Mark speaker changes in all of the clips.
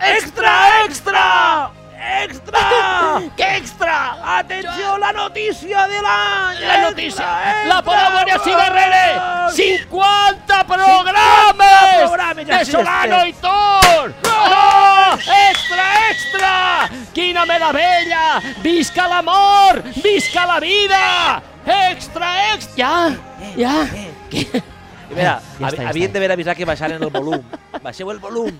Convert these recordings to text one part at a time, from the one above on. Speaker 1: ¡Extra, extra! ¡Extra! ¡Qué extra! ¡Atención, la notícia de
Speaker 2: La
Speaker 1: l'any! Extra,
Speaker 2: notícia.
Speaker 1: extra,
Speaker 2: La Palamònia Cigarrere. 50
Speaker 1: 50
Speaker 2: programes
Speaker 1: programes, ja
Speaker 2: de
Speaker 1: sí,
Speaker 2: Solano
Speaker 1: este.
Speaker 2: i Tor. Oh, extra, extra. Quina mela vella. Visca l'amor. Visca la vida. Extra, extra. Ja, ja.
Speaker 1: I
Speaker 2: Ja
Speaker 1: mira, ja
Speaker 2: està, ja
Speaker 1: havien
Speaker 2: està.
Speaker 1: d'haver avisat que baixaren el volum. Baixeu el volum.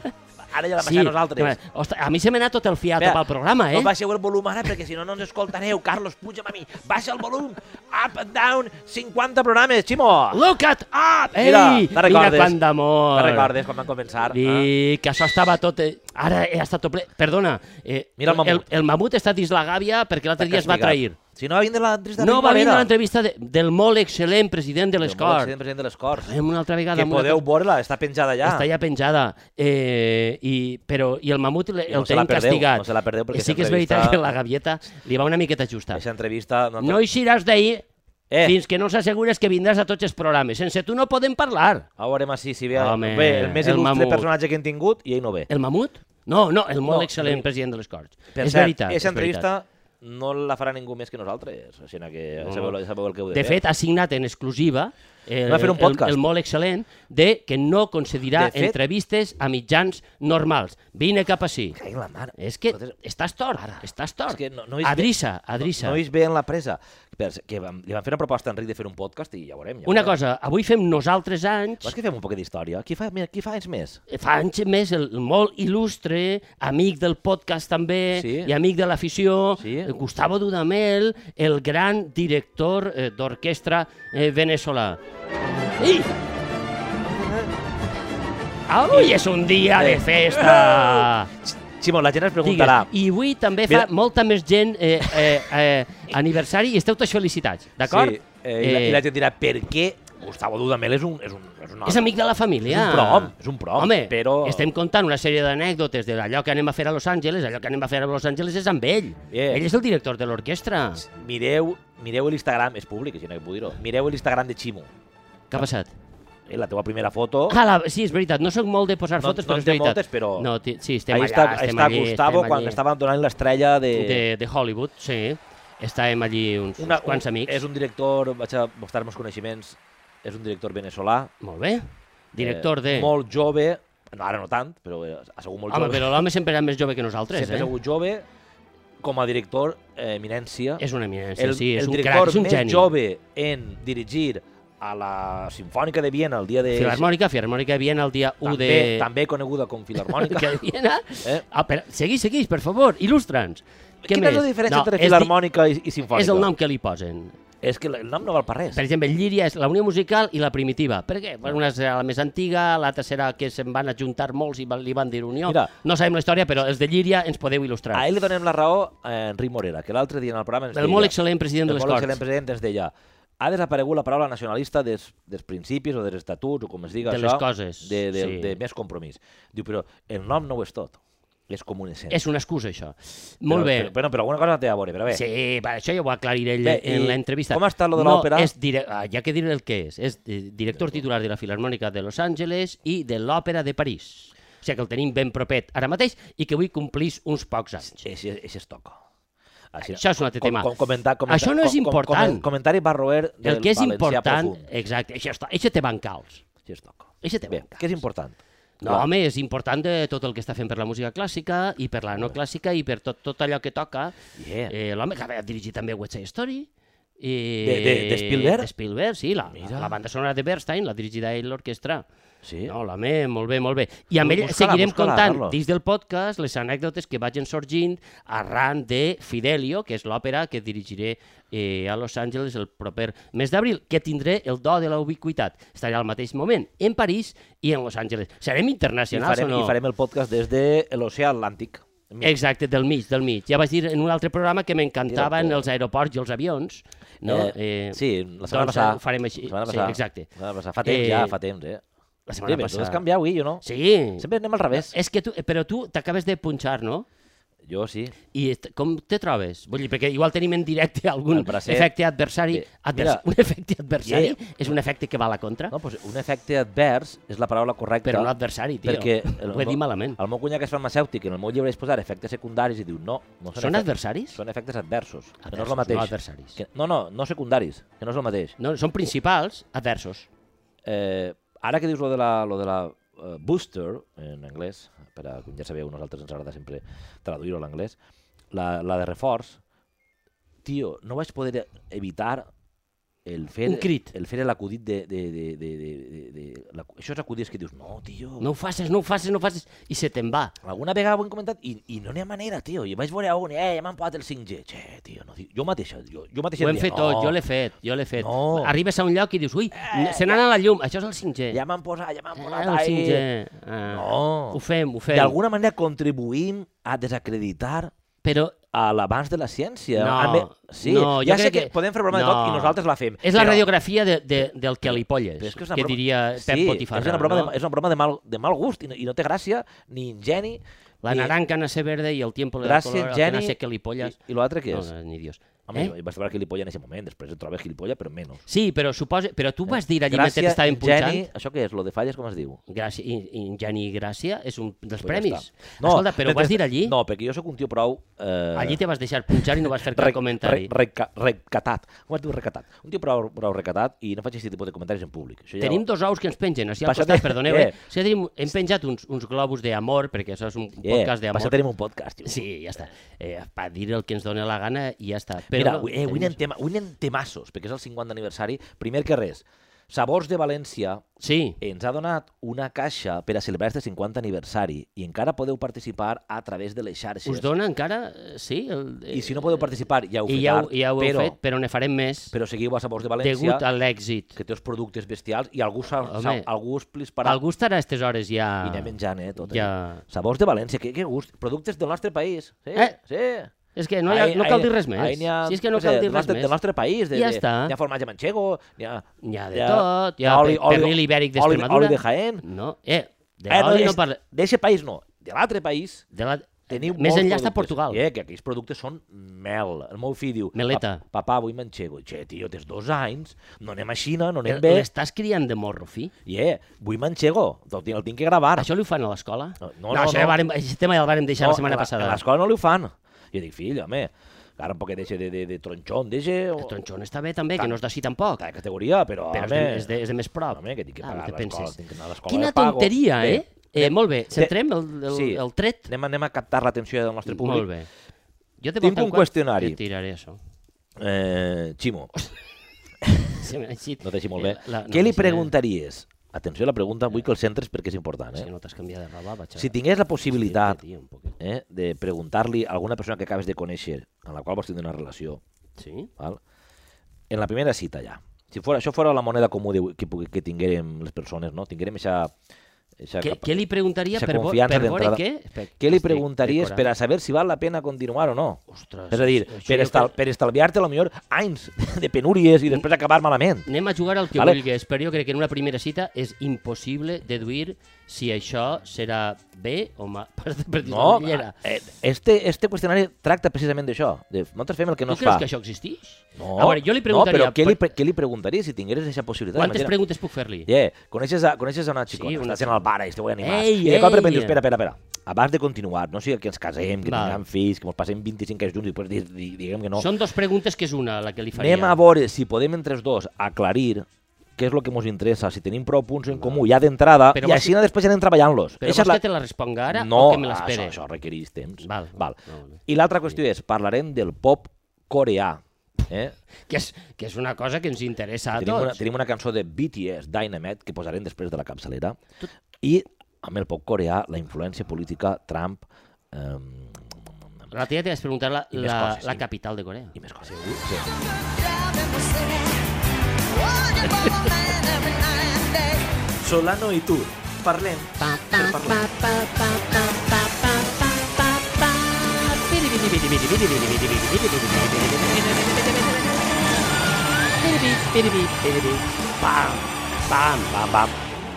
Speaker 1: Ara ja la baixar nosaltres.
Speaker 2: home, Ostres, a mi se m'ha anat tot el fiat
Speaker 1: Espera,
Speaker 2: pel programa, eh?
Speaker 1: No baixeu el volum ara perquè si no no ens escoltareu. Carlos, puja'm a mi. Baixa el volum. Up and down. 50 programes, Ximo.
Speaker 2: Look at up! Ei,
Speaker 1: Mira,
Speaker 2: mira,
Speaker 1: te recordes.
Speaker 2: quant d'amor!
Speaker 1: Me'n recordes quan van començar? eh?
Speaker 2: Dic que això estava tot... Eh, ara he estat tot ple... Perdona, eh,
Speaker 1: Mira el mamut.
Speaker 2: El, el mamut està dins la gàbia perquè l'altre dia es va
Speaker 1: Castigat.
Speaker 2: trair.
Speaker 1: Si no va vindre l'entrevista
Speaker 2: No va vindre l'entrevista de, del molt excel·lent president de les Corts.
Speaker 1: president de les Corts.
Speaker 2: Fem una altra vegada.
Speaker 1: Que
Speaker 2: amb una
Speaker 1: podeu
Speaker 2: altra-
Speaker 1: veure-la, està penjada allà.
Speaker 2: Està ja penjada. Eh, i, però, I el mamut le,
Speaker 1: I no
Speaker 2: el
Speaker 1: se la
Speaker 2: tenim
Speaker 1: perdeu,
Speaker 2: castigat. Eh,
Speaker 1: no se la perdeu perquè
Speaker 2: sí que és
Speaker 1: s'entrevista-
Speaker 2: veritat que la gavieta li va una miqueta justa.
Speaker 1: Aquesta entrevista... No,
Speaker 2: No eixiràs d'ahir
Speaker 1: Eh.
Speaker 2: fins que no s'assegures que vindràs a tots els programes. Sense tu no podem parlar.
Speaker 1: A veurem així si ve,
Speaker 2: Home,
Speaker 1: ve el més
Speaker 2: el
Speaker 1: il·lustre
Speaker 2: mamut.
Speaker 1: personatge que hem tingut i ell no ve.
Speaker 2: El mamut? No, no, el molt
Speaker 1: No,
Speaker 2: excel·lent
Speaker 1: no.
Speaker 2: president de les Corts.
Speaker 1: Per
Speaker 2: és
Speaker 1: cert,
Speaker 2: veritat. és
Speaker 1: aquesta entrevista
Speaker 2: veritat.
Speaker 1: no la farà ningú més que nosaltres, o sigui que ja
Speaker 2: No,
Speaker 1: sabeu,
Speaker 2: no.
Speaker 1: ja sabeu el que heu de,
Speaker 2: De
Speaker 1: fer.
Speaker 2: fet, ha signat en exclusiva el,
Speaker 1: Va fer un
Speaker 2: el-
Speaker 1: podcast.
Speaker 2: el, molt excel·lent de que no concedirà
Speaker 1: De fet-
Speaker 2: entrevistes a mitjans normals. Vine cap així.
Speaker 1: Ai, la mare.
Speaker 2: És que
Speaker 1: Nosaltres-
Speaker 2: estàs tort, ara. estàs tort.
Speaker 1: És que no- no és-
Speaker 2: adriça, adriça.
Speaker 1: No, no ells veien la presa. Per, que vam, li van fer una proposta a Enric de fer un podcast i ja veurem. Ja
Speaker 2: Una
Speaker 1: veurem.
Speaker 2: cosa, avui fem nosaltres anys,
Speaker 1: Vols que fem un poquet d'història? Qui fa, mira, qui fa anys més?
Speaker 2: fa anys més, el molt il·lustre, amic del podcast també,
Speaker 1: Sí.
Speaker 2: i amic de l'afició,
Speaker 1: Sí.
Speaker 2: eh, Gustavo Dudamel, el gran director eh, d'orquestra eh, venezolà. I... Avui és un dia de festa!
Speaker 1: Ximo, la gent es preguntarà...
Speaker 2: Digues, I avui també
Speaker 1: Mira-
Speaker 2: fa molta més gent eh, eh, eh, aniversari i esteu tots felicitats, d'acord?
Speaker 1: Sí, eh, i, la, I la gent dirà, per què Gustavo Dudamel és un... És, un, és, un
Speaker 2: És amic de la família.
Speaker 1: És un prom, és un prom,
Speaker 2: Home,
Speaker 1: però-
Speaker 2: estem contant una sèrie d'anècdotes de allò que anem a fer a Los Angeles, allò que anem a fer a Los Angeles és amb ell.
Speaker 1: Bien.
Speaker 2: Ell és el director de l'orquestra.
Speaker 1: Mireu, mireu l'Instagram, és públic, si no que puc dir-ho. Mireu l'Instagram de Ximo.
Speaker 2: Què ha passat?
Speaker 1: Eh, la teva primera foto...
Speaker 2: Ah, la... sí, és veritat, no sóc molt de posar
Speaker 1: No-
Speaker 2: fotos,
Speaker 1: no
Speaker 2: però
Speaker 1: en
Speaker 2: és
Speaker 1: té
Speaker 2: veritat.
Speaker 1: moltes, però
Speaker 2: No, ti- sí, estem allà,
Speaker 1: Ahí està, ahí
Speaker 2: estem
Speaker 1: està
Speaker 2: allí,
Speaker 1: Gustavo
Speaker 2: estem
Speaker 1: quan
Speaker 2: allí.
Speaker 1: estaven donant l'estrella de...
Speaker 2: De, de Hollywood, sí. Estàvem allí uns, uns quants amics.
Speaker 1: És un director, vaig a mostrar meus coneixements, és un director venezolà.
Speaker 2: Molt bé. Director de...
Speaker 1: Eh, molt jove, no, ara no tant, però eh, ha sigut molt
Speaker 2: Home,
Speaker 1: jove.
Speaker 2: però l'home sempre era més jove que nosaltres,
Speaker 1: Sempre ha
Speaker 2: eh?
Speaker 1: sigut jove, com a director, eh, eminència.
Speaker 2: És una eminència,
Speaker 1: el,
Speaker 2: sí, és
Speaker 1: el
Speaker 2: un
Speaker 1: director
Speaker 2: crac, és un
Speaker 1: més
Speaker 2: geni.
Speaker 1: jove en dirigir a la Sinfònica de Viena el dia de...
Speaker 2: Filarmònica, Filarmònica de Viena el dia 1
Speaker 1: també,
Speaker 2: de...
Speaker 1: també coneguda com Filarmònica.
Speaker 2: que Viena...
Speaker 1: Eh?
Speaker 2: Eh? Ah, però, segueix, segueix, per favor, il·lustra'ns. Què
Speaker 1: Quina és
Speaker 2: més?
Speaker 1: la diferència
Speaker 2: No, és
Speaker 1: entre
Speaker 2: di-
Speaker 1: Filarmònica i, i Sinfònica?
Speaker 2: És el nom que li posen.
Speaker 1: És que el nom no val per res.
Speaker 2: Per exemple, Llíria és la Unió Musical i la Primitiva. Per què? Bueno, Una serà la més antiga, l'altra serà que se'n van ajuntar molts i van- li van dir Unió.
Speaker 1: Mira. Ah,
Speaker 2: No sabem la història, però els de Llíria ens podeu il·lustrar.
Speaker 1: A ell li donem la raó a Enric Morera, que l'altre dia en el programa ens
Speaker 2: El molt excel·lent president de les
Speaker 1: El molt excel·lent
Speaker 2: Corts.
Speaker 1: president ens deia ha desaparegut la paraula nacionalista des, dels principis o dels estatuts o com es diga
Speaker 2: De
Speaker 1: això,
Speaker 2: les coses,
Speaker 1: de, de,
Speaker 2: sí.
Speaker 1: de més compromís. Diu, però el nom no ho és tot, és com una essència.
Speaker 2: És una excusa, això. Molt
Speaker 1: però,
Speaker 2: bé.
Speaker 1: Però, però, però alguna cosa té a veure, però bé.
Speaker 2: Sí, va, això ja ho aclariré ell
Speaker 1: Bé,
Speaker 2: en
Speaker 1: i
Speaker 2: l'entrevista.
Speaker 1: com està lo de
Speaker 2: no,
Speaker 1: l'òpera?
Speaker 2: És dire... ah, ja que diré el que és. És eh, director titular de la Filarmònica de Los Angeles i de l'Òpera de París. O sigui que el tenim ben propet ara mateix i que avui complís uns pocs anys.
Speaker 1: Eixe, eixe es toca. Així,
Speaker 2: Això és un altre
Speaker 1: com,
Speaker 2: tema.
Speaker 1: Com, comentar, comentar,
Speaker 2: Això no és
Speaker 1: com, Com,
Speaker 2: important.
Speaker 1: com, comentari barroer del
Speaker 2: El que és
Speaker 1: valencià
Speaker 2: important...
Speaker 1: profund.
Speaker 2: Exacte, això, està, això té bancals.
Speaker 1: Així es toca.
Speaker 2: Això té
Speaker 1: Bé,
Speaker 2: bancals.
Speaker 1: què és important?
Speaker 2: No,
Speaker 1: Clar.
Speaker 2: home, és important de tot el que està fent per la música clàssica i per la no clàssica i per tot, tot allò que toca.
Speaker 1: Yeah.
Speaker 2: Eh, L'home que va dirigir també West Side Story. I...
Speaker 1: De- de- de Spielberg?
Speaker 2: De Spielberg, sí, la,
Speaker 1: Mira.
Speaker 2: la, la banda sonora de Bernstein la dirigirà ell l'orquestra.
Speaker 1: Sí.
Speaker 2: No, l'home, molt bé, molt bé. I amb ell
Speaker 1: Busca-la,
Speaker 2: seguirem
Speaker 1: busca-la,
Speaker 2: contant
Speaker 1: Carlos.
Speaker 2: dins del podcast les anècdotes que vagin sorgint arran de Fidelio, que és l'òpera que dirigiré eh, a Los Angeles el proper mes d'abril, que tindré el do de la ubiquitat. Estaré al mateix moment en París i en Los Angeles. Serem
Speaker 1: I
Speaker 2: internacionals
Speaker 1: farem,
Speaker 2: o no?
Speaker 1: I farem el podcast des de l'oceà Atlàntic.
Speaker 2: Exacte, del mig, del mig. Ja vaig dir en un altre programa que m'encantaven
Speaker 1: Director.
Speaker 2: els aeroports i els avions. No? Eh,
Speaker 1: sí, la setmana
Speaker 2: doncs,
Speaker 1: passada.
Speaker 2: Ho farem així.
Speaker 1: La setmana
Speaker 2: Sí,
Speaker 1: passada.
Speaker 2: exacte.
Speaker 1: La setmana passada. Fa temps
Speaker 2: Eh,
Speaker 1: ja, fa temps, eh?
Speaker 2: la setmana
Speaker 1: Bé, però tu
Speaker 2: passada. Eh,
Speaker 1: has canviat avui, jo no?
Speaker 2: Sí.
Speaker 1: Sempre anem al revés.
Speaker 2: És que tu, però tu t'acabes de punxar, no?
Speaker 1: Jo sí.
Speaker 2: I est- com te trobes? Vull dir, perquè igual tenim en directe algun
Speaker 1: El bracet.
Speaker 2: efecte adversari.
Speaker 1: Bé,
Speaker 2: advers
Speaker 1: mira.
Speaker 2: un efecte adversari
Speaker 1: Yeah.
Speaker 2: és un efecte que va a la contra,
Speaker 1: No, doncs un efecte advers és la paraula correcta.
Speaker 2: però no adversari, tio.
Speaker 1: Perquè
Speaker 2: Ho he dit malament.
Speaker 1: El meu cunyat que és farmacèutic, en el meu llibre és posar efectes secundaris i diu no, no són,
Speaker 2: Són
Speaker 1: efectes,
Speaker 2: adversaris?
Speaker 1: són efectes adversos, que no és
Speaker 2: Adversos,
Speaker 1: el mateix.
Speaker 2: no adversaris.
Speaker 1: Que, no, no, no secundaris, que no és el mateix.
Speaker 2: No, són principals adversos.
Speaker 1: Eh, ara que dius lo de la, lo de la eh, booster, en anglès, per a, com ja sabeu, nosaltres ens agrada sempre traduir-ho a l'anglès, la, la de reforç, tio, no vaig poder evitar el fer,
Speaker 2: Un crit.
Speaker 1: el fer l'acudit de, de, de, de, de, de, de, la, això és acudits que dius, no, tio,
Speaker 2: No ho facis, no ho facis, no ho facis, i se te'n va.
Speaker 1: Alguna vegada ho hem comentat i, i no n'hi ha manera, tio. I vaig veure on, eh, ja m'han pagat el 5G. Che, tio, no, dic- jo mateixa, jo, jo mateixa
Speaker 2: Ho hem
Speaker 1: em
Speaker 2: fet
Speaker 1: deia,
Speaker 2: tot,
Speaker 1: "No,
Speaker 2: jo l'he fet, jo l'he fet.
Speaker 1: No. Eh,
Speaker 2: Arribes a un lloc i dius, ui, se n'ha anat la llum, això és el 5G.
Speaker 1: Ja m'han posat, ja m'han
Speaker 2: Ah,
Speaker 1: posat.
Speaker 2: el
Speaker 1: ahí".
Speaker 2: 5G. Ah,
Speaker 1: No.
Speaker 2: Ho fem, ho fem.
Speaker 1: D'alguna manera contribuïm a desacreditar
Speaker 2: Però
Speaker 1: a l'abans de la ciència.
Speaker 2: No,
Speaker 1: A me- sí,
Speaker 2: no,
Speaker 1: ja
Speaker 2: jo
Speaker 1: sé
Speaker 2: crec
Speaker 1: que,
Speaker 2: que-
Speaker 1: podem fer broma de tot
Speaker 2: no.
Speaker 1: i nosaltres la fem.
Speaker 2: és la
Speaker 1: però-
Speaker 2: radiografia de, de, del que li polles,
Speaker 1: però
Speaker 2: que,
Speaker 1: és que és una broma-
Speaker 2: diria Pep
Speaker 1: sí,
Speaker 2: Botifarra.
Speaker 1: És una broma,
Speaker 2: no?
Speaker 1: de, és una broma de, mal, de mal gust i no, i no té gràcia ni ingeni.
Speaker 2: La
Speaker 1: ni-
Speaker 2: naranja nace verde i el tiempo le da
Speaker 1: Gràcies,
Speaker 2: color, el que
Speaker 1: Geni.
Speaker 2: nace que li polles...
Speaker 1: I, i l'altre què
Speaker 2: No,
Speaker 1: és?
Speaker 2: ni Dios.
Speaker 1: Home,
Speaker 2: Eh?
Speaker 1: jo vaig trobar gilipolla en ese moment, després et trobes gilipolla, però menys.
Speaker 2: Sí, però suposa... Però tu vas dir allí mentre
Speaker 1: Gràcia,
Speaker 2: t'estaven punxant...
Speaker 1: Geni, això què és? Lo de falles com es diu?
Speaker 2: Gràcia, in- Ingeni Gràcia és un dels
Speaker 1: Pues ja
Speaker 2: premis.
Speaker 1: està.
Speaker 2: No, Escolta, però ho vas
Speaker 1: mentre-
Speaker 2: dir allí?
Speaker 1: No, perquè jo sóc un tio prou... Eh,
Speaker 2: Allí te vas deixar punxar i no vas fer cap comentari.
Speaker 1: Re, reca, recatat. Com es diu recatat? Un tio prou, prou recatat i no faig aquest tipus de comentaris en públic. Això
Speaker 2: Tenim dos ous que ens pengen, així al
Speaker 1: Passa-
Speaker 2: costat, perdoneu, eh?
Speaker 1: Eh.
Speaker 2: Sí, tenim, hem penjat uns, uns globus d'amor, perquè això és un
Speaker 1: Eh,
Speaker 2: podcast
Speaker 1: Per això
Speaker 2: d'amor.
Speaker 1: tenim un podcast, tio.
Speaker 2: Sí, ja està. Eh, per dir el que ens dona la gana i ja està. Però
Speaker 1: Mira,
Speaker 2: no,
Speaker 1: avui- eh, avui
Speaker 2: tenim-
Speaker 1: anem, tema, avui anem temassos, perquè és el 50 aniversari. Primer que res, Sabors de València
Speaker 2: Sí,
Speaker 1: ens ha donat una caixa per a celebrar este 50 aniversari i encara podeu participar a través de les xarxes.
Speaker 2: us dona encara... eh, Sí? El,
Speaker 1: I si no podeu participar, ja ho
Speaker 2: I
Speaker 1: fet
Speaker 2: ja, ho-
Speaker 1: tard,
Speaker 2: ja ho heu
Speaker 1: però,
Speaker 2: fet, però ne farem més
Speaker 1: però seguiu a Sabors de València.
Speaker 2: degut a l'èxit.
Speaker 1: que té els productes bestials i algú, s'ha- s'ha-
Speaker 2: Home.
Speaker 1: algú es plisparà
Speaker 2: Algú estarà a aquestes hores ja...
Speaker 1: i anem menjant, eh, tot allò.
Speaker 2: Ah. ja...
Speaker 1: Sabors de València, que, que gust. Productes del nostre país. Sí,
Speaker 2: Eh?
Speaker 1: sí.
Speaker 2: És que no, hi ha,
Speaker 1: Ahí-
Speaker 2: no cal
Speaker 1: ahí-
Speaker 2: dir res més.
Speaker 1: ahí n'hi ha,
Speaker 2: si és que no
Speaker 1: què sé,
Speaker 2: cal dir
Speaker 1: del
Speaker 2: res
Speaker 1: nostre,
Speaker 2: més.
Speaker 1: Del nostre país. De,
Speaker 2: Ja
Speaker 1: de-
Speaker 2: està.
Speaker 1: N'hi ha formatge manchego, n'hi ha...
Speaker 2: N'hi ha de tot, hi ha per- pernil ibèric
Speaker 1: Oli,
Speaker 2: d'Extremadura.
Speaker 1: oli de Jaén.
Speaker 2: No, eh, de
Speaker 1: Eh,
Speaker 2: l'oli
Speaker 1: és-
Speaker 2: no parla...
Speaker 1: D'eixe país no, de l'altre país
Speaker 2: De la...
Speaker 1: teniu
Speaker 2: Més
Speaker 1: molts
Speaker 2: enllà està
Speaker 1: productes.
Speaker 2: Portugal.
Speaker 1: Eh, que aquells productes són mel. El meu fill diu...
Speaker 2: Meleta.
Speaker 1: "Pa- Papà, vull manchego. Che, tio, tens dos anys, no anem a Xina, no
Speaker 2: Eh,
Speaker 1: anem bé.
Speaker 2: L'estàs criant de morro, fi?
Speaker 1: Yeah, vull manchego, el tinc, el tinc que gravar.
Speaker 2: Això li ho fan a l'escola?
Speaker 1: No, no, no,
Speaker 2: això, ja
Speaker 1: no.
Speaker 2: Vàrem, aquest tema ja el vàrem deixar
Speaker 1: No,
Speaker 2: la setmana
Speaker 1: a
Speaker 2: passada.
Speaker 1: A l'escola no li ho fan. Jo dic, fill, home, ara un poquet deixa de, de, de tronxon, deixa... O...
Speaker 2: El tronxon està bé també, que no és d'ací tampoc. eh?
Speaker 1: Cada categoria, però,
Speaker 2: Però és
Speaker 1: home...
Speaker 2: de, és, de, és de més prop.
Speaker 1: Home, que tinc que
Speaker 2: Ah, no
Speaker 1: pagar
Speaker 2: te
Speaker 1: l'escola,
Speaker 2: penses.
Speaker 1: tinc que anar a l'escola,
Speaker 2: Quina
Speaker 1: la pago.
Speaker 2: tonteria,
Speaker 1: Bé,
Speaker 2: eh? eh? Molt bé, centrem el, el,
Speaker 1: sí.
Speaker 2: el tret.
Speaker 1: Anem, anem a captar l'atenció del nostre públic.
Speaker 2: Molt bé. Jo te
Speaker 1: Tinc
Speaker 2: porto
Speaker 1: un
Speaker 2: quart-
Speaker 1: qüestionari.
Speaker 2: Et tiraré això.
Speaker 1: Eh, Ximo,
Speaker 2: Sí, així-
Speaker 1: no t'eixi molt bé.
Speaker 2: La- no
Speaker 1: Què li
Speaker 2: t'eixi bé.
Speaker 1: preguntaries? Atenció a la pregunta, vull que el centres perquè és important,
Speaker 2: Si
Speaker 1: eh?
Speaker 2: no t'has canviat de roba, vaig a...
Speaker 1: Si tingués la
Speaker 2: Fíjate,
Speaker 1: possibilitat
Speaker 2: tio, un poquet.
Speaker 1: eh, de preguntar-li a alguna persona que acabes de conèixer, amb la qual vols tindre una relació,
Speaker 2: Sí?
Speaker 1: Val? En la primera cita ja. Si fora, això fora la moneda comú de, que, pugui- que tinguérem les persones, no? Tinguérem eixa... eixa
Speaker 2: Què,
Speaker 1: capa-
Speaker 2: què li preguntaria
Speaker 1: eixa
Speaker 2: per, vo-
Speaker 1: confiança
Speaker 2: per veure
Speaker 1: d'entrada.
Speaker 2: què? Espera,
Speaker 1: Què li
Speaker 2: estic
Speaker 1: preguntaries per
Speaker 2: decorant.
Speaker 1: a saber si val la pena continuar o no?
Speaker 2: Ostres,
Speaker 1: És a dir,
Speaker 2: això
Speaker 1: per,
Speaker 2: jo
Speaker 1: estal,
Speaker 2: crec-
Speaker 1: per estalviar-te, a lo millor, anys de penúries i després acabar malament.
Speaker 2: Anem a jugar al que
Speaker 1: Vale.
Speaker 2: vale. vulguis, però jo crec que en una primera cita és impossible deduir si això serà bé o mal. Per, per dir
Speaker 1: No,
Speaker 2: no,
Speaker 1: eh, este, este qüestionari tracta precisament d'això. de- Nosaltres fem el que no
Speaker 2: tu
Speaker 1: es
Speaker 2: creus
Speaker 1: fa.
Speaker 2: que això existeix?
Speaker 1: No,
Speaker 2: a veure, jo li preguntaria...
Speaker 1: no però què li, pre- què li preguntaries si tingueres aquesta possibilitat?
Speaker 2: Quantes
Speaker 1: Imagina-
Speaker 2: preguntes puc fer-li?
Speaker 1: Yeah, coneixes, a, coneixes a una xicona, sí,
Speaker 2: una
Speaker 1: una... estàs en el bar i esteu animats.
Speaker 2: Ei,
Speaker 1: I de cop de repente
Speaker 2: ei.
Speaker 1: dius, espera, espera, espera. Abans de continuar, no sigui que ens casem, que
Speaker 2: Val.
Speaker 1: tinguem fills, que ens passem 25 anys junts i després di- di- diguem que no.
Speaker 2: Són dues preguntes que és una, la que li faria.
Speaker 1: Anem a veure si podem entre els dos aclarir què és el que ens interessa, si tenim prou punts en comú ja d'entrada,
Speaker 2: Però
Speaker 1: i
Speaker 2: vols
Speaker 1: així després anem treballant-los.
Speaker 2: Però
Speaker 1: Eixa
Speaker 2: vols
Speaker 1: és la-
Speaker 2: que te la responga ara
Speaker 1: no, ah,
Speaker 2: o que me l'espere?
Speaker 1: Això, això requereix temps.
Speaker 2: Val,
Speaker 1: Val.
Speaker 2: no, no.
Speaker 1: I l'altra qüestió és, parlarem del pop coreà. Eh?
Speaker 2: Que, és, que és una cosa que ens interessa a
Speaker 1: tenim, una,
Speaker 2: tots.
Speaker 1: tenim una cançó de BTS, Dynamite, que posarem després de la capçalera. I amb el pop coreà, la influència política, Trump... Eh,
Speaker 2: La tia t'has preguntat la,
Speaker 1: I més
Speaker 2: la,
Speaker 1: coses,
Speaker 2: la
Speaker 1: sí.
Speaker 2: capital de Corea.
Speaker 1: I més coses. Sí. Solano i tu, parlem.
Speaker 2: Pam, pam, pam, pam,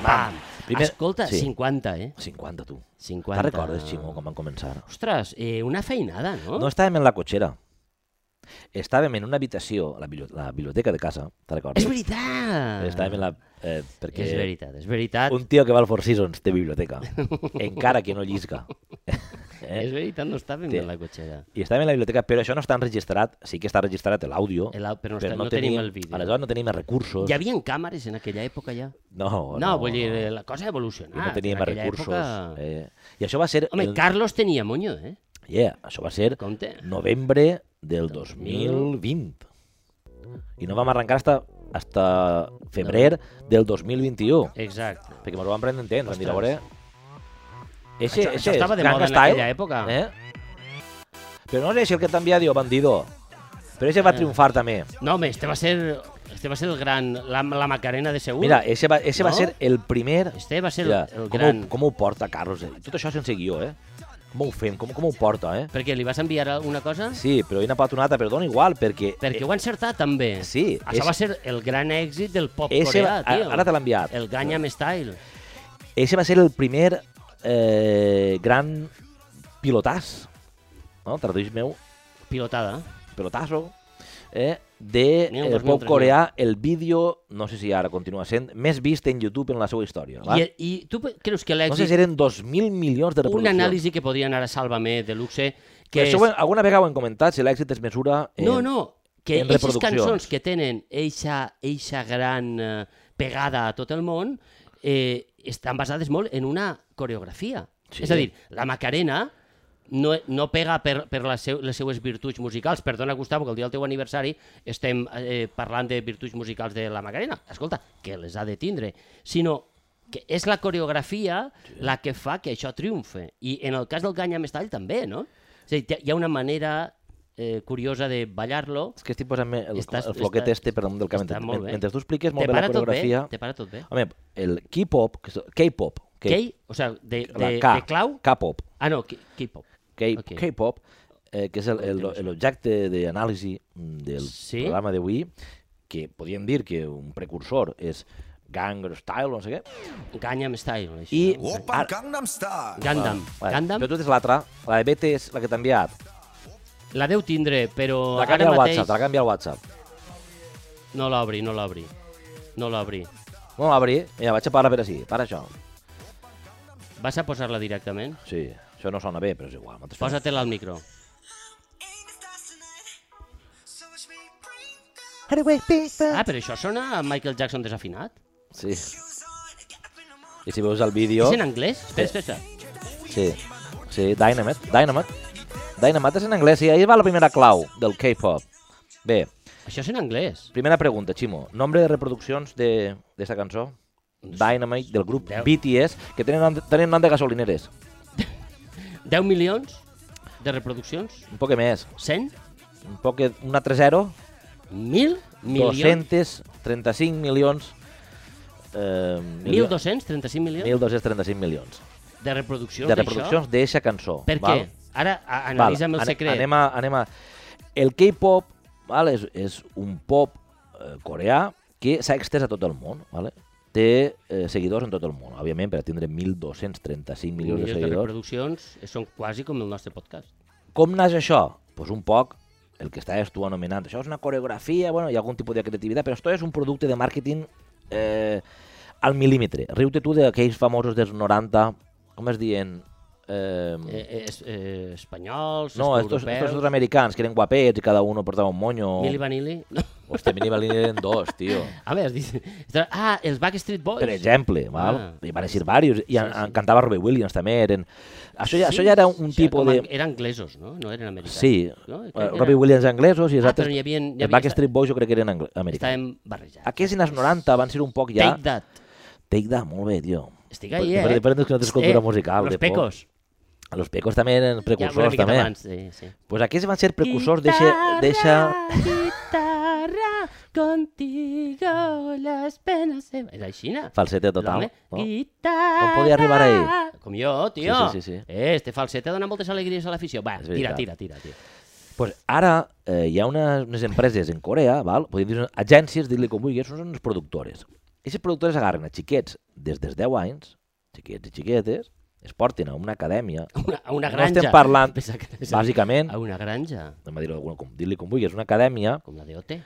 Speaker 2: pam.
Speaker 1: Primer-
Speaker 2: Escolta,
Speaker 1: sí.
Speaker 2: 50, eh?
Speaker 1: 50, tu.
Speaker 2: 50.
Speaker 1: Te'n recordes, Ximo, com van començar?
Speaker 2: Ostres, eh, una feinada, no?
Speaker 1: No estàvem en la cotxera. Estàvem en una habitació, a la, bibli- la biblioteca de casa, te'n recordes?
Speaker 2: És veritat!
Speaker 1: Estàvem en la... Eh, perquè
Speaker 2: És veritat, és veritat.
Speaker 1: un tio que va al Four Seasons té biblioteca, encara que no llisca.
Speaker 2: Eh? És veritat, no estàvem
Speaker 1: Té-
Speaker 2: en la cotxera.
Speaker 1: I estàvem en la biblioteca, però això no està registrat, sí que està registrat l'àudio,
Speaker 2: El au- però no està- no tenim el vídeo.
Speaker 1: Aleshores no tenim els recursos.
Speaker 2: Hi havia càmeres en aquella època ja?
Speaker 1: No,
Speaker 2: No,
Speaker 1: Oh, no,
Speaker 2: vull dir, eh,
Speaker 1: no.
Speaker 2: la cosa ha evolucionat.
Speaker 1: I no teníem
Speaker 2: En
Speaker 1: els
Speaker 2: aquella
Speaker 1: recursos.
Speaker 2: època-
Speaker 1: Eh? I això va ser...
Speaker 2: Home,
Speaker 1: el...
Speaker 2: Carlos tenia moño, eh?
Speaker 1: yeah, això va ser
Speaker 2: Compte.
Speaker 1: novembre del 2020. I no vam arrencar hasta, hasta febrer del 2021.
Speaker 2: Exacte.
Speaker 1: Perquè ens ho vam prendre en temps, vam dir, a veure... Eixe,
Speaker 2: Això- això
Speaker 1: eixe
Speaker 2: estava de
Speaker 1: Gangnam
Speaker 2: moda en
Speaker 1: Style,
Speaker 2: aquella època.
Speaker 1: Eh? Però no sé si el que t'envia diu bandido. Però ese
Speaker 2: Eh.
Speaker 1: va triomfar també.
Speaker 2: No, home, este va ser, este va ser el gran... La, la Macarena de Segur.
Speaker 1: Mira, ese va, ese va
Speaker 2: No?
Speaker 1: ser el primer...
Speaker 2: Este va ser
Speaker 1: Mira,
Speaker 2: el, el
Speaker 1: com,
Speaker 2: gran...
Speaker 1: ho, com ho porta, Carlos? eh? Tot això sense guió, eh? Com ho fem? Com, com ho porta, eh?
Speaker 2: Perquè li vas enviar una cosa?
Speaker 1: Sí, però hi ha una patonata, però dona igual, perquè... eh,
Speaker 2: Perquè ho ha encertat, també.
Speaker 1: Sí,
Speaker 2: Això
Speaker 1: és-
Speaker 2: va ser el gran èxit del pop
Speaker 1: Ese
Speaker 2: coreà,
Speaker 1: va-
Speaker 2: tio.
Speaker 1: ara te l'ha enviat.
Speaker 2: El Gangnam Style.
Speaker 1: Ese va ser el primer eh, gran pilotàs, no? traduís meu,
Speaker 2: Pilotada.
Speaker 1: pelotazo, eh, de
Speaker 2: Mira,
Speaker 1: el
Speaker 2: 2003,
Speaker 1: pop coreà, el vídeo, no sé si ara continua sent, més vist en YouTube en la seva història. Va?
Speaker 2: I, I tu pe- creus que
Speaker 1: No sé
Speaker 2: l'èxit...
Speaker 1: si eren 2.000 milions de
Speaker 2: un
Speaker 1: reproduccions.
Speaker 2: anàlisi que podrien anar a Sálvame de luxe... Que
Speaker 1: Que Això
Speaker 2: és...
Speaker 1: ho hem- alguna vegada ho hem comentat, si l'èxit es mesura... eh, En...
Speaker 2: No, no, que
Speaker 1: en
Speaker 2: aquestes
Speaker 1: reproduccions.
Speaker 2: cançons que tenen eixa, eixa gran eh, pegada a tot el món eh, estan basades molt en una coreografia.
Speaker 1: Sí.
Speaker 2: Sí. És a dir, la Macarena no, e, no pega per, per les, seu, les seues virtuts musicals. Perdona, Gustavo, que el dia del teu aniversari estem eh, parlant de virtuts musicals de la Macarena. Escolta, que les ha de tindre. Sinó que és la coreografia sí. la que fa que això triomfe. I en el cas del Gangnam Style també, no? És a dir, hi ha una manera eh, curiosa de ballar-lo.
Speaker 1: És que estic posant-me el,
Speaker 2: Estàs-
Speaker 1: el floquet
Speaker 2: estàs-
Speaker 1: este per damunt del cap.
Speaker 2: està
Speaker 1: Mentre,
Speaker 2: molt bé.
Speaker 1: mentre tu expliques molt
Speaker 2: Te
Speaker 1: bé la
Speaker 2: para tot bé?
Speaker 1: coreografia...
Speaker 2: Te para tot bé?
Speaker 1: Home, el K-pop, que és- K-pop, K-
Speaker 2: Kei, o sigui, de, de,
Speaker 1: la
Speaker 2: de clau?
Speaker 1: K-pop,
Speaker 2: Ah, no, K- K-pop.
Speaker 1: K-
Speaker 2: Ok.
Speaker 1: K-pop, eh, que és el- el- l'objecte d'anàlisi mm, del
Speaker 2: Sí.
Speaker 1: programa d'avui, que podríem dir que un precursor és Gangnam Style, no sé què,
Speaker 2: Gangnam Style, això.
Speaker 1: i...
Speaker 2: no?
Speaker 1: Ara-
Speaker 3: 오빤 강남스타일
Speaker 2: Gundam.
Speaker 1: Ah, Vale,
Speaker 2: Gundam,
Speaker 1: Però tu tens l'altra, la de BT és la que t'ha enviat.
Speaker 2: la deu tindre, però
Speaker 1: La
Speaker 2: ara
Speaker 1: canvia al
Speaker 2: mateix...
Speaker 1: WhatsApp, te la canvia al WhatsApp.
Speaker 2: No l'obri, no l'obri. No l'obri.
Speaker 1: No l'obri, mira, vaig a parar per així, para això.
Speaker 2: Vas a posar-la directament?
Speaker 1: Sí, això no sona bé, però és igual. nosaltres fem-
Speaker 2: Posa-te-la al micro. Ah, però això sona a Michael Jackson desafinat?
Speaker 1: Sí. I si veus el vídeo...
Speaker 2: És en anglès? Espera, espera, espera.
Speaker 1: Sí. Sí, Dynamite. Dynamite. Dynamite és en anglès. Sí, ahir va la primera clau del K-pop. Bé,
Speaker 2: Això és en anglès.
Speaker 1: primera pregunta, Ximo. Nombre de reproduccions de- d'esta cançó? Dynamite, del grup
Speaker 2: Deu.
Speaker 1: BTS, que tenen, nom de- tenen nom de gasolineres.
Speaker 2: 10 milions de reproduccions?
Speaker 1: Un poc més.
Speaker 2: 100?
Speaker 1: Un poc, una 3-0,
Speaker 2: 1.000 milions?
Speaker 1: 235 milions... Eh, milions-
Speaker 2: 1.235 milions
Speaker 1: 1.235 milions
Speaker 2: de reproduccions
Speaker 1: de
Speaker 2: d'això?
Speaker 1: reproduccions d'eixa cançó.
Speaker 2: Per què?
Speaker 1: val?
Speaker 2: Ara a-
Speaker 1: Val,
Speaker 2: analitza'm el
Speaker 1: ane-
Speaker 2: secret.
Speaker 1: Anem a, anem a... El K-pop val, és, és un pop eh, coreà que s'ha extès a tot el món. Vale? Té eh, seguidors en tot el món, òbviament, per tindre 1.235 milions de
Speaker 2: Milions de
Speaker 1: seguidors.
Speaker 2: reproduccions eh, són quasi com el nostre podcast.
Speaker 1: Com naix això? Doncs pues un poc el que estàs tu anomenant. Això és una coreografia, bueno, hi ha algun tipus de creativitat, però això és un producte de màrqueting eh, al mil·límetre. Riu-te tu d'aquells famosos dels 90, com es diuen?
Speaker 2: Eh, eh, es- eh, espanyols,
Speaker 1: No, estos,
Speaker 2: europeus...
Speaker 1: estos dos americans que eren guapets i cada uno portava un moño.
Speaker 2: Milli Vanilli... No.
Speaker 1: Hòstia, Mini Vanilli eren dos, tio.
Speaker 2: A veure, dic... Ah, els Backstreet Boys.
Speaker 1: Per exemple, val?
Speaker 2: Ah.
Speaker 1: Hi van eixir diversos. I en,
Speaker 2: Sí, sí.
Speaker 1: en cantava Robbie Williams també. Eren... Això, ja, això ja era un tipus
Speaker 2: com
Speaker 1: de...
Speaker 2: an- Eren anglesos, no? No eren americans.
Speaker 1: Sí,
Speaker 2: No? Crec que
Speaker 1: eh,
Speaker 2: era-
Speaker 1: Robbie Williams anglesos i els
Speaker 2: Ah,
Speaker 1: altres...
Speaker 2: però hi havia- hi havia
Speaker 1: els Backstreet Boys jo crec que eren angle- americans.
Speaker 2: Estàvem barrejats.
Speaker 1: Aquests en els 90 van ser un poc ja...
Speaker 2: Take That.
Speaker 1: Take that, molt bé, tio.
Speaker 2: Estic ahí, eh?
Speaker 1: Per, per, per, que no tens cultura musical.
Speaker 2: Los
Speaker 1: de pop.
Speaker 2: Pecos.
Speaker 1: Los Pecos també
Speaker 2: Ja,
Speaker 1: eren
Speaker 2: una
Speaker 1: precursors,
Speaker 2: miqueta
Speaker 1: també.
Speaker 2: abans, sí, sí.
Speaker 1: Pues aquests van ser precursors d'eixe... d'eixa-
Speaker 2: Guitarra, contigo las penas se... Era aixina.
Speaker 1: Falsete total.
Speaker 2: L'home,
Speaker 1: No?
Speaker 2: Guitarra.
Speaker 1: Com podia arribar ahí?
Speaker 2: Com jo, tio.
Speaker 1: Sí, sí, sí, sí.
Speaker 2: Eh, este falset dona moltes alegries a l'afició. Va,
Speaker 1: És
Speaker 2: tira,
Speaker 1: veritat.
Speaker 2: tira, tira, tira.
Speaker 1: Pues ara eh, hi ha unes, unes empreses en Corea, val? podem dir agències, dir-li com vulguis, són unes productores. Aquestes productores agarren a xiquets des dels 10 anys xiquets i xiquetes es portin a una acadèmia,
Speaker 2: Una, a una
Speaker 1: No
Speaker 2: granja.
Speaker 1: estem parlant,
Speaker 2: Pensava que anaves a dir,
Speaker 1: bàsicament,
Speaker 2: A una granja,
Speaker 1: anem a dir-ho d'alguna- com, dir-li com vulgui, és una acadèmia,
Speaker 2: com la d'OT.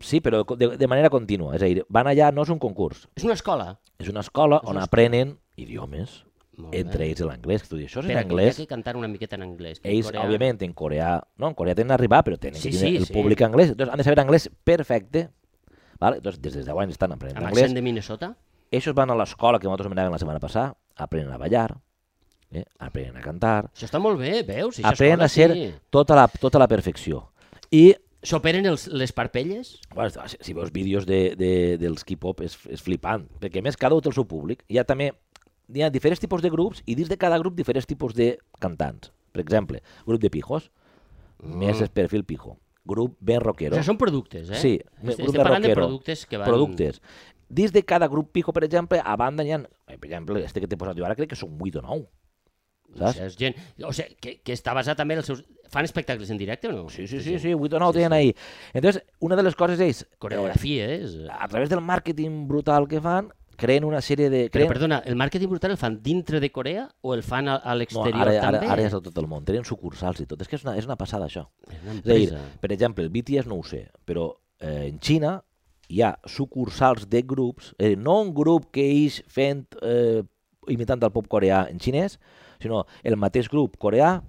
Speaker 1: sí, però co- de, de manera contínua. És a dir, van allà, no és un concurs,
Speaker 2: És una escola.
Speaker 1: és una escola
Speaker 2: És
Speaker 1: on
Speaker 2: una escola.
Speaker 1: aprenen idiomes,
Speaker 2: Molt bé.
Speaker 1: entre ells l'anglès, que tu dius, això és
Speaker 2: Però
Speaker 1: en
Speaker 2: aquí
Speaker 1: anglès,
Speaker 2: hi ha que cantar una miqueta en anglès. que en
Speaker 1: ells,
Speaker 2: coreà-
Speaker 1: òbviament, en coreà... No, en coreà tenen a arribar, però tenen
Speaker 2: Sí,
Speaker 1: que tenir
Speaker 2: sí,
Speaker 1: el
Speaker 2: sí.
Speaker 1: públic anglès. Entonces, han de saber anglès perfecte. Vale? Entonces, des de 10 anys estan aprenent
Speaker 2: Amb
Speaker 1: anglès.
Speaker 2: accent de Minnesota?
Speaker 1: Ells van a l'escola que nosaltres anàvem la setmana passada, aprenen a ballar, eh? aprenen a cantar,
Speaker 2: Això està molt bé, veus? Això
Speaker 1: aprenen
Speaker 2: escola,
Speaker 1: a ser
Speaker 2: Sí.
Speaker 1: tota, la, tota la perfecció. I
Speaker 2: S'operen els, les parpelles?
Speaker 1: bueno, si- si veus vídeos de, de, dels K-pop és, és flipant, perquè a més cada un té el seu públic. Hi ha també hi ha diferents tipus de grups i dins de cada grup diferents tipus de cantants. Per exemple, grup de pijos, més el perfil pijo. Grup ben rockero.
Speaker 2: Mm. Això són productes, eh?
Speaker 1: Sí,
Speaker 2: Est-
Speaker 1: grup
Speaker 2: estem
Speaker 1: de
Speaker 2: parlant de
Speaker 1: rockero.
Speaker 2: productes que van...
Speaker 1: productes. Dins de cada grup pijo, per exemple, a banda n'hi ha... eh, Per exemple, este que t'he posat jo ara crec que són 8 o 9.
Speaker 2: O
Speaker 1: Saps?
Speaker 2: sigui, és gent... O sigui, que, que està basat també en els seus... Fan espectacles en directe o no?
Speaker 1: Sí, sí, sí, sí, 8 o 9 tenen ahí. Entonces, una de les coses és... eh,
Speaker 2: Coreografies...
Speaker 1: a través del màrqueting brutal que fan, creen una sèrie de...
Speaker 2: Però,
Speaker 1: Creen...
Speaker 2: perdona, el màrqueting brutal el fan dintre de Corea o el fan a, a
Speaker 1: no,
Speaker 2: l'exterior
Speaker 1: ara, ara,
Speaker 2: també?
Speaker 1: ara és a tot el món. Tenen sucursals i tot. És que és una, és una passada, això.
Speaker 2: És una
Speaker 1: És a dir,
Speaker 2: empresa.
Speaker 1: per exemple, el BTS no ho sé, però eh, en Xina hi ha sucursals de grups, eh, no un grup que ix fent, eh, imitant el pop coreà en xinès, sinó el mateix grup coreà,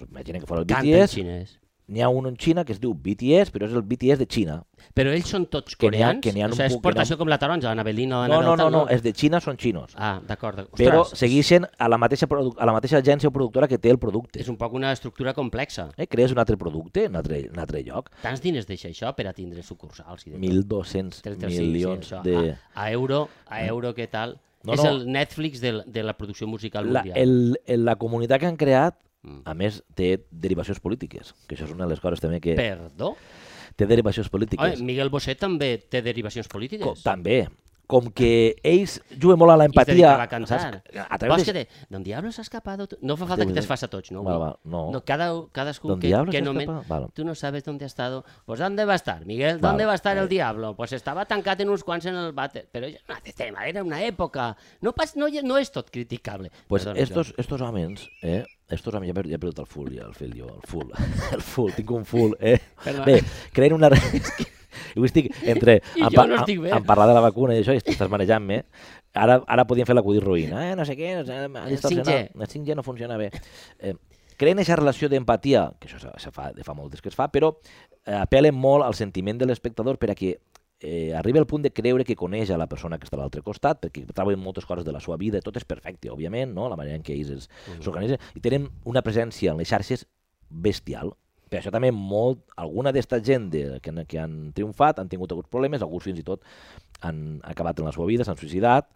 Speaker 1: doncs imagina que fos el
Speaker 2: Canta en
Speaker 1: BTS,
Speaker 2: xinès.
Speaker 1: n'hi ha un en Xina que es diu BTS, però és el BTS de Xina.
Speaker 2: Però ells són tots
Speaker 1: Que n'hi ha-
Speaker 2: coreans?
Speaker 1: que n'hi ha
Speaker 2: o
Speaker 1: un
Speaker 2: sigui, és
Speaker 1: punt que
Speaker 2: portació com la taronja, la Navelina, la
Speaker 1: No, no,
Speaker 2: Nadelta,
Speaker 1: no, no, els de Xina són xinos.
Speaker 2: Ah, d'acord. d'acord.
Speaker 1: Però
Speaker 2: Ostres,
Speaker 1: segueixen a la mateixa, produ- a la mateixa agència o productora que té el producte.
Speaker 2: És un poc una estructura complexa.
Speaker 1: Eh, crees un altre producte, un altre, un altre lloc,
Speaker 2: Tants diners deixa això per a tindre sucursals i de tot.
Speaker 1: 1.200
Speaker 2: Tres, tres, cinc,
Speaker 1: milions
Speaker 2: sí, això. Ah,
Speaker 1: de... Eh?
Speaker 2: A, a euro, a euro què tal?
Speaker 1: No,
Speaker 2: és
Speaker 1: no.
Speaker 2: el Netflix de, la- de la producció musical
Speaker 1: la,
Speaker 2: mundial.
Speaker 1: el, el, la comunitat que han creat,
Speaker 2: Mm.
Speaker 1: a més, té derivacions polítiques, que això és una de les coses també que...
Speaker 2: Perdó?
Speaker 1: Té derivacions polítiques.
Speaker 2: Oi, Miguel Bosé també té derivacions polítiques.
Speaker 1: Com, també. Com que ells juguen molt a
Speaker 2: I es
Speaker 1: l'empatia...
Speaker 2: dedicava a cantar.
Speaker 1: saps? A través de...
Speaker 2: Bòsquete, d'on diablos has escapado? tu? No fa falta que
Speaker 1: Déu-n'hi-do.
Speaker 2: te'ls fas a tots, no?
Speaker 1: Val,
Speaker 2: avui?
Speaker 1: val, no.
Speaker 2: no cada, cadascú
Speaker 1: D'on
Speaker 2: que,
Speaker 1: diablos
Speaker 2: que
Speaker 1: has
Speaker 2: nomen...
Speaker 1: escapado? Val.
Speaker 2: Tu no sabes dónde ha estado. Pues ¿dónde va a estar, Miguel?
Speaker 1: Val,
Speaker 2: ¿Dónde va a estar
Speaker 1: vale. Eh.
Speaker 2: el diablo? Pues estava tancat en uns quants en el vàter. Però ja no té tema, era una època. No, pas, no, no és tot criticable.
Speaker 1: Pues
Speaker 2: Perdona,
Speaker 1: estos, estos homes, eh? Estos homes, ja he per- ja he perdut el full, ja, el fil, jo, el full, el full, tinc un full, eh?
Speaker 2: Perdona.
Speaker 1: Bé, creen una... és que- Avui estic entre
Speaker 2: I
Speaker 1: en,
Speaker 2: jo
Speaker 1: pa-
Speaker 2: no estic
Speaker 1: en,
Speaker 2: bé.
Speaker 1: en parlar de la vacuna i això, i estàs manejant-me. Ara, ara podien fer l'acudit ruïna, eh? No sé què, no sé, m'ha
Speaker 2: El
Speaker 1: distorsionat. el 5G no funciona bé. Eh, creen aquesta relació d'empatia, que això se, se fa, de fa molt temps que es fa, però eh, apel·len molt al sentiment de l'espectador per a que eh, arribi al punt de creure que coneix a la persona que està a l'altre costat, perquè troben moltes coses de la seva vida, tot és perfecte, òbviament, no? la manera en què ells es- s'organitzen, i tenen una presència en les xarxes bestial. Per això també molt, alguna d'esta gent de, que, han- que han triomfat han tingut alguns problemes, alguns fins i tot han acabat en la seva vida, s'han suïcidat,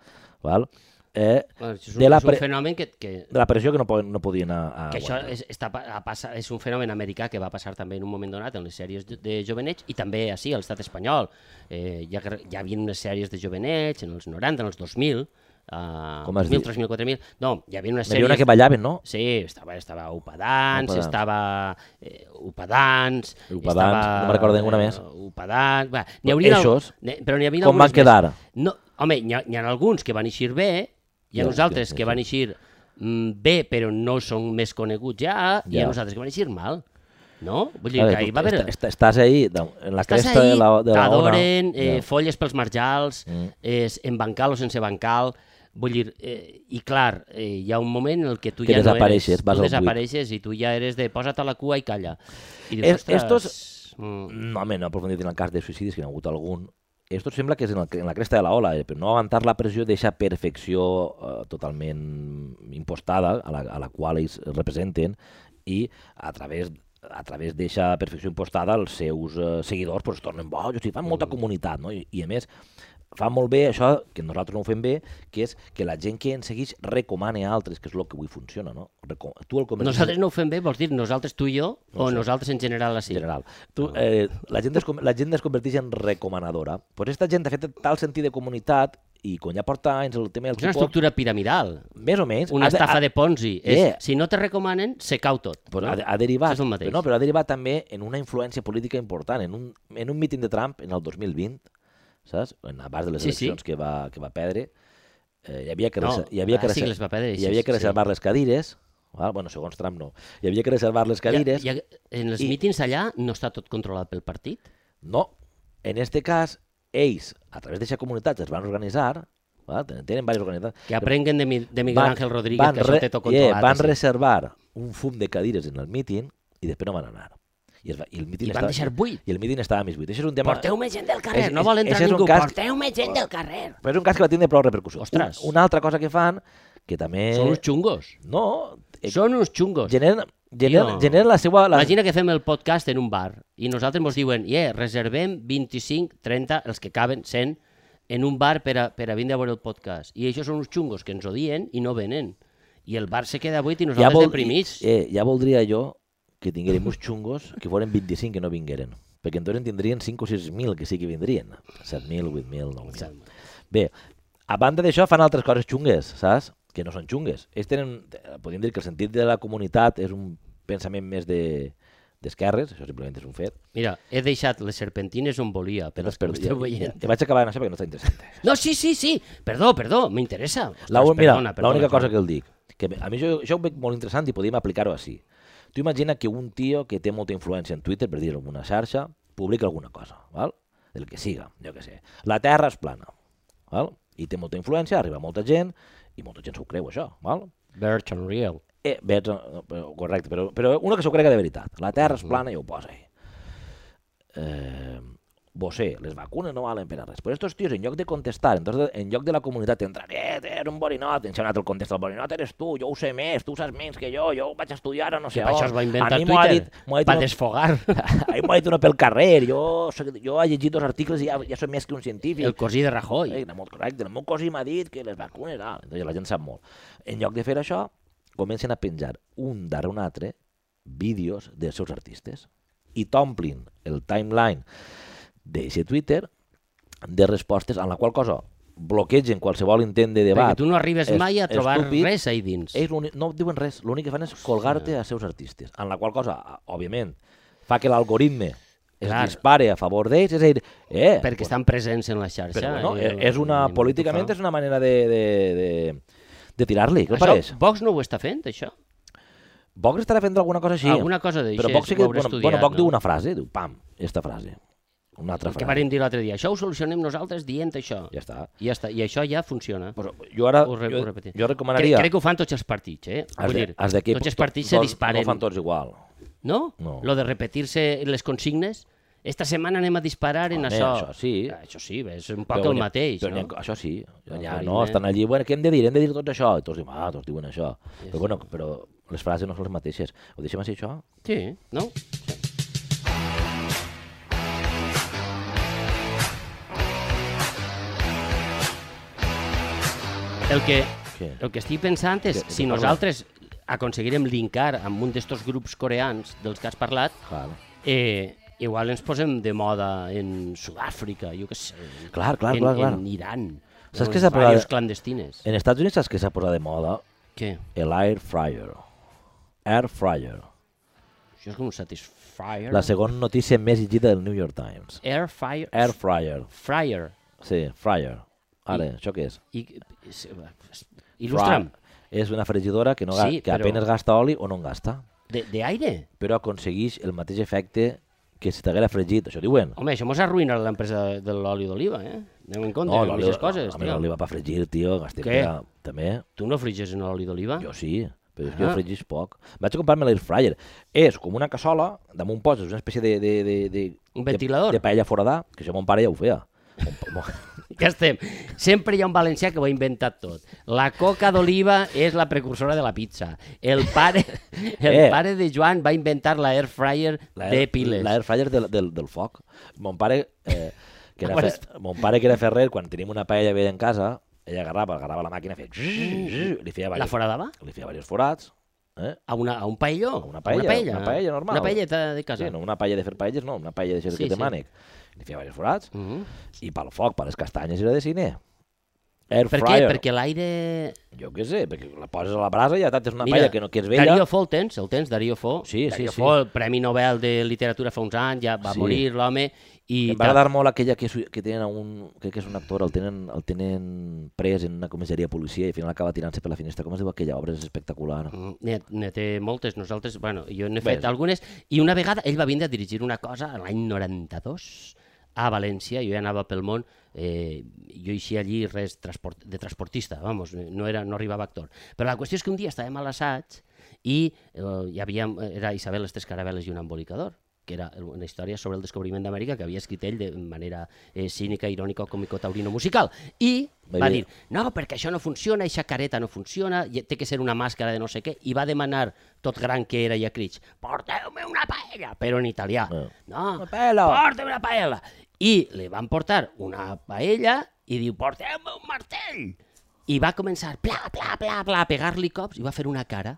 Speaker 1: val? Eh,
Speaker 2: Bueno, és, un,
Speaker 1: de la
Speaker 2: és un
Speaker 1: pre-
Speaker 2: fenomen que, que,
Speaker 1: de la pressió que no, poden, no podien a, a
Speaker 2: que això
Speaker 1: aguantar.
Speaker 2: és, està, pa- ha passa, és un fenomen americà que va passar també en un moment donat en les sèries de, de jovenets i també així a l'estat espanyol. Eh, ja, ja hi havia unes sèries de jovenets en els 90, en els 2000, eh,
Speaker 1: Com
Speaker 2: 2000,
Speaker 1: es diu?
Speaker 2: 3.000, 4.000... No, hi havia unes
Speaker 1: N'hi havia
Speaker 2: sèries...
Speaker 1: una que ballaven, no?
Speaker 2: Sí, estava, estava Upadans,
Speaker 1: Upadans.
Speaker 2: estava eh, Upadans,
Speaker 1: Upadans,
Speaker 2: estava, eh,
Speaker 1: no me'n recordo ninguna més.
Speaker 2: Upadans, va, n'hi hauria...
Speaker 1: Eixos,
Speaker 2: ne- però n'hi havia
Speaker 1: com van
Speaker 2: algunes més.
Speaker 1: quedar?
Speaker 2: No, home, n'hi ha, n'hi ha alguns que van eixir bé, hi ha
Speaker 1: Ja,
Speaker 2: uns altres
Speaker 1: ja,
Speaker 2: que
Speaker 1: ja.
Speaker 2: van eixir mm, bé però no són més coneguts ja, i hi ha
Speaker 1: Ja.
Speaker 2: uns altres que van eixir mal, no? Vull dir
Speaker 1: Clar,
Speaker 2: que
Speaker 1: tu
Speaker 2: hi va haver...
Speaker 1: est- est- Estàs ahí, da- en la
Speaker 2: Estàs
Speaker 1: cresta
Speaker 2: ahí,
Speaker 1: de la, de la ona.
Speaker 2: t'adoren, eh,
Speaker 1: Ja.
Speaker 2: folles pels marjals,
Speaker 1: Mm.
Speaker 2: és en bancal o sense bancal, vull dir, eh, i clar, eh, hi ha un moment en el que tu
Speaker 1: Que
Speaker 2: ja
Speaker 1: desapareixes,
Speaker 2: no eres,
Speaker 1: vas al
Speaker 2: tu
Speaker 1: buit.
Speaker 2: desapareixes i tu ja eres de posa't a la cua i calla. I
Speaker 1: Es-
Speaker 2: dius, ostres,
Speaker 1: estos-
Speaker 2: mm,
Speaker 1: No, home, no aprofundit en el cas de suïcidis, que n'hi ha hagut algun. Esto sembla que és en, el, en la cresta de la ola, eh, però no aguantar la pressió d'eixa perfecció eh, totalment impostada a la, a la qual ells es representen i a través a través d'eixa perfecció impostada els seus eh, seguidors pues, es tornen bojos i fan molta comunitat, no? I, i a més fa molt bé això, que nosaltres no ho fem bé, que és que la gent que ens segueix recomane a altres, que és el que avui funciona, no? Reco tu el comercial-
Speaker 2: nosaltres no ho fem bé, vols dir nosaltres tu i jo, o
Speaker 1: sé.
Speaker 2: nosaltres en general
Speaker 1: en
Speaker 2: així?
Speaker 1: general. Tu, eh, la, gent es, com- la gent es converteix en recomanadora. Pues esta gent ha fet tal sentit de comunitat i quan ja porta anys el tema del
Speaker 2: És una
Speaker 1: K-pop,
Speaker 2: estructura piramidal,
Speaker 1: més o menys,
Speaker 2: una
Speaker 1: ha de-
Speaker 2: estafa
Speaker 1: ha-
Speaker 2: de Ponzi. És,
Speaker 1: Yeah.
Speaker 2: Si no te recomanen, se cau tot.
Speaker 1: Pues
Speaker 2: no?
Speaker 1: ha, ha derivat,
Speaker 2: Això és el mateix.
Speaker 1: però no, però ha derivat també en una influència política important, en un, en un míting de Trump en el 2020, saps? En abans de les
Speaker 2: Sí, sí.
Speaker 1: eleccions que va, que va perdre, eh, hi havia que,
Speaker 2: No,
Speaker 1: rese- hi havia que,
Speaker 2: ah, sí
Speaker 1: rese-
Speaker 2: que les va perdre,
Speaker 1: hi
Speaker 2: sí,
Speaker 1: havia que
Speaker 2: sí.
Speaker 1: reservar les cadires, val? bueno, segons Trump no, hi havia que reservar les cadires,
Speaker 2: Ja, ja, en els
Speaker 1: I-
Speaker 2: I... mítings allà no està tot controlat pel partit?
Speaker 1: No, en este cas, ells, a través d'aquesta comunitat, es van organitzar, val? tenen, tenen diverses organitats,
Speaker 2: Que aprenguen de, Mi- de Miguel
Speaker 1: Van-
Speaker 2: Ángel Rodríguez, que això
Speaker 1: re-
Speaker 2: té tot
Speaker 1: yeah,
Speaker 2: controlat.
Speaker 1: van
Speaker 2: sí.
Speaker 1: reservar un fum de cadires en el míting i després no van anar. I, es va, i el míting
Speaker 2: I van
Speaker 1: estava,
Speaker 2: deixar buit.
Speaker 1: I el míting estava més buit. Això és un tema...
Speaker 2: Porteu-me gent del carrer,
Speaker 1: És-
Speaker 2: no
Speaker 1: és-
Speaker 2: vol entrar
Speaker 1: és un
Speaker 2: ningú,
Speaker 1: cas-
Speaker 2: porteu-me gent del carrer.
Speaker 1: Però és un cas que va tindre prou repercussió.
Speaker 2: Ostres.
Speaker 1: Un, una altra cosa que fan, que també...
Speaker 2: Són uns xungos,
Speaker 1: No, eh,
Speaker 2: són uns xungos.
Speaker 1: generen, generen,
Speaker 2: Tio.
Speaker 1: generen la seva... La...
Speaker 2: Imagina que fem el podcast en un bar i nosaltres ens diuen, yeah, reservem 25, 30, els que caben, 100, en un bar per a, per a vindre a veure el podcast. I això són uns xungos que ens odien i no venen. I el bar se queda buit i nosaltres vol... deprimits.
Speaker 1: eh, ja voldria jo que tinguérem uns xungos que foren 25 que no vingueren. Perquè entonces en tindrien 5 o 6.000 que sí que vindrien. 7.000, 8.000, 9.000. Bé, a banda d'això fan altres coses xungues, saps? Que no són xungues. Ells tenen, eh, podríem dir que el sentit de la comunitat és un pensament més de d'esquerres, això simplement és un fet.
Speaker 2: Mira, he deixat les serpentines on volia, per als que m'esteu
Speaker 1: ja,
Speaker 2: veient.
Speaker 1: ja vaig acabar en això perquè no està interessant.
Speaker 2: No, sí, sí, sí, perdó, perdó, m'interessa. Ostres,
Speaker 1: La un, mira,
Speaker 2: perdona, perdona,
Speaker 1: l'única cosa
Speaker 2: perdona.
Speaker 1: que el dic, que a mi jo, jo ho veig molt interessant i podríem aplicar-ho així. Tu imagina que un tio que té molta influència en Twitter, per dir-ho en una xarxa, publica alguna cosa, val? el que siga, jo que sé. La Terra és plana, val? i té molta influència, arriba molta gent, i molta gent s'ho creu, això. Val?
Speaker 2: Bertrand Riel.
Speaker 1: Eh, veig, no, però- correcte, però, però una que s'ho crega de veritat. La Terra és
Speaker 2: Mhm.
Speaker 1: plana i ho posa ahí. Eh, Bosé, les vacunes no valen per a res. Però estos tios, en lloc de contestar, entonces, en lloc de la comunitat entrar, eh, eres un borinot, en si un altre contesta, el borinot eres tu, jo ho sé més, tu ho saps menys que jo, jo ho vaig estudiar a no sé
Speaker 2: Que això es
Speaker 1: on.
Speaker 2: va inventar
Speaker 1: a mi m'ho ha
Speaker 2: Twitter,
Speaker 1: dit, m'ho ha dit
Speaker 2: per
Speaker 1: una-
Speaker 2: desfogar.
Speaker 1: a mi m'ho ha dit una pel carrer, jo, soc- jo he llegit dos articles i ja, ja soc més que un científic.
Speaker 2: El cosí de Rajoy.
Speaker 1: Eh, era molt correcte. El meu cosí m'ha dit que les vacunes... Ah, entonces la gent sap molt. En lloc de fer això, comencen a penjar un darrere un altre vídeos dels seus artistes i t'omplin el timeline d'aquest Twitter de respostes en la qual cosa bloquegen qualsevol intent de
Speaker 2: Perquè
Speaker 1: debat.
Speaker 2: tu no arribes
Speaker 1: Es-
Speaker 2: mai a trobar
Speaker 1: estúpid.
Speaker 2: res ahí dins.
Speaker 1: Ells l'únic- no diuen res, l'únic que fan és colgar-te als seus artistes, en la qual cosa, a- òbviament, fa que l'algoritme es
Speaker 2: Clar.
Speaker 1: dispare a favor d'ells, és a dir, eh,
Speaker 2: perquè
Speaker 1: pues,
Speaker 2: estan presents en la xarxa.
Speaker 1: Però bueno, eh,
Speaker 2: i el-
Speaker 1: és una,
Speaker 2: i el
Speaker 1: políticament
Speaker 2: que
Speaker 1: és una manera de, de, de, de tirar-li, què
Speaker 2: fa.
Speaker 1: et pareix?
Speaker 2: Això, Vox no ho està fent, això?
Speaker 1: Vox estarà fent alguna cosa així.
Speaker 2: Alguna cosa eh, d'això
Speaker 1: Però Vox, sí
Speaker 2: és-
Speaker 1: que,
Speaker 2: ho haurà
Speaker 1: bueno,
Speaker 2: estudiat,
Speaker 1: bueno, Vox
Speaker 2: no?
Speaker 1: diu una frase, diu, pam, esta frase. Una altra
Speaker 2: Que
Speaker 1: frase.
Speaker 2: vàrem dir l'altre dia. Això ho solucionem nosaltres dient això.
Speaker 1: Ja està.
Speaker 2: I ja està. I això ja funciona.
Speaker 1: Pues, jo ara,
Speaker 2: Ho re-
Speaker 1: jo,
Speaker 2: ho repetim.
Speaker 1: jo recomanaria...
Speaker 2: Crec, crec que ho fan tots els partits, eh?
Speaker 1: els
Speaker 2: Vull
Speaker 1: de-
Speaker 2: dir,
Speaker 1: els d'aquí
Speaker 2: tots els
Speaker 1: to-
Speaker 2: partits se
Speaker 1: tots-
Speaker 2: disparen.
Speaker 1: No ho fan tots igual.
Speaker 2: No?
Speaker 1: No.
Speaker 2: Lo de repetir-se les consignes? Esta setmana anem a disparar en
Speaker 1: Home,
Speaker 2: això.
Speaker 1: això sí.
Speaker 2: Ah, Això sí, és un poc el
Speaker 1: n'hi ha-
Speaker 2: mateix,
Speaker 1: però n'hi
Speaker 2: no?
Speaker 1: Ha, això sí. Ja,
Speaker 2: Algoritme.
Speaker 1: no, estan allí, bueno, què hem de dir? Hem de dir tot això. I tots diuen, ah, tots diuen això. Però, bueno, però les frases no són les mateixes. Ho deixem així, això?
Speaker 2: Sí, no? El que,
Speaker 1: Què?
Speaker 2: el que estic pensant és,
Speaker 1: Què-
Speaker 2: si
Speaker 1: què parles?
Speaker 2: nosaltres aconseguirem linkar amb un d'estos grups coreans dels que has parlat,
Speaker 1: Clar.
Speaker 2: eh, igual ens posem de moda en Sud-àfrica, jo què sé,
Speaker 1: Clar, clar,
Speaker 2: en,
Speaker 1: Ah, clar, clar.
Speaker 2: en Iran,
Speaker 1: Saps
Speaker 2: o
Speaker 1: què
Speaker 2: en
Speaker 1: s'ha parlat?
Speaker 2: ràdios clandestines.
Speaker 1: En Estats Units saps què s'ha posat de moda?
Speaker 2: Què?
Speaker 1: El air fryer. Air fryer.
Speaker 2: Això és com un satisfier?
Speaker 1: La segona notícia més llegida del New York Times.
Speaker 2: Air fryer?
Speaker 1: Air fryer.
Speaker 2: fryer.
Speaker 1: Sí, fryer. Ara, això què és?
Speaker 2: I, s- s- il·lustra'm,
Speaker 1: Fryer. És una fregidora que, no ga-
Speaker 2: Sí,
Speaker 1: que
Speaker 2: però-
Speaker 1: apenas gasta oli o no en gasta,
Speaker 2: de, de aire?
Speaker 1: però aconsegueix el mateix efecte que si t'haguera fregit, això diuen.
Speaker 2: Home, això mos arruïnarà l'empresa de, de l'oli d'oliva, eh? Anem en compte no, amb
Speaker 1: l'oli-
Speaker 2: aquestes coses,
Speaker 1: a mi
Speaker 2: tio.
Speaker 1: l'oli va per fregir, tio, gastem
Speaker 2: Què?
Speaker 1: per a- també.
Speaker 2: Tu no friges en oli d'oliva?
Speaker 1: Jo sí, però és que
Speaker 2: Ah.
Speaker 1: jo fregis poc. Vaig a comprar-me l'air fryer. És com una cassola, damunt poses una espècie de... de, de, de
Speaker 2: Un ventilador.
Speaker 1: De, de paella foradà, que això mon pare ja ho feia. Mon, pa- mon,
Speaker 2: Ja estem. Sempre hi ha un valencià que ho ha inventat tot. La coca d'oliva és la precursora de la pizza. El pare, el
Speaker 1: Eh.
Speaker 2: pare de Joan va inventar la air fryer
Speaker 1: La
Speaker 2: de piles.
Speaker 1: L'air fryer del, del, del foc. Mon pare, eh, que era
Speaker 2: Quan
Speaker 1: fer,
Speaker 2: es-
Speaker 1: mon pare, que era ferrer, quan teníem una paella vella en casa, ell agarrava, agarrava la màquina, feia... zzz, zzz, Li feia,
Speaker 2: Uh, La
Speaker 1: diversos,
Speaker 2: foradava?
Speaker 1: li feia diversos forats. Eh?
Speaker 2: A, una, a un paelló?
Speaker 1: una paella,
Speaker 2: Una paella,
Speaker 1: una paella normal.
Speaker 2: Una paelleta de casa.
Speaker 1: Sí, no, una paella de fer paelles, no, una paella de ser
Speaker 2: Sí,
Speaker 1: sí, que te
Speaker 2: sí.
Speaker 1: mànec. Li feia diversos forats.
Speaker 2: Mhm.
Speaker 1: I pel foc, per les castanyes era de cine. Air
Speaker 2: Per què?
Speaker 1: fryer.
Speaker 2: Perquè l'aire...
Speaker 1: Jo què sé, perquè la poses a la brasa i ja tant, és una
Speaker 2: Mira,
Speaker 1: palla que, no, que és vella.
Speaker 2: Darío Fo el tens, el tens, Darío Fo.
Speaker 1: Sí, sí,
Speaker 2: Darío
Speaker 1: sí.
Speaker 2: Fo, el Premi Nobel de Literatura fa uns anys, ja va
Speaker 1: Sí.
Speaker 2: morir l'home. I
Speaker 1: Em va agradar molt aquella que, su- que tenen a un... Crec que és un actor, el tenen, el tenen pres en una comissaria de policia i al final acaba tirant-se per la finestra. Com es diu aquella obra? És espectacular.
Speaker 2: Mm, Ne, ne té moltes, nosaltres, bueno, jo n'he
Speaker 1: Bé.
Speaker 2: fet algunes, i una vegada ell va vindre a dirigir una cosa l'any 92 a València, jo ja anava pel món, eh, jo eixia allí res transport, de transportista, vamos, no, era, no arribava actor. Però la qüestió és que un dia estàvem a l'assaig i eh, hi havia, era Isabel les tres caravel·les i un embolicador, que era una història sobre el descobriment d'Amèrica que havia escrit ell de manera eh, cínica, irònica, còmico-taurino-musical. I
Speaker 1: Va
Speaker 2: va
Speaker 1: dir-
Speaker 2: dir, no, perquè això no funciona, aquesta careta no funciona, i té que ser una màscara de no sé què, i va demanar, tot gran que era, i a crits, porteu-me una paella, però en italià.
Speaker 1: Ah.
Speaker 2: No,
Speaker 1: Una paella.
Speaker 2: porteu una paella. I li van portar una paella i diu, porteu-me un martell. I va començar, pla, pla, pla, pla, a pegar-li cops, i va fer una cara.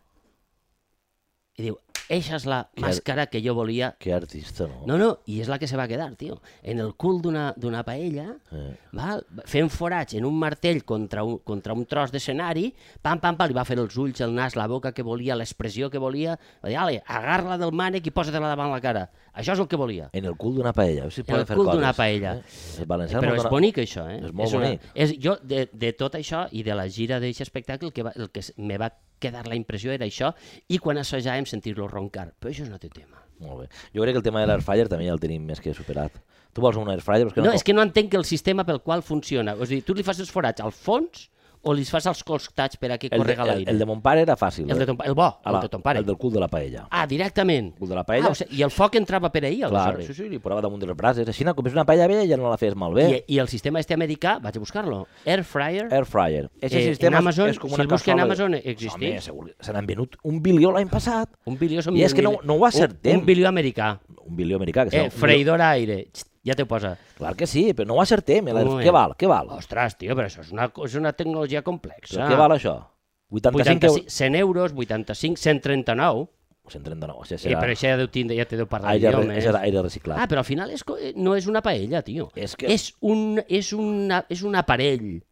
Speaker 2: I diu, eixa és la màscara que jo volia.
Speaker 1: Que artista, no?
Speaker 2: No, no, i és la que se va quedar, tio. En el cul d'una d'una paella,
Speaker 1: Eh.
Speaker 2: Val? Fent forats en un martell contra un, contra un tros d'escenari, pam, pam, pam, li va fer els ulls, el nas, la boca que volia, l'expressió que volia, va dir, ale, agarra-la del mànec i posa-te-la davant la cara. Això és el que volia.
Speaker 1: En el cul d'una paella. A veure si
Speaker 2: En el
Speaker 1: poden fer
Speaker 2: cul
Speaker 1: coses,
Speaker 2: d'una paella.
Speaker 1: Eh? El valencià
Speaker 2: Però
Speaker 1: no
Speaker 2: és
Speaker 1: dona-
Speaker 2: bonic això, eh?
Speaker 1: És molt
Speaker 2: una,
Speaker 1: bonic.
Speaker 2: És, jo, de, de tot això i de la gira d'aquest espectacle, el que, va, el que s- me va quedar la impressió era això, i quan assajàvem sentir-lo roncar. Però això és un altre tema.
Speaker 1: Molt bé. Jo crec que el tema de l'airfryer també ja el tenim més que superat. Tu vols un airfryer? Però és que
Speaker 2: No, és que no entenc el sistema pel qual funciona. O sigui, tu li fas els forats al fons o li fas els costats per a que
Speaker 1: el, de,
Speaker 2: correga
Speaker 1: el,
Speaker 2: l'aire?
Speaker 1: el, de mon pare era fàcil.
Speaker 2: El, de
Speaker 1: eh?
Speaker 2: ton, pa- el bo,
Speaker 1: A
Speaker 2: el de ton pare.
Speaker 1: El del cul de la paella.
Speaker 2: Ah, directament.
Speaker 1: El cul de la paella.
Speaker 2: Ah, o sigui, I el foc entrava per ahir,
Speaker 1: Clar,
Speaker 2: aleshores.
Speaker 1: sí, sí, li posava damunt de les brases. Així, no, com és una paella vella, ja no la fes malbé.
Speaker 2: I, I el sistema este americà, vaig a buscar-lo, Air Fryer,
Speaker 1: Air fryer. Ese
Speaker 2: Eh, en
Speaker 1: sistema
Speaker 2: Amazon,
Speaker 1: és com
Speaker 2: si
Speaker 1: una
Speaker 2: el busca en
Speaker 1: cassola de-
Speaker 2: Amazon, existeix?
Speaker 1: Home, segur que se n'han venut un bilió l'any passat.
Speaker 2: un bilió... som
Speaker 1: I és
Speaker 2: mil
Speaker 1: que no-
Speaker 2: mil-
Speaker 1: no ho acertem.
Speaker 2: Un, un bilió americà.
Speaker 1: Un bilió americà. Que serà
Speaker 2: Eh,
Speaker 1: un bilió-
Speaker 2: freidora aire. Xt, Ja te posa.
Speaker 1: Clar que sí, però no ho acertem. eh, l'air-
Speaker 2: moment.
Speaker 1: Què val? Què val?
Speaker 2: Ostres, tio, però això és una, co- és una tecnologia complexa.
Speaker 1: Però què val això? 85
Speaker 2: 85,
Speaker 1: euros.
Speaker 2: 100 euros, 85, 139.
Speaker 1: 139, o sigui,
Speaker 2: Sí, eh,
Speaker 1: serà
Speaker 2: però això ja deu tindre, ja te deu parlar
Speaker 1: aire,
Speaker 2: d'idiomes.
Speaker 1: serà aire reciclat.
Speaker 2: Ah, però al final és, co- eh, no és una paella, tio.
Speaker 1: És que-
Speaker 2: és, un, és, una, és un aparell.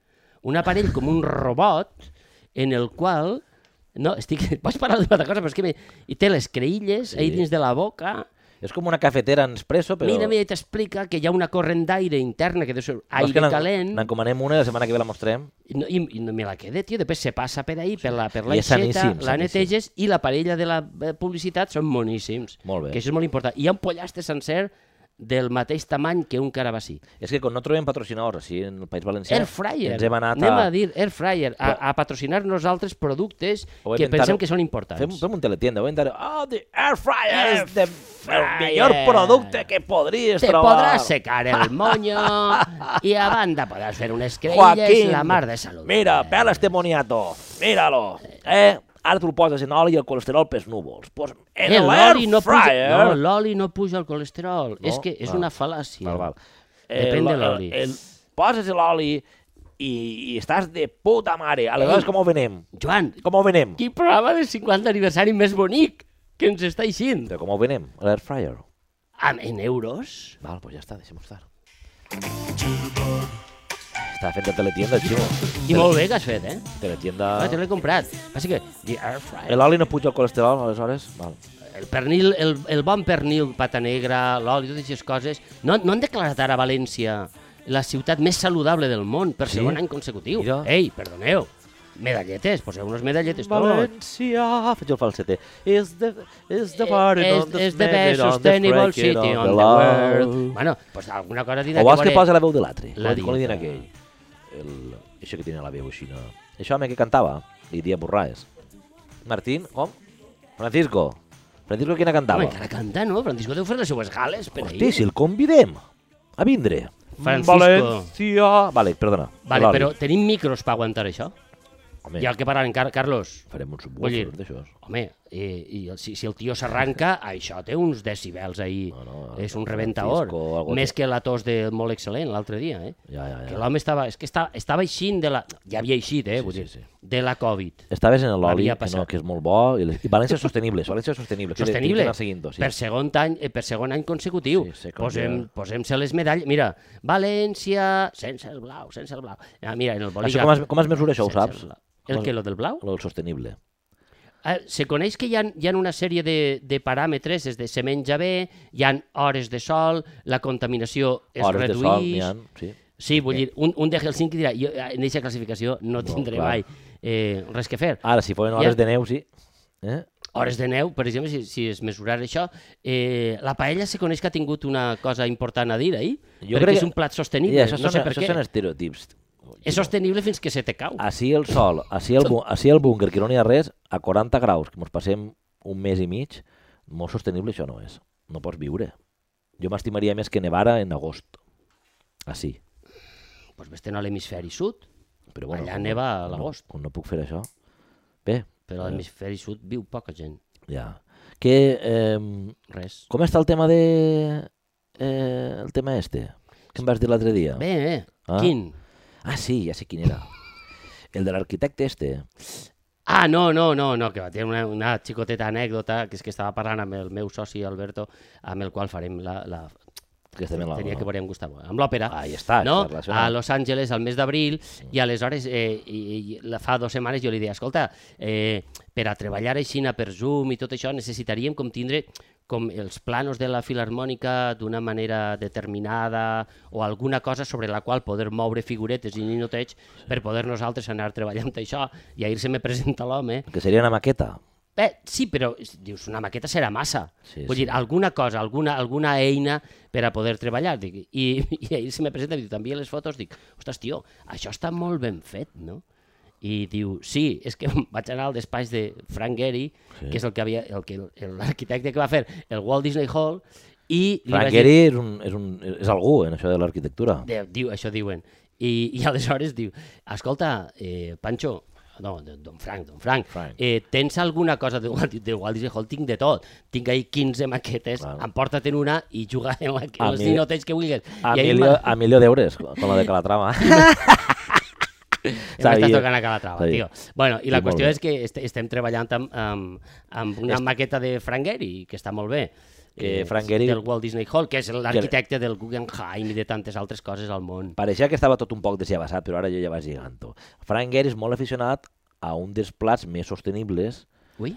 Speaker 2: Un aparell com un robot en el qual... No, estic... Vaig parlar d'una altra cosa, però és que... Me... I té les creïlles sí. ahí dins de la boca.
Speaker 1: És com una cafetera en espresso, però...
Speaker 2: Però... Mira, mira, i t'explica que hi ha una corrent d'aire interna que deu ser
Speaker 1: Vols que
Speaker 2: aire
Speaker 1: n'en-
Speaker 2: calent.
Speaker 1: N'encomanem una i la setmana que ve la mostrem.
Speaker 2: I, no, i, i no me la quedé, tio. Després se passa per ahí, per la, per
Speaker 1: I
Speaker 2: la
Speaker 1: és
Speaker 2: aixeta,
Speaker 1: saníssim,
Speaker 2: la
Speaker 1: saníssim.
Speaker 2: neteges i la parella de la eh, publicitat són moníssims.
Speaker 1: Molt bé.
Speaker 2: Que això és molt important. Hi ha un pollastre sencer del mateix tamany que un carabassí.
Speaker 1: És que com no trobem patrocinadors així en el País Valencià,
Speaker 2: Air Fryer.
Speaker 1: ens hem anat
Speaker 2: Anem a...
Speaker 1: a...
Speaker 2: dir Air Fryer, a, a patrocinar nosaltres productes
Speaker 1: Ho hem
Speaker 2: que
Speaker 1: inventat-
Speaker 2: pensem que són importants.
Speaker 1: Doncs. Fem, fem un teletienda, ho intentaré. Oh, the air fryer
Speaker 2: Air
Speaker 1: és de, el
Speaker 2: fryer.
Speaker 1: millor producte que podries
Speaker 2: Te
Speaker 1: trobar.
Speaker 2: podràs secar el moño i a banda podràs fer unes creïlles
Speaker 1: Joaquín,
Speaker 2: la mar de salut. eh.
Speaker 1: mira, pela este moniato, míralo. Eh? Ara tu el poses en oli i el colesterol pels núvols. Pues en
Speaker 2: Eh,
Speaker 1: l'air
Speaker 2: l'oli no,
Speaker 1: fryer...
Speaker 2: puja, no, l'oli no puja el colesterol. No? És que és
Speaker 1: Val.
Speaker 2: una fal·làcia.
Speaker 1: Val, val.
Speaker 2: Depèn
Speaker 1: la-
Speaker 2: de l'oli.
Speaker 1: el- Poses l'oli i, i estàs de puta mare. Aleshores,
Speaker 2: Ei.
Speaker 1: com ho venem?
Speaker 2: Joan,
Speaker 1: Com ho venem?
Speaker 2: quin programa de 50 aniversari més bonic que ens està eixint.
Speaker 1: Però com ho venem? L'air fryer.
Speaker 2: En, en euros?
Speaker 1: Val, pues ja està, deixem estar. Estava fent de teletienda, Ximo.
Speaker 2: I molt bé que has fet, eh?
Speaker 1: Teletienda...
Speaker 2: Ah, jo l'he comprat. Passa que the air fryer,
Speaker 1: L'oli no puja el colesterol, aleshores? Val.
Speaker 2: el pernil, el, el bon pernil, pata negra, l'oli, totes aquestes coses, no, no han declarat ara València la ciutat més saludable del món per
Speaker 1: Sí?
Speaker 2: segon any consecutiu.
Speaker 1: Mira.
Speaker 2: Ei, perdoneu, medalletes, poseu unes medalletes tots.
Speaker 1: València... Faig el falsete. Is the, is the
Speaker 2: Eh,
Speaker 1: party
Speaker 2: és,
Speaker 1: on the
Speaker 2: és the best sustainable city on the world. Bueno, pues alguna cosa dirà
Speaker 1: O vols que
Speaker 2: veuré.
Speaker 1: posa la veu de l'altre?
Speaker 2: La
Speaker 1: La dieta.
Speaker 2: dieta.
Speaker 1: aquell. El... Això que tenia la veu així, no? Això home que cantava, li dia Borraes. Martín, com? Francisco. Francisco quina
Speaker 2: Home,
Speaker 1: cantava?
Speaker 2: encara canta, no? Francisco deu fer les seues gales per
Speaker 1: Hosti,
Speaker 2: ahir.
Speaker 1: si el convidem a vindre.
Speaker 2: Francisco.
Speaker 1: València. Vale, perdona.
Speaker 2: Vale,
Speaker 1: L'Oli.
Speaker 2: però tenim micros per aguantar això?
Speaker 1: Home,
Speaker 2: I el que parlen, Car Carlos,
Speaker 1: farem un
Speaker 2: Vull
Speaker 1: subwoofer
Speaker 2: dir-
Speaker 1: d'això.
Speaker 2: Home, eh, i el, si, si el tio s'arranca, això té uns decibels ahí. No,
Speaker 1: No, no,
Speaker 2: no,
Speaker 1: el
Speaker 2: és un
Speaker 1: Francisco,
Speaker 2: reventaor.
Speaker 1: algo
Speaker 2: Més que la tos de molt excel·lent l'altre dia, eh?
Speaker 1: Ja, ja,
Speaker 2: Que
Speaker 1: ja.
Speaker 2: l'home estava... És que estava, estava eixint de la... Ja havia eixit, eh?
Speaker 1: Sí,
Speaker 2: vull
Speaker 1: sí,
Speaker 2: dir,
Speaker 1: sí.
Speaker 2: de la Covid.
Speaker 1: Estaves en l'oli,
Speaker 2: Havia
Speaker 1: que, no,
Speaker 2: passat.
Speaker 1: que és molt bo, i, les... i València sostenible, València sostenible. que li- li
Speaker 2: Sostenible.
Speaker 1: anar seguint sí.
Speaker 2: Per segon any, eh, per segon any consecutiu.
Speaker 1: Sí, sé com
Speaker 2: Posem,
Speaker 1: ja.
Speaker 2: Posem-se les medalles. Mira, València, sense el blau, sense el blau. Ah, mira, en el bolígraf.
Speaker 1: Això com, es, com es mesura això, ho
Speaker 2: sense el
Speaker 1: saps?
Speaker 2: blau. El que, lo del blau?
Speaker 1: Lo del sostenible.
Speaker 2: Ah, se coneix que hi ha, hi ha una sèrie de, de paràmetres, des de se menja bé, hi han hores de sol, la contaminació es
Speaker 1: Hores de sol n'hi
Speaker 2: redueix...
Speaker 1: ha, sí.
Speaker 2: Sí, vull dir, un, un de Helsinki dirà, jo eh, en aquesta classificació no tindré
Speaker 1: clar. Ah.
Speaker 2: mai eh, res que fer.
Speaker 1: Ara, si foren
Speaker 2: Hi ha-
Speaker 1: hores de neu, sí. Eh?
Speaker 2: Hores de neu, per exemple, si, si es mesurar això, eh, la paella se coneix que ha tingut una cosa important a dir ahir,
Speaker 1: Jo
Speaker 2: jo perquè
Speaker 1: crec
Speaker 2: crec...
Speaker 1: que-
Speaker 2: és un plat
Speaker 1: I
Speaker 2: sostenible,
Speaker 1: això,
Speaker 2: no
Speaker 1: són,
Speaker 2: sé per
Speaker 1: això Ah.
Speaker 2: què.
Speaker 1: són estereotips.
Speaker 2: És sostenible fins que se te cau.
Speaker 1: Així el sol, així el, bu- així el búnquer, que no n'hi ha res, a 40 graus, que ens passem un mes i mig, molt sostenible això no és. No pots viure. Jo m'estimaria més que nevara en agost. Així.
Speaker 2: Doncs pues vés-te'n a l'hemisferi sud,
Speaker 1: Però bueno,
Speaker 2: Allà
Speaker 1: com no-
Speaker 2: neva a
Speaker 1: com no-
Speaker 2: l'agost.
Speaker 1: Com no puc fer això? Bé,
Speaker 2: però a l'hemisferi sud viu poca gent,
Speaker 1: ja. Que, eh,
Speaker 2: res.
Speaker 1: com està el tema de... Eh, el tema este? Que em vas dir l'altre dia?
Speaker 2: Bé, bé,
Speaker 1: Ah.
Speaker 2: ah. quin?
Speaker 1: Ah, sí, ja sé quin era. El de l'arquitecte este.
Speaker 2: Ah, no, no, no, no, que va tenir una, una xicoteta anècdota, que és que estava parlant amb el meu soci Alberto, amb el qual farem la... la...
Speaker 1: Que estem en la-
Speaker 2: Tenia que veure amb Gustavo, eh, amb l'òpera.
Speaker 1: Ah, ja està,
Speaker 2: no?
Speaker 1: està relacionat.
Speaker 2: A Los Angeles al mes d'abril, i aleshores, eh, i, i, la, fa dues setmanes jo li deia, escolta, eh, per a treballar així per Zoom i tot això necessitaríem com tindre com els planos de la filarmònica d'una manera determinada o alguna cosa sobre la qual poder moure figuretes i ninotets per poder nosaltres anar treballant això i ahir se me presenta l'home
Speaker 1: Que seria una maqueta.
Speaker 2: Bé, sí, però és- dius, una maqueta serà massa.
Speaker 1: Sí,
Speaker 2: Sí, Vull
Speaker 1: sí.
Speaker 2: dir, alguna cosa, alguna, alguna eina per a poder treballar. Dic, I, I ahir se me presenta i diu, també les fotos, dic, ostres, tio, això està molt ben fet, no? I diu, sí, és que vaig anar al despatx de Frank Gehry,
Speaker 1: Sí.
Speaker 2: sí. que és el que havia, el que l'arquitecte que va fer el Walt Disney Hall, i li
Speaker 1: Frank
Speaker 2: vaig dir,
Speaker 1: Gehry és, un, és, un, és algú en això de l'arquitectura.
Speaker 2: de, diu, això diuen. I, I aleshores diu, escolta, eh, Pancho, no, de- don Frank, don Frank,
Speaker 1: Frank.
Speaker 2: Eh, tens alguna cosa de Walt, de Walt Disney Hall? Tinc de tot. Tinc ahir 15 maquetes,
Speaker 1: Claro.
Speaker 2: em porta-te'n una i juga en, la,
Speaker 1: A
Speaker 2: en els
Speaker 1: mi- ah,
Speaker 2: ninoteig que vulguis.
Speaker 1: A,
Speaker 2: I ahir
Speaker 1: milió,
Speaker 2: m'ha-
Speaker 1: a milió d'euros, com la de Calatrava.
Speaker 2: M'estàs tocant a cada trava,
Speaker 1: Sabia.
Speaker 2: tio. Bueno, i la
Speaker 1: Sí, molt
Speaker 2: qüestió
Speaker 1: bé.
Speaker 2: és que est estem treballant amb, amb, amb una maqueta de Frank Gehry, que està molt bé.
Speaker 1: Que
Speaker 2: Eh,
Speaker 1: Frank Gehry-
Speaker 2: Del Walt Disney Hall, que és l'arquitecte del Guggenheim i de tantes altres coses al món.
Speaker 1: Pareixia que estava tot un poc desllavassat, però ara jo ja vaig lligant-ho. Frank Gehry és molt aficionat a un dels plats més sostenibles
Speaker 2: Ui,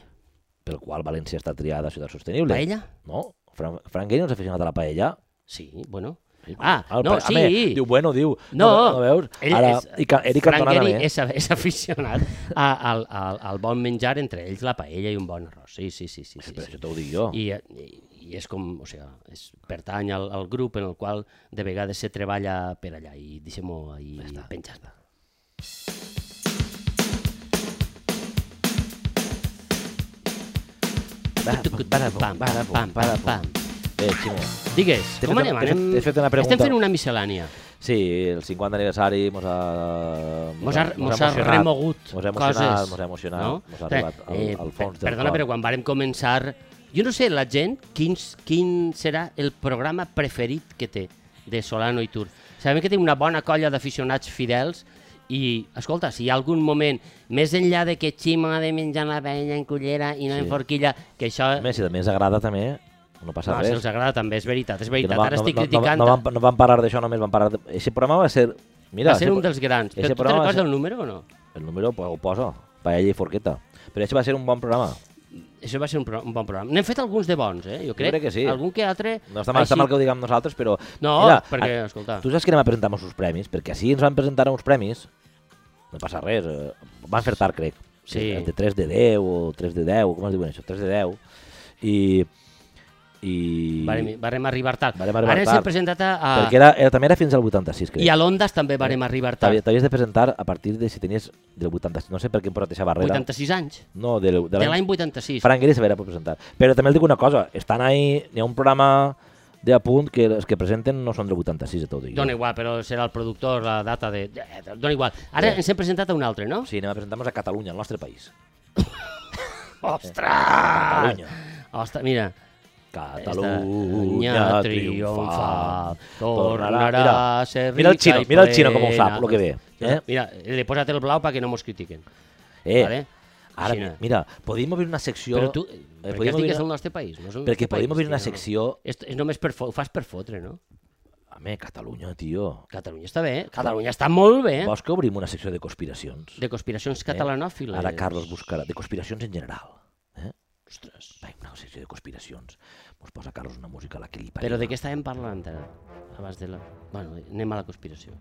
Speaker 1: pel qual València està triada ciutat sostenible.
Speaker 2: paella?
Speaker 1: No, Fran Frank Gehry no és aficionat a la paella.
Speaker 2: Sí, bueno. Ah,
Speaker 1: El
Speaker 2: no,
Speaker 1: pa-
Speaker 2: sí.
Speaker 1: a més, diu, bueno, diu.
Speaker 2: No,
Speaker 1: no, no veus?
Speaker 2: ell
Speaker 1: Ara,
Speaker 2: és-
Speaker 1: i ca, Eric
Speaker 2: Frank
Speaker 1: Cantona
Speaker 2: Gehry
Speaker 1: també.
Speaker 2: és, és aficionat a, al, al, al bon menjar, entre ells la paella i un bon arròs. Sí, sí, sí. sí, sí,
Speaker 1: Però
Speaker 2: sí.
Speaker 1: això t'ho dic jo.
Speaker 2: I, i, I és com, o sigui, és, pertany al, al grup en el qual de vegades se treballa per allà i deixem-ho ahí penjat. Pam, pam, pam, pam, pam.
Speaker 1: Eh, Ximo,
Speaker 2: Digues,
Speaker 1: T'he
Speaker 2: com
Speaker 1: fet-
Speaker 2: anem?
Speaker 1: t'he fet-
Speaker 2: anem?
Speaker 1: t'he fet una pregunta.
Speaker 2: Estem fent una miscel·lània.
Speaker 1: sí, el 50 aniversari mos ha...
Speaker 2: Mos ha, mos ha
Speaker 1: emocionat.
Speaker 2: remogut
Speaker 1: Mos ha emocionat,
Speaker 2: coses.
Speaker 1: mos ha emocionat, mos ha
Speaker 2: O sigui,
Speaker 1: arribat al- al fons
Speaker 2: per-
Speaker 1: del
Speaker 2: Perdona,
Speaker 1: cor.
Speaker 2: però quan vàrem començar... Jo no sé, la gent, quins, quin serà el programa preferit que té de Solano i Tour. Sabem que té una bona colla d'aficionats fidels i, escolta, si hi ha algun moment, més enllà de que Xima ha de menjar la paella en cullera i no
Speaker 1: Sí.
Speaker 2: en forquilla, que això...
Speaker 1: A més, si també ens agrada també, no passa
Speaker 2: no, si
Speaker 1: res.
Speaker 2: els agrada també, és veritat, és
Speaker 1: Que
Speaker 2: veritat.
Speaker 1: va-
Speaker 2: Ara estic
Speaker 1: no,
Speaker 2: criticant...
Speaker 1: No, no, van, no van parar d'això, només van parar... De... Ese programa va ser... Mira,
Speaker 2: va ser
Speaker 1: ese
Speaker 2: un
Speaker 1: pro-
Speaker 2: dels grans.
Speaker 1: ese
Speaker 2: Però tu te'n
Speaker 1: programa va
Speaker 2: recordes
Speaker 1: ser-
Speaker 2: el número o no?
Speaker 1: El número pues, ho poso, paella i forqueta. Però això va ser un bon programa.
Speaker 2: Això va ser un, pro un bon programa. N'hem fet alguns de bons, eh? Jo crec,
Speaker 1: crec que sí.
Speaker 2: Algun que altre...
Speaker 1: No està mal, està mal que ho diguem nosaltres, però...
Speaker 2: No,
Speaker 1: mira,
Speaker 2: perquè,
Speaker 1: a-
Speaker 2: escolta...
Speaker 1: Tu saps que anem a presentar uns premis? Perquè així ens van presentar uns premis, no passa res, eh, van fer tard, crec.
Speaker 2: Sí.
Speaker 1: De 3 de 10 o 3 de 10, com es diuen això? 3 de 10. I... i...
Speaker 2: Vàrem, vàrem arribar tard.
Speaker 1: Vàrem arribar
Speaker 2: Ara ens
Speaker 1: tard.
Speaker 2: hem presentat a... a...
Speaker 1: Perquè era, Eh, era, també era fins al 86, crec.
Speaker 2: Ah. I a l'Ondas també vàrem arribar
Speaker 1: T'havies
Speaker 2: tard.
Speaker 1: t'havies de presentar a partir de si tenies del 86, no sé per què em posat aquesta barrera.
Speaker 2: 86 anys.
Speaker 1: No, de, de
Speaker 2: De
Speaker 1: l'any...
Speaker 2: l'any 86.
Speaker 1: Frank Gehry s'haurà per presentar. Però també els dic una cosa, estan ahí, hi ha un programa de apunt que els que presenten no són del 86, de tot dic. jo.
Speaker 2: Dona igual, però serà el productor, la data de... eh, Dona igual. Ara ens hem presentat a un altre, no?
Speaker 1: Sí, anem a presentar-nos a Catalunya, al nostre país.
Speaker 2: Ostres!
Speaker 1: Catalunya.
Speaker 2: Ostres, mira,
Speaker 1: Catalunya
Speaker 2: Catalunya triomfa,
Speaker 1: triomfa.
Speaker 2: tornarà a ser
Speaker 1: mira el
Speaker 2: rica
Speaker 1: xino,
Speaker 2: i
Speaker 1: mira el xino com ho
Speaker 2: plena.
Speaker 1: sap, lo que ve. Eh?
Speaker 2: Mira, le posa't el blau perquè no mos critiquen.
Speaker 1: Eh,
Speaker 2: Vale.
Speaker 1: Ara,
Speaker 2: Xina.
Speaker 1: mira, podíem obrir una secció... eh,
Speaker 2: Però tu, per què
Speaker 1: podíem
Speaker 2: has dit
Speaker 1: obrir
Speaker 2: que és
Speaker 1: una-
Speaker 2: el nostre país? No és el
Speaker 1: perquè
Speaker 2: nostre país,
Speaker 1: podíem obrir una
Speaker 2: tio, no.
Speaker 1: secció...
Speaker 2: És, és només per, fo- ho fas per fotre, no?
Speaker 1: Home, Catalunya, tio.
Speaker 2: Catalunya està bé, Catalunya està molt bé,
Speaker 1: Vols que obrim una secció de conspiracions?
Speaker 2: de conspiracions catalanòfiles.
Speaker 1: Eh, Ara Carles buscarà. De conspiracions en general. Eh?
Speaker 2: Ostres.
Speaker 1: Va, una secció de conspiracions. Mos posa Carlos una música a la que li pariu.
Speaker 2: Però de què estàvem parlant ara? Abans de la... Bueno, anem a la conspiració.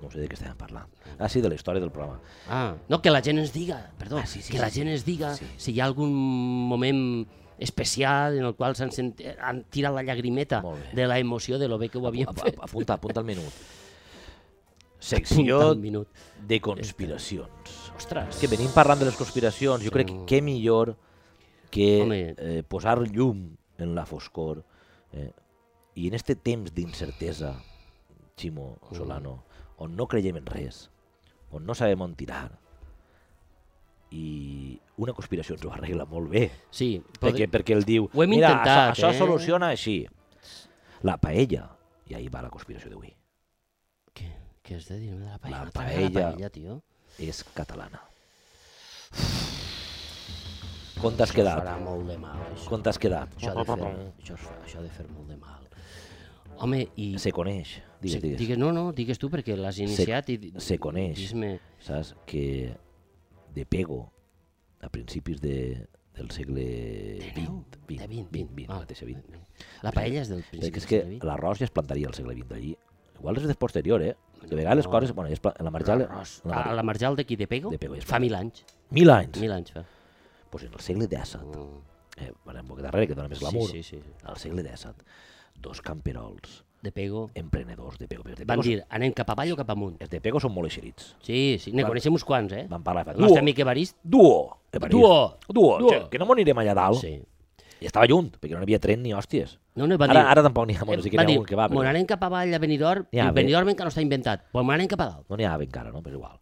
Speaker 1: No sé de què estàvem parlant. Ah, sí, de la història del programa.
Speaker 2: Ah, no, que la gent ens diga, perdó,
Speaker 1: Ah, sí, sí,
Speaker 2: que la
Speaker 1: sí.
Speaker 2: gent ens diga
Speaker 1: Sí.
Speaker 2: si hi ha algun moment especial en el qual s'han sent... eh, han tirat la llagrimeta
Speaker 1: Molt bé.
Speaker 2: de la emoció de lo bé que ho havíem
Speaker 1: Ap-
Speaker 2: fet.
Speaker 1: ap- Apunta, apunta al minut.
Speaker 2: Punta
Speaker 1: Secció
Speaker 2: al minut.
Speaker 1: de conspiracions.
Speaker 2: Ostres.
Speaker 1: Que venim parlant de les conspiracions, jo crec que què millor que
Speaker 2: Home.
Speaker 1: eh, posar llum en la foscor eh, i en este temps d'incertesa, Ximo
Speaker 2: Mm.
Speaker 1: Solano, on no creiem en res, on no sabem on tirar, i una conspiració ens ho arregla molt bé,
Speaker 2: Sí,
Speaker 1: perquè,
Speaker 2: podri-
Speaker 1: perquè ell diu,
Speaker 2: Ho hem
Speaker 1: mira,
Speaker 2: intentat,
Speaker 1: això, això
Speaker 2: eh?"
Speaker 1: soluciona així. La paella, i ahir va la conspiració d'avui,
Speaker 2: Què, què has de dir de la paella?
Speaker 1: La
Speaker 2: No t'agrada La
Speaker 1: paella.
Speaker 2: paella, tio.
Speaker 1: és catalana. Com t'has
Speaker 2: Això
Speaker 1: quedat?
Speaker 2: farà molt de mal, això.
Speaker 1: Com t'has quedat?
Speaker 2: Això ha de fer, això, es fa- això ha de fer molt de mal. Home, i...
Speaker 1: se coneix, digues,
Speaker 2: se-
Speaker 1: digues,
Speaker 2: digues, no, no, digues tu perquè l'has iniciat i... di-
Speaker 1: se coneix.
Speaker 2: Dis-me...
Speaker 1: saps que de pego a principis de, del segle XX,
Speaker 2: De 20,
Speaker 1: 20, 20,
Speaker 2: val.
Speaker 1: la mateixa 20.
Speaker 2: La paella és del
Speaker 1: Perquè
Speaker 2: principi.
Speaker 1: és que
Speaker 2: del segle
Speaker 1: l'arròs ja es plantaria al segle XX allí. Igual és de posterior, eh? De vegades les
Speaker 2: No.
Speaker 1: coses... Bueno, ja es pla- en
Speaker 2: XX.
Speaker 1: la marjal...
Speaker 2: L'arròs.
Speaker 1: en
Speaker 2: A
Speaker 1: la marjal-
Speaker 2: la marjal d'aquí de Pego?
Speaker 1: De Pego, és
Speaker 2: Fa mil anys.
Speaker 1: Mil anys!
Speaker 2: Mil anys fa.
Speaker 1: Doncs pues en el segle XVII,
Speaker 2: Mm.
Speaker 1: eh, bueno, un poc darrere, que dona més glamour,
Speaker 2: Sí, sí, sí.
Speaker 1: al segle XVII, dos camperols,
Speaker 2: De Pego.
Speaker 1: Eh, emprenedors de pego. però De
Speaker 2: Van
Speaker 1: pego,
Speaker 2: dir, anem cap avall o cap amunt?
Speaker 1: els de pego són molt eixerits.
Speaker 2: Sí, sí, ne
Speaker 1: Van- Uh!
Speaker 2: coneixem uns quants, eh?
Speaker 1: Van parlar i
Speaker 2: El
Speaker 1: van...
Speaker 2: nostre
Speaker 1: Duo!
Speaker 2: amic Evarist.
Speaker 1: Duo! eh, París.
Speaker 2: Duo!
Speaker 1: Duo!
Speaker 2: Duo!
Speaker 1: che, Que no m'anirem allà dalt.
Speaker 2: Sí.
Speaker 1: I estava lluny, perquè no n'hi havia tren ni hòsties.
Speaker 2: No, no, van
Speaker 1: Ara,
Speaker 2: dir...
Speaker 1: ara tampoc n'hi ha, bueno, sí que
Speaker 2: van
Speaker 1: n'hi
Speaker 2: Eh, dir,
Speaker 1: ha un que va,
Speaker 2: "Mos
Speaker 1: però
Speaker 2: anem cap avall a Benidorm,
Speaker 1: Ja,
Speaker 2: ja,
Speaker 1: bé.
Speaker 2: Benidorm encara no està inventat, però me n'anem cap a dalt.
Speaker 1: no n'hi ha ben cara, no? Però és igual.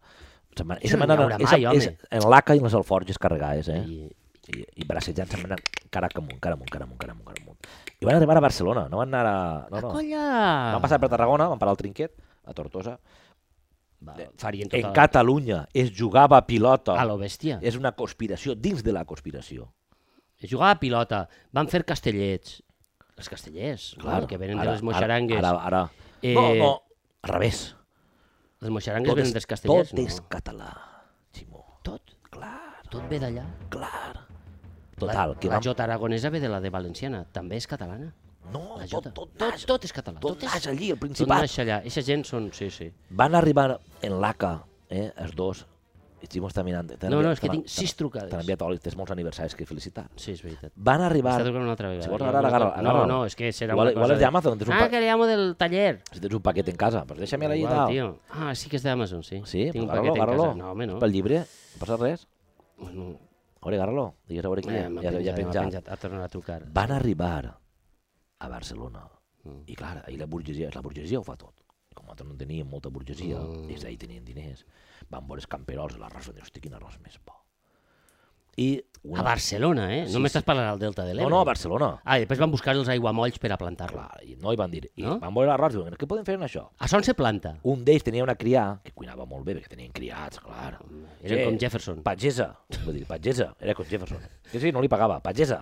Speaker 1: Se'n van,
Speaker 2: Això
Speaker 1: se'n
Speaker 2: no n'hi
Speaker 1: van
Speaker 2: haurà
Speaker 1: anar-
Speaker 2: mai,
Speaker 1: és,
Speaker 2: home.
Speaker 1: és, en l'ACA i en les alforges carregades, eh?
Speaker 2: I,
Speaker 1: I, i bracejant se'n van anar cara amunt, cara amunt, cara amunt, cara amunt, cara amunt. I van arribar a Barcelona, no van anar a... No, no.
Speaker 2: Colla!
Speaker 1: Van passar per Tarragona, van parar al Trinquet, a Tortosa.
Speaker 2: Va, farien tota
Speaker 1: En Catalunya es jugava a pilota.
Speaker 2: la... A lo bèstia.
Speaker 1: És una conspiració dins de la conspiració.
Speaker 2: Jugava a pilota, van fer castellets. Els castellers, clar, no? que venen de les moixarangues.
Speaker 1: Ara, ara, ara.
Speaker 2: Eh,
Speaker 1: No, no, al revés.
Speaker 2: Les moixarangues venen
Speaker 1: és-
Speaker 2: dels castellers,
Speaker 1: tot és
Speaker 2: no?
Speaker 1: català, Ximó.
Speaker 2: Tot,
Speaker 1: Clar.
Speaker 2: tot ve d'allà.
Speaker 1: Clar. Total,
Speaker 2: la,
Speaker 1: que
Speaker 2: la
Speaker 1: vam...
Speaker 2: jota aragonesa ve de la de valenciana, també és catalana.
Speaker 1: No,
Speaker 2: La
Speaker 1: tot,
Speaker 2: jota.
Speaker 1: tot,
Speaker 2: tot,
Speaker 1: naix, tot,
Speaker 2: tot és català.
Speaker 1: tot,
Speaker 2: és...
Speaker 1: naix allí, al
Speaker 2: Tot
Speaker 1: Principat.
Speaker 2: naix allà. Eixa gent són... Sí, sí.
Speaker 1: Van arribar en l'ACA, eh, els dos, i Ximo està mirant. t'han
Speaker 2: No, no,
Speaker 1: enviat-
Speaker 2: és que
Speaker 1: t'han-
Speaker 2: tinc sis trucades.
Speaker 1: T'han enviat oli, tens molts aniversaris que felicitar.
Speaker 2: Sí, és veritat.
Speaker 1: Van arribar...
Speaker 2: Està trucant una altra vegada.
Speaker 1: Si vols ara agarra,
Speaker 2: no,
Speaker 1: agarra.
Speaker 2: no, és que serà
Speaker 1: igual,
Speaker 2: una cosa...
Speaker 1: Igual és d'Amazon, tens un
Speaker 2: Ah,
Speaker 1: pa...
Speaker 2: que llamo del taller.
Speaker 1: Si tens un paquet en casa, doncs deixa'm la
Speaker 2: Igual,
Speaker 1: llita.
Speaker 2: tio. Ah, sí que és d'Amazon, sí.
Speaker 1: Sí,
Speaker 2: Tinc
Speaker 1: pues
Speaker 2: un paquet
Speaker 1: agarra-lo,
Speaker 2: en
Speaker 1: agarra-lo.
Speaker 2: casa. No, home, no.
Speaker 1: És pel llibre, no passa res.
Speaker 2: Bueno,
Speaker 1: A veure, agarra-lo. Digues a veure qui
Speaker 2: eh,
Speaker 1: és.
Speaker 2: m'ha
Speaker 1: Ja, ja, ja
Speaker 2: penjat, m'ha
Speaker 1: penjat.
Speaker 2: penjat. Ha tornat a trucar.
Speaker 1: Van arribar a Barcelona
Speaker 2: Mm.
Speaker 1: I clar, ahir la burgesia, la burgesia ho fa tot. I Com nosaltres no teníem molta burgesia,
Speaker 2: Mm.
Speaker 1: mm. ells ahir tenien diners. Van veure els camperols, l'arròs, van dir, hosti, quin arròs més bo. I una...
Speaker 2: A Barcelona, eh?
Speaker 1: Sí,
Speaker 2: No m'estàs parlant al Delta de
Speaker 1: No,
Speaker 2: l'Ebre.
Speaker 1: no, a Barcelona.
Speaker 2: Ah, i després van buscar els aiguamolls per a plantar-la.
Speaker 1: Clar, i no hi van dir. I
Speaker 2: No?
Speaker 1: no? van veure l'arròs i van dir, què podem fer amb això?
Speaker 2: A Son se planta.
Speaker 1: Un d'ells tenia una crià, que cuinava molt bé, perquè tenien criats, clar.
Speaker 2: Eren
Speaker 1: Sí.
Speaker 2: com Jefferson.
Speaker 1: Pagesa, vull dir, pagesa, era com Jefferson. Que sí, no li pagava, pagesa.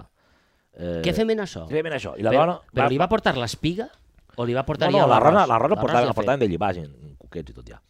Speaker 1: Eh,
Speaker 2: Què fem en això?
Speaker 1: Què fem en això? I la
Speaker 2: Però,
Speaker 1: dona...
Speaker 2: però li va portar l'espiga o li va portar
Speaker 1: no,
Speaker 2: ja
Speaker 1: no, la
Speaker 2: l'arròs?
Speaker 1: rona, la rona portava,
Speaker 2: ja
Speaker 1: la
Speaker 2: fet.
Speaker 1: portaven de llibars, en cuquets i tot ja.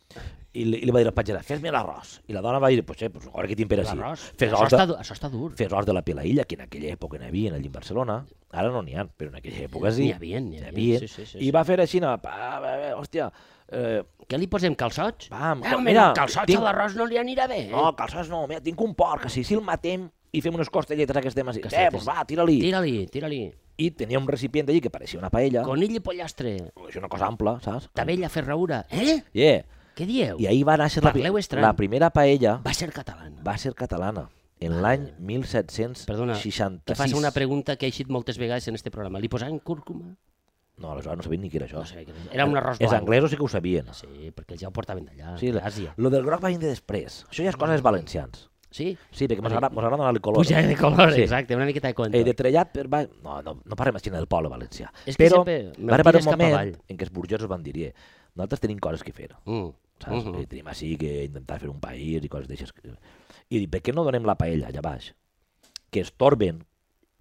Speaker 1: I li, i li va dir al patgera, fes-me l'arròs. I la dona va dir, pues, eh, pues, ara que t'impera així.
Speaker 2: L'arròs.
Speaker 1: Fes
Speaker 2: Això,
Speaker 1: os,
Speaker 2: està,
Speaker 1: de,
Speaker 2: du- això està dur.
Speaker 1: fes os de la Pelaïlla, que en aquella època n'hi havia allà en Barcelona. Ara no n'hi ha, però en aquella època sí.
Speaker 2: N'hi havia, n'hi havia. Sí, sí, sí,
Speaker 1: I
Speaker 2: sí.
Speaker 1: va fer així, anava, pa, pa, pa, hòstia, eh,
Speaker 2: Què li posem, calçots?
Speaker 1: Vam,
Speaker 2: eh, home,
Speaker 1: mira,
Speaker 2: no, calçots
Speaker 1: tinc-
Speaker 2: a l'arròs no li anirà bé. Eh?
Speaker 1: no, calçats no, mira, tinc un porc, si, si el matem i fem unes costelletes aquestes així. Eh,
Speaker 2: Costelletes.
Speaker 1: pues va, tira-li.
Speaker 2: Tira-li, tira-li.
Speaker 1: I tenia un recipient allí que pareixia una paella.
Speaker 2: Conill i pollastre,
Speaker 1: Això una cosa ampla, saps?
Speaker 2: tabella ferraura. Eh?
Speaker 1: Yeah.
Speaker 2: Què dieu?
Speaker 1: I ahir va néixer la,
Speaker 2: Parleu
Speaker 1: pri-
Speaker 2: estrany.
Speaker 1: la primera paella.
Speaker 2: Va ser catalana.
Speaker 1: va ser catalana en l'any 1766.
Speaker 2: Perdona, que faci una pregunta que ha eixit moltes vegades en este programa. Li posaven cúrcuma?
Speaker 1: No, aleshores no sabien ni què era això.
Speaker 2: No sé, què era. Era un arròs
Speaker 1: Els
Speaker 2: blanc.
Speaker 1: anglesos sí que ho sabien.
Speaker 2: Sí, perquè ja ho portaven d'allà,
Speaker 1: Eh, Sí,
Speaker 2: sí,
Speaker 1: la,
Speaker 2: d'Àsia.
Speaker 1: lo del groc va venir de després. Això ja és cosa dels valencians.
Speaker 2: Sí?
Speaker 1: Sí, perquè mos agrada, mos agrada donar-li color.
Speaker 2: Puja de color,
Speaker 1: Sí.
Speaker 2: exacte, una miqueta de compte.
Speaker 1: Eh, de trellat per... Va... No, no, no parlem així del poble valencià.
Speaker 2: És que
Speaker 1: Però
Speaker 2: sempre
Speaker 1: va arribar
Speaker 2: mentides
Speaker 1: un
Speaker 2: cap
Speaker 1: moment
Speaker 2: avall.
Speaker 1: en què els burgesos van dir, eh, nosaltres tenim coses que fer.
Speaker 2: Mm.
Speaker 1: Saps?
Speaker 2: Mhm.
Speaker 1: Eh, tenim així que intentar fer un país i coses d'aixes. que- I dic, per què no donem la paella allà baix? Que es torben.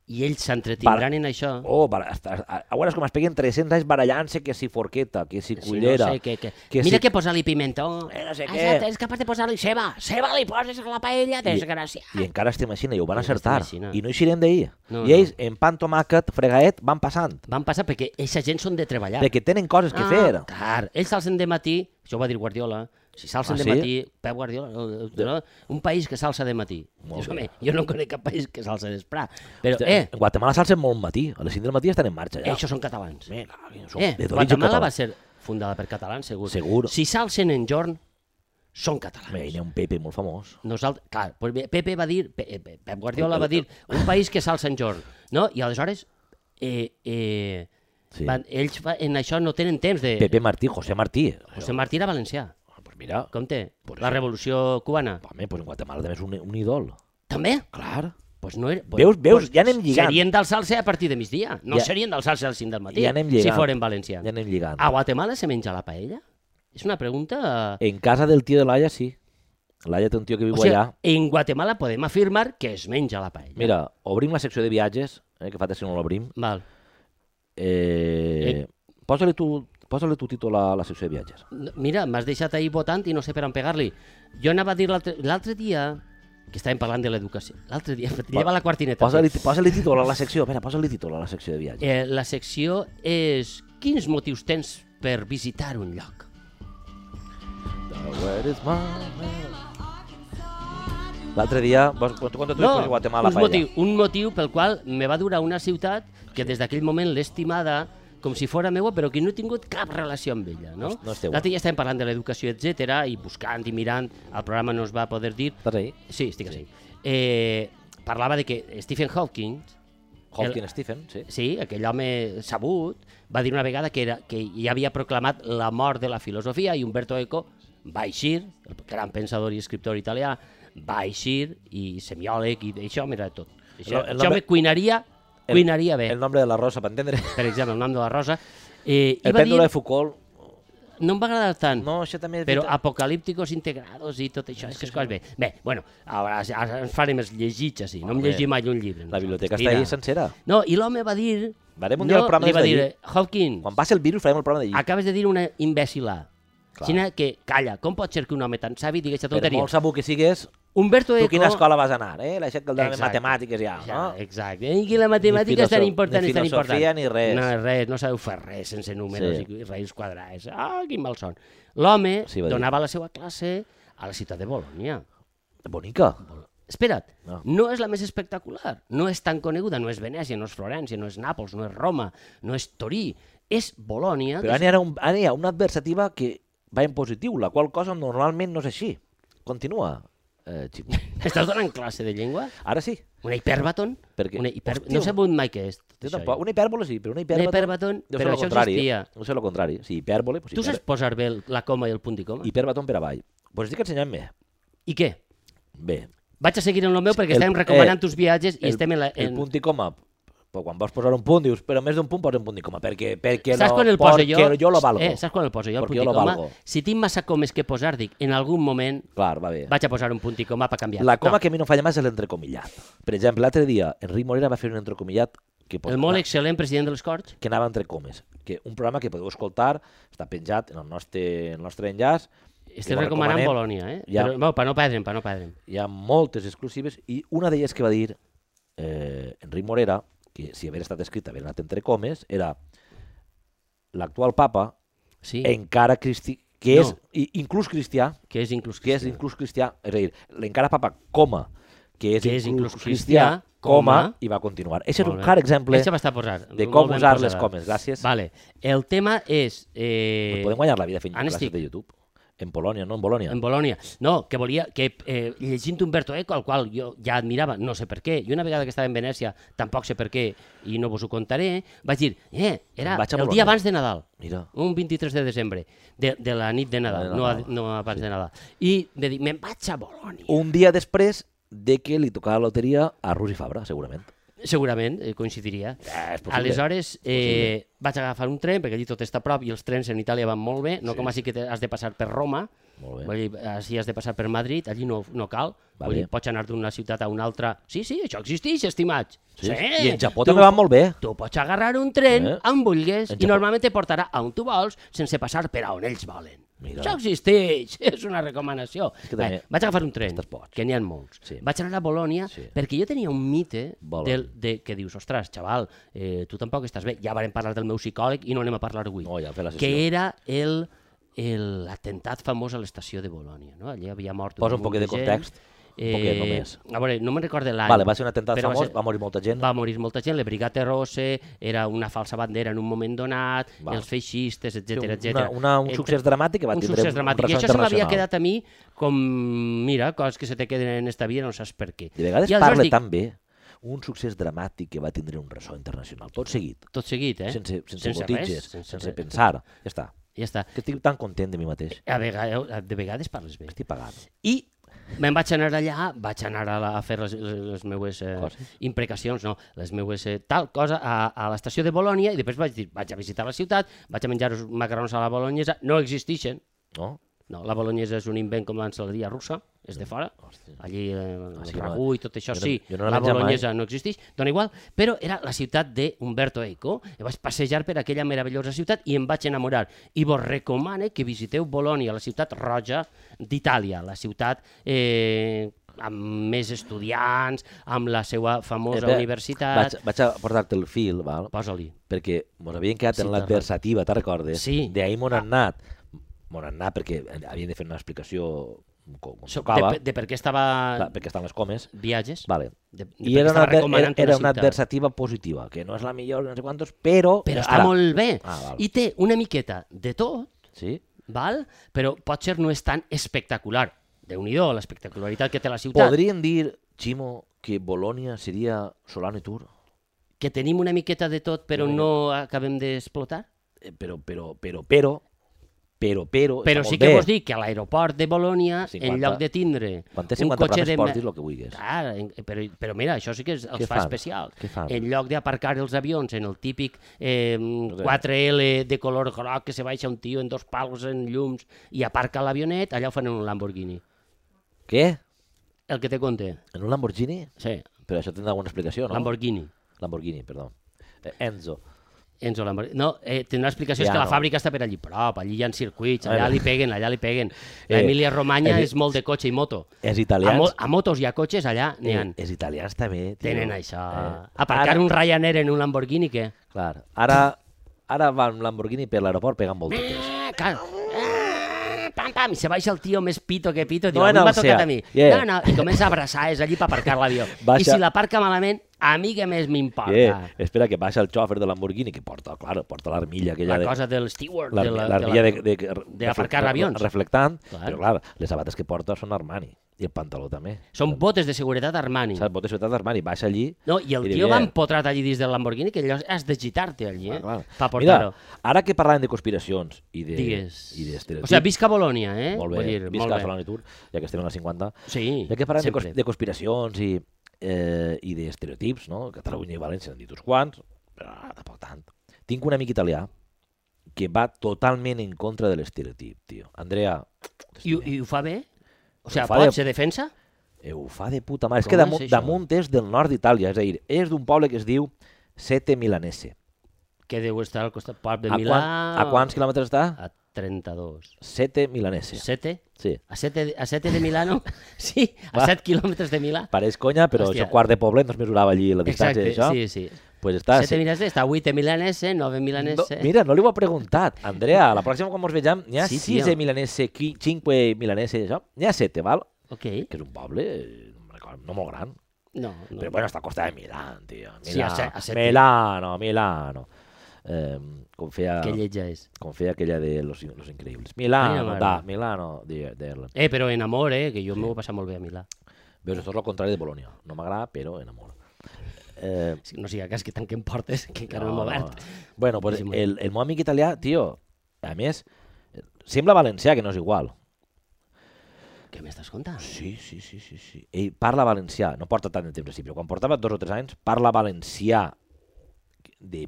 Speaker 2: I ells s'entretindran en això.
Speaker 1: Oh, bar... a veure, com es peguen 300 anys barallant-se que si forqueta, que si cullera.
Speaker 2: Si no sé què, què.
Speaker 1: que
Speaker 2: Mira
Speaker 1: si-
Speaker 2: que posar-li pimentó.
Speaker 1: Eh, no sé
Speaker 2: Ah,
Speaker 1: què.
Speaker 2: Exacte, és capaç de posar-li ceba. Ceba li poses a la paella, desgràcia.
Speaker 1: I encara estem així, i ho van
Speaker 2: I estem
Speaker 1: acertar.
Speaker 2: així, no.
Speaker 1: I no eixirem d'ahir.
Speaker 2: No,
Speaker 1: I ells, en pan, tomàquet, fregaet, van passant.
Speaker 2: Van passar perquè aquesta gent són de treballar.
Speaker 1: Perquè tenen coses
Speaker 2: Ah,
Speaker 1: que fer.
Speaker 2: Clar, ells s'alcen de matí, això ho va dir Guardiola, si s'alcen
Speaker 1: Ah,
Speaker 2: de
Speaker 1: sí?
Speaker 2: matí, Pep Guardiola, no, no, un país que s'alça de matí.
Speaker 1: Molt
Speaker 2: Dius,
Speaker 1: bé.
Speaker 2: home, jo no conec cap país que s'alça d'esprà. Però,
Speaker 1: Hosti,
Speaker 2: eh,
Speaker 1: En Guatemala s'alcen molt matí. A les 5 del matí estan en marxa. Ja.
Speaker 2: això són catalans.
Speaker 1: Bé, clar, que són
Speaker 2: Eh,
Speaker 1: de d'origen
Speaker 2: Guatemala
Speaker 1: català.
Speaker 2: va ser fundada per catalans, segur.
Speaker 1: Segur.
Speaker 2: Si s'alcen en jorn, són catalans.
Speaker 1: Bé, hi ha un Pepe molt famós.
Speaker 2: Nosaltres, clar, doncs bé, Pepe va dir, Pe- Pe- Pep Guardiola va dir, un país que s'alça en jorn, no? I aleshores, eh, eh,
Speaker 1: Sí.
Speaker 2: van, ells fa, en això no tenen temps de...
Speaker 1: Pepe Martí, José Martí.
Speaker 2: José Martí era valencià,
Speaker 1: Pues mira,
Speaker 2: compte,
Speaker 1: Pues
Speaker 2: la
Speaker 1: sí.
Speaker 2: revolució cubana.
Speaker 1: home, pues en Guatemala també és un, un ídol.
Speaker 2: També?
Speaker 1: Clar.
Speaker 2: Pues no era,
Speaker 1: Veus- veus? Ja anem lligant.
Speaker 2: Serien d'alçar-se a partir de migdia, no
Speaker 1: Ja-
Speaker 2: serien d'alçar-se al 5 del matí,
Speaker 1: Ja anem
Speaker 2: si
Speaker 1: lligant.
Speaker 2: foren valencians.
Speaker 1: Ja anem lligant.
Speaker 2: A Guatemala se menja la paella? És una pregunta...
Speaker 1: En casa del tio de l'Aia, sí. L'Aia té un tio que viu
Speaker 2: o sigui,
Speaker 1: allà.
Speaker 2: en Guatemala podem afirmar que es menja la paella.
Speaker 1: Mira, obrim la secció de viatges, eh, que fa temps que no l'obrim.
Speaker 2: Val.
Speaker 1: Eh, Posa-li tu, posa tu títol a la secció de viatges.
Speaker 2: No, Mira, m'has deixat ahir votant i no sé per on pegar-li. Jo anava a dir l'altre l'altre dia que estàvem parlant de l'educació. L'altre dia, lleva la quartineta.
Speaker 1: Posa-li posa títol a la secció, espera, posa-li títol a la secció de viatges.
Speaker 2: Eh, la secció és quins motius tens per visitar un lloc?
Speaker 1: L'altre dia, vols, tu conta tu no, després Guatemala,
Speaker 2: un
Speaker 1: paella.
Speaker 2: motiu, un motiu pel qual me va durar una ciutat que des d'aquell moment l'he estimada com si fora meua, però que no he tingut cap relació amb ella. No?
Speaker 1: No és teua.
Speaker 2: L'altre dia estàvem parlant de l'educació, etc i buscant i mirant, el programa no es va poder dir,
Speaker 1: Estàs ahí?
Speaker 2: Sí, estic així. Eh, parlava de que Stephen Hawking,
Speaker 1: Hawking Stephen, sí.
Speaker 2: sí, aquell home sabut, va dir una vegada que, era, que ja havia proclamat la mort de la filosofia i Umberto Eco va eixir, el gran pensador i escriptor italià, va eixir i semiòleg i això, mira tot. Això,
Speaker 1: El- el
Speaker 2: això
Speaker 1: home-
Speaker 2: me cuinaria,
Speaker 1: El-
Speaker 2: cuinaria bé.
Speaker 1: El nombre de la rosa, per entendre.
Speaker 2: Per exemple, el nom de la Rosa. Eh, i
Speaker 1: El
Speaker 2: va
Speaker 1: pèndulo
Speaker 2: dir,
Speaker 1: de Foucault.
Speaker 2: no em va agradar tant.
Speaker 1: No, això també... és
Speaker 2: Però
Speaker 1: veritat.
Speaker 2: apocalípticos integrados i tot això, és que és coses bé. Bé, bueno, ara, ara ens farem els llegits així, no em
Speaker 1: Home,
Speaker 2: llegim mai un llibre.
Speaker 1: La biblioteca
Speaker 2: nosaltres,
Speaker 1: està ahí
Speaker 2: mira.
Speaker 1: sencera.
Speaker 2: No, i l'home va dir...
Speaker 1: Farem un
Speaker 2: no,
Speaker 1: dia el programa
Speaker 2: li va
Speaker 1: des
Speaker 2: dir, Ah,
Speaker 1: d'allí.
Speaker 2: Hawking,
Speaker 1: Quan passi el virus farem el programa d'allí.
Speaker 2: acabes de dir una imbècila.
Speaker 1: Clar.
Speaker 2: Xina, que calla, com pot ser que un home tan savi digui aquesta
Speaker 1: Per
Speaker 2: tonteria?
Speaker 1: molt sabut que sigues,
Speaker 2: Humberto
Speaker 1: tu
Speaker 2: Eco...
Speaker 1: a quina escola vas anar, eh? La gent que el dona
Speaker 2: Exacte.
Speaker 1: matemàtiques ja,
Speaker 2: Ja, eh.
Speaker 1: no?
Speaker 2: Exacte. I que la matemàtica és tan
Speaker 1: filoso-
Speaker 2: important,
Speaker 1: ni
Speaker 2: és tan important.
Speaker 1: filosofia ni res.
Speaker 2: No, res, no sabeu fer res sense números
Speaker 1: Sí.
Speaker 2: sí. i raïs quadrats. Ah, quin mal son. L'home
Speaker 1: Sí,
Speaker 2: sí,
Speaker 1: va dir.
Speaker 2: donava la seva classe a la ciutat de Bolònia.
Speaker 1: Bonica.
Speaker 2: Espera't, no.
Speaker 1: No.
Speaker 2: no és la més espectacular, no és tan coneguda, no és Venècia, no és Florència, no és Nàpols, no és Roma, no és Torí, és Bolònia.
Speaker 1: Però ara hi, ha un, ara hi ha una adversativa que va en positiu, la qual cosa normalment no és així. Continua, eh, Xico.
Speaker 2: Estàs donant classe de llengua?
Speaker 1: Ara sí.
Speaker 2: Una hiperbaton?
Speaker 1: Perquè-
Speaker 2: Una hiper...
Speaker 1: Hòstia.
Speaker 2: No sé on mai què és. tot això,
Speaker 1: Jo
Speaker 2: eh?
Speaker 1: tampoc.
Speaker 2: jo.
Speaker 1: Una hipèrbole sí, però una
Speaker 2: Una
Speaker 1: hipèrbole...
Speaker 2: hiperbaton,
Speaker 1: deu ser
Speaker 2: però
Speaker 1: lo
Speaker 2: això
Speaker 1: contrari,
Speaker 2: existia.
Speaker 1: eh? Deu ser el contrari. Sí, hipèrbole... Pues,
Speaker 2: Tu saps posar bé el- la coma i el punt i coma? I,
Speaker 1: Hipèrbaton per avall. Pues estic ensenyant bé.
Speaker 2: I què?
Speaker 1: Bé.
Speaker 2: Vaig a seguir en el meu perquè
Speaker 1: El-
Speaker 2: estem recomanant
Speaker 1: eh,
Speaker 2: tus viatges i estem en la...
Speaker 1: El
Speaker 2: En...
Speaker 1: punt i coma, però quan vols posar un punt, dius, però més d'un punt posa un punt i coma, perquè, perquè
Speaker 2: Saps
Speaker 1: no,
Speaker 2: quan el poso
Speaker 1: perquè
Speaker 2: jo?
Speaker 1: jo lo valgo.
Speaker 2: Eh, saps quan el poso jo, el punt i
Speaker 1: Perquè jo lo
Speaker 2: coma?
Speaker 1: valgo.
Speaker 2: Si tinc massa comes que posar, dic, en algun moment
Speaker 1: Clar, va bé.
Speaker 2: vaig a posar un punt i coma per canviar.
Speaker 1: La coma
Speaker 2: no,
Speaker 1: que a mi no em falla més és l'entrecomillat. Per exemple, l'altre dia, Enric Morera va fer un entrecomillat que, posa-
Speaker 2: El molt excel·lent president de les Corts.
Speaker 1: que anava entre comes, que un programa que podeu escoltar, està penjat en el nostre, en el nostre enllaç,
Speaker 2: Estic
Speaker 1: ho
Speaker 2: recomanant
Speaker 1: recomanem.
Speaker 2: Bolònia, eh?
Speaker 1: Ja.
Speaker 2: Però, bueno, per no perdre'm, per no perdre'm.
Speaker 1: hi ha moltes exclusives, i una d'elles que va dir eh, Enric Morera, que si haver estat escrit haver anat entre comes, era l'actual papa,
Speaker 2: Sí,
Speaker 1: encara cristi que
Speaker 2: No.
Speaker 1: és i, inclús cristià,
Speaker 2: que és inclús
Speaker 1: que és
Speaker 2: cristià.
Speaker 1: inclús cristià, és a dir, l'encara papa coma, que és,
Speaker 2: Que és inclús cristià,
Speaker 1: coma,
Speaker 2: coma.
Speaker 1: i va continuar. Aquest és
Speaker 2: Molt
Speaker 1: un
Speaker 2: bé.
Speaker 1: clar exemple
Speaker 2: Això va estar posat.
Speaker 1: de
Speaker 2: molt
Speaker 1: com
Speaker 2: ben
Speaker 1: usar les
Speaker 2: posada.
Speaker 1: comes. Gràcies.
Speaker 2: Vale. El tema és... Eh,
Speaker 1: Podem guanyar la vida fent
Speaker 2: Ara
Speaker 1: classes
Speaker 2: estic.
Speaker 1: de YouTube. En Polònia, no en Bolònia.
Speaker 2: en Bolònia. No, que volia que eh, llegint Humberto Eco, al qual jo ja admirava, no sé per què, i una vegada que estava en Venècia, tampoc sé per què, i no vos ho contaré, vaig dir, eh, era
Speaker 1: Em vaig a
Speaker 2: el
Speaker 1: Bolònia.
Speaker 2: dia abans de Nadal,
Speaker 1: Mira.
Speaker 2: un 23 de desembre, de, de la nit de Nadal,
Speaker 1: De
Speaker 2: no, a-
Speaker 1: Nadal.
Speaker 2: no abans de Nadal. I de dir, me'n vaig a Bolònia.
Speaker 1: Un dia després de que li tocava la loteria a Rusi Fabra, segurament.
Speaker 2: Segurament eh, coincidiria.
Speaker 1: Ah, és possible.
Speaker 2: Aleshores, eh, vaig agafar un tren, perquè allí tot està a prop i els trens en Itàlia van molt bé, no sí. com així que te- has de passar per Roma,
Speaker 1: Molt bé.
Speaker 2: Vull dir, així has de passar per Madrid, allí no, no cal,
Speaker 1: Va
Speaker 2: vull dir,
Speaker 1: bé.
Speaker 2: pots anar d'una ciutat a una altra. Sí, sí, això existeix, estimats.
Speaker 1: Sí. I en Japó també van molt bé.
Speaker 2: Tu pots agarrar un tren
Speaker 1: Eh?
Speaker 2: eh? on vulguis
Speaker 1: En
Speaker 2: i
Speaker 1: Japó.
Speaker 2: normalment te portarà a on tu vols sense passar per a on ells volen.
Speaker 1: Mira.
Speaker 2: Això existeix, és una recomanació.
Speaker 1: que també
Speaker 2: Bé, vaig agafar un tren,
Speaker 1: estàs boig.
Speaker 2: que n'hi ha molts.
Speaker 1: Sí.
Speaker 2: Vaig anar a Bolònia
Speaker 1: Sí.
Speaker 2: perquè jo tenia un mite
Speaker 1: Bolònia.
Speaker 2: del, de, que dius, ostres, xaval, eh, tu tampoc estàs bé, ja vàrem parlar del meu psicòleg i no anem a parlar avui
Speaker 1: No, ja vam fer la
Speaker 2: que
Speaker 1: sessió.
Speaker 2: era el el atemptat famós a l'estació de Bolònia. No? Allí havia mort
Speaker 1: Posa un
Speaker 2: munt
Speaker 1: poquet de
Speaker 2: gent. Eh,
Speaker 1: context, un poquet només.
Speaker 2: A veure, no me'n recordo l'any.
Speaker 1: Vale, va ser un atemptat
Speaker 2: però
Speaker 1: famós,
Speaker 2: ser-
Speaker 1: va morir molta gent.
Speaker 2: Va morir molta gent, la Brigata Rosse, era una falsa bandera en un moment donat,
Speaker 1: Val.
Speaker 2: els feixistes, etc
Speaker 1: Sí, una-
Speaker 2: etc.
Speaker 1: una- un succés dramàtic que va
Speaker 2: un
Speaker 1: tindre
Speaker 2: succés
Speaker 1: un
Speaker 2: dramàtic. I
Speaker 1: ressò
Speaker 2: això se m'havia
Speaker 1: internacional.
Speaker 2: quedat a mi com, mira, coses que se te queden en esta vida, no saps per què.
Speaker 1: De vegades
Speaker 2: I aleshores
Speaker 1: parla
Speaker 2: dic,
Speaker 1: tan bé un succés dramàtic que va tindre un ressò internacional. Tot seguit,
Speaker 2: Tot seguit, eh?
Speaker 1: sense, sense,
Speaker 2: sense
Speaker 1: botitges,
Speaker 2: res, sense
Speaker 1: sense,
Speaker 2: res.
Speaker 1: pensar. Ja està.
Speaker 2: Ja està.
Speaker 1: Que estic tan content de mi mateix.
Speaker 2: A vegades, de vegades parles bé.
Speaker 1: Estic pagat.
Speaker 2: I me'n vaig anar allà, vaig anar a, la, a fer les, les, les meues eh,
Speaker 1: Coses.
Speaker 2: imprecacions, no, les meues eh, tal cosa a, a l'estació de Bolònia i després vaig dir, vaig a visitar la ciutat, vaig a menjar uns macarrons a la bolognesa, no existeixen,
Speaker 1: No?
Speaker 2: no, la bolognesa és un invent com l'ensaladeria russa, és de fora,
Speaker 1: Hòstia.
Speaker 2: allí eh,
Speaker 1: Ah,
Speaker 2: el
Speaker 1: sí,
Speaker 2: ragú i tot això
Speaker 1: jo no-
Speaker 2: sí,
Speaker 1: jo no la
Speaker 2: la
Speaker 1: menjava mai.
Speaker 2: bolognesa no existeix, dona igual, però era la ciutat d'Umberto Eco, i vaig passejar per aquella meravellosa ciutat i em vaig enamorar. I vos recomano que visiteu Bolònia, la ciutat roja d'Itàlia, la ciutat eh, amb més estudiants, amb la seva famosa
Speaker 1: Espera,
Speaker 2: universitat...
Speaker 1: Vaig, vaig a portar-te el fil, val?
Speaker 2: Posa-li.
Speaker 1: perquè mos havien quedat
Speaker 2: Sí,
Speaker 1: en
Speaker 2: te'n
Speaker 1: l'adversativa, te'n recordes?
Speaker 2: Sí.
Speaker 1: D'ahir mos han anat. Mos han anat perquè havien de fer una explicació com, com
Speaker 2: So-
Speaker 1: tocava,
Speaker 2: De, de per què estava...
Speaker 1: clar, perquè estan les comes.
Speaker 2: Viatges?
Speaker 1: Vale.
Speaker 2: De, de per
Speaker 1: I
Speaker 2: què
Speaker 1: era una,
Speaker 2: estava
Speaker 1: adver-
Speaker 2: recomanant tota
Speaker 1: era una
Speaker 2: ciutat.
Speaker 1: adversativa positiva, que no és la millor, no sé quantos, però...
Speaker 2: Però
Speaker 1: ja
Speaker 2: està
Speaker 1: estarà.
Speaker 2: molt bé.
Speaker 1: Ah, val.
Speaker 2: I té una miqueta de tot,
Speaker 1: Sí?
Speaker 2: val? però potser no és tan espectacular. déu nhi l'espectacularitat que té la ciutat.
Speaker 1: Podríem dir, Ximo, que Bolònia seria Solano i Tur?
Speaker 2: Que tenim una miqueta de tot, però no acabem d'explotar.
Speaker 1: Eh, Però, però, però, però, però, però...
Speaker 2: Però
Speaker 1: està
Speaker 2: sí
Speaker 1: molt
Speaker 2: que
Speaker 1: bé.
Speaker 2: vos dic que a l'aeroport de Bolònia,
Speaker 1: 50.
Speaker 2: en lloc de tindre
Speaker 1: Quan té
Speaker 2: un
Speaker 1: 50
Speaker 2: cotxe
Speaker 1: planes
Speaker 2: de...
Speaker 1: pots dir
Speaker 2: me-
Speaker 1: el que vulguis.
Speaker 2: Clar, en- però, però mira, això sí que és, els
Speaker 1: Què
Speaker 2: fa
Speaker 1: fan?
Speaker 2: especial.
Speaker 1: Què fan?
Speaker 2: En lloc d'aparcar els avions en el típic eh, 4L de color groc que se baixa un tio en dos palos en llums i aparca l'avionet, allà ho fan en un Lamborghini.
Speaker 1: Què?
Speaker 2: El que te conté.
Speaker 1: En un Lamborghini?
Speaker 2: Sí,
Speaker 1: Però això tindrà alguna explicació, no?
Speaker 2: Lamborghini.
Speaker 1: Lamborghini, perdó. Eh, Enzo.
Speaker 2: Enzo Lamborghini. No, eh, tindrà explicació ja, que
Speaker 1: Ja
Speaker 2: la
Speaker 1: no.
Speaker 2: fàbrica està per allí prop, allí hi ha circuits, allà
Speaker 1: Bueno.
Speaker 2: li peguen, allà li peguen.
Speaker 1: Eh,
Speaker 2: L'Emília Romanya
Speaker 1: eh,
Speaker 2: és molt de cotxe i moto.
Speaker 1: Els
Speaker 2: A,
Speaker 1: italians...
Speaker 2: mo a motos i a cotxes allà n'hi ha.
Speaker 1: eh, els italians també, tio.
Speaker 2: Tenen això.
Speaker 1: Eh,
Speaker 2: Aparcar
Speaker 1: ara,
Speaker 2: un Ryanair en un Lamborghini, què?
Speaker 1: Clar, ara, ara va un Lamborghini per l'aeroport pegant voltetes.
Speaker 2: Ah, clar. Ah, pam, pam, i se baixa el tio més pito que pito, diu,
Speaker 1: No
Speaker 2: no
Speaker 1: en
Speaker 2: m'ha
Speaker 1: el
Speaker 2: tocat
Speaker 1: Seat.
Speaker 2: a mi.
Speaker 1: Yeah.
Speaker 2: No, no, i comença a abraçar, és allí per aparcar l'avió. I
Speaker 1: Baixa-
Speaker 2: si l'aparca malament, a mi què més m'importa?
Speaker 1: Eh, espera que baixa el xòfer de Lamborghini, que porta, clar, porta l'armilla aquella...
Speaker 2: La
Speaker 1: de-
Speaker 2: cosa del steward, de la-
Speaker 1: l'armilla
Speaker 2: de la-
Speaker 1: l'armilla de, de, de,
Speaker 2: d'aparcar avions.
Speaker 1: Reflectant,
Speaker 2: Clar.
Speaker 1: però clar, les sabates que porta són Armani, i el pantaló també.
Speaker 2: Són botes de seguretat Armani.
Speaker 1: Saps, botes fetes d'Armani, baixa allí...
Speaker 2: No, i el
Speaker 1: li
Speaker 2: tio
Speaker 1: ve- Ah,
Speaker 2: va empotrat allí dins del Lamborghini, que allò has de gitar-te allí, eh?
Speaker 1: Clar, clar.
Speaker 2: Per portar-ho.
Speaker 1: Mira, ara que parlàvem de conspiracions i de...
Speaker 2: Digues.
Speaker 1: I d'estereotips...
Speaker 2: o sigui, visca Bolònia, eh?
Speaker 1: molt bé,
Speaker 2: Vull dir,
Speaker 1: visca
Speaker 2: molt bé.
Speaker 1: Solana i Tur, ja que estem a la 50.
Speaker 2: Sí,
Speaker 1: Ja que parlem de, cons-
Speaker 2: sempre.
Speaker 1: de conspiracions i, eh, i d'estereotips, no? Catalunya i València n'han dit uns quants, però ah, tampoc tant. Tinc un amic italià que va totalment en contra de l'estereotip, tio. Andrea,
Speaker 2: I, ho- I ho fa bé? O sigui,
Speaker 1: Ho fa
Speaker 2: pot,
Speaker 1: de-
Speaker 2: se defensa?
Speaker 1: eh, ho fa de puta mare. És
Speaker 2: Com
Speaker 1: que damunt,
Speaker 2: és això?
Speaker 1: damunt és del nord d'Itàlia, és a dir, és d'un poble que es diu Sete Milanese.
Speaker 2: Que deu estar al costat part de
Speaker 1: a,
Speaker 2: Milà... Ah.
Speaker 1: a quants quilòmetres està?
Speaker 2: A 32.
Speaker 1: Sete Milanese.
Speaker 2: Sete?
Speaker 1: Sí.
Speaker 2: A 7, a 7 de Milano? sí, a
Speaker 1: Va.
Speaker 2: 7 quilòmetres de Milà.
Speaker 1: Pareix conya, però
Speaker 2: Hòstia.
Speaker 1: Hòstia. això quart de poble no es mesurava allí la distància
Speaker 2: Exacte,
Speaker 1: d'això.
Speaker 2: sí, sí.
Speaker 1: Pues està, a
Speaker 2: 7 milanese, està 8 de milanese, 9
Speaker 1: No,
Speaker 2: milanese...
Speaker 1: mira, no li ho ha preguntat. Andrea, la pròxima quan ens vegem, n'hi ha
Speaker 2: Sí,
Speaker 1: 6
Speaker 2: tio.
Speaker 1: de milanese, 5 milanese, això. N'hi ha 7, val?
Speaker 2: Ok,
Speaker 1: Que és un poble, eh, no me'n recordo, no molt gran.
Speaker 2: no, no.
Speaker 1: Però bueno, està a costa de Milán, tio. Milà,
Speaker 2: Sí, a set- a set-
Speaker 1: Milano, Milano. Eh, com feia,
Speaker 2: Que lletja és.
Speaker 1: com feia aquella de Los, los Increïbles.
Speaker 2: Ai, la
Speaker 1: Milano,
Speaker 2: mare.
Speaker 1: da, Milano, de- d'Erland.
Speaker 2: Eh, però en amor, eh, que jo sí. m'ho he passat molt bé a Milà.
Speaker 1: Veus, això és el contrari de Bolònia. No m'agrada, però enamora. Eh,
Speaker 2: Si no siga cas que tanquen portes, que encara no,
Speaker 1: No,
Speaker 2: hem
Speaker 1: no.
Speaker 2: obert.
Speaker 1: Bueno, pues
Speaker 2: Digue'm.
Speaker 1: el, el meu amic italià, tio, a més, sembla valencià, que no és igual.
Speaker 2: Què m'estàs contant?
Speaker 1: Sí, sí, sí, sí, sí. Ell parla valencià, no porta tant de temps, al principi, però quan portava dos o tres anys, parla valencià de...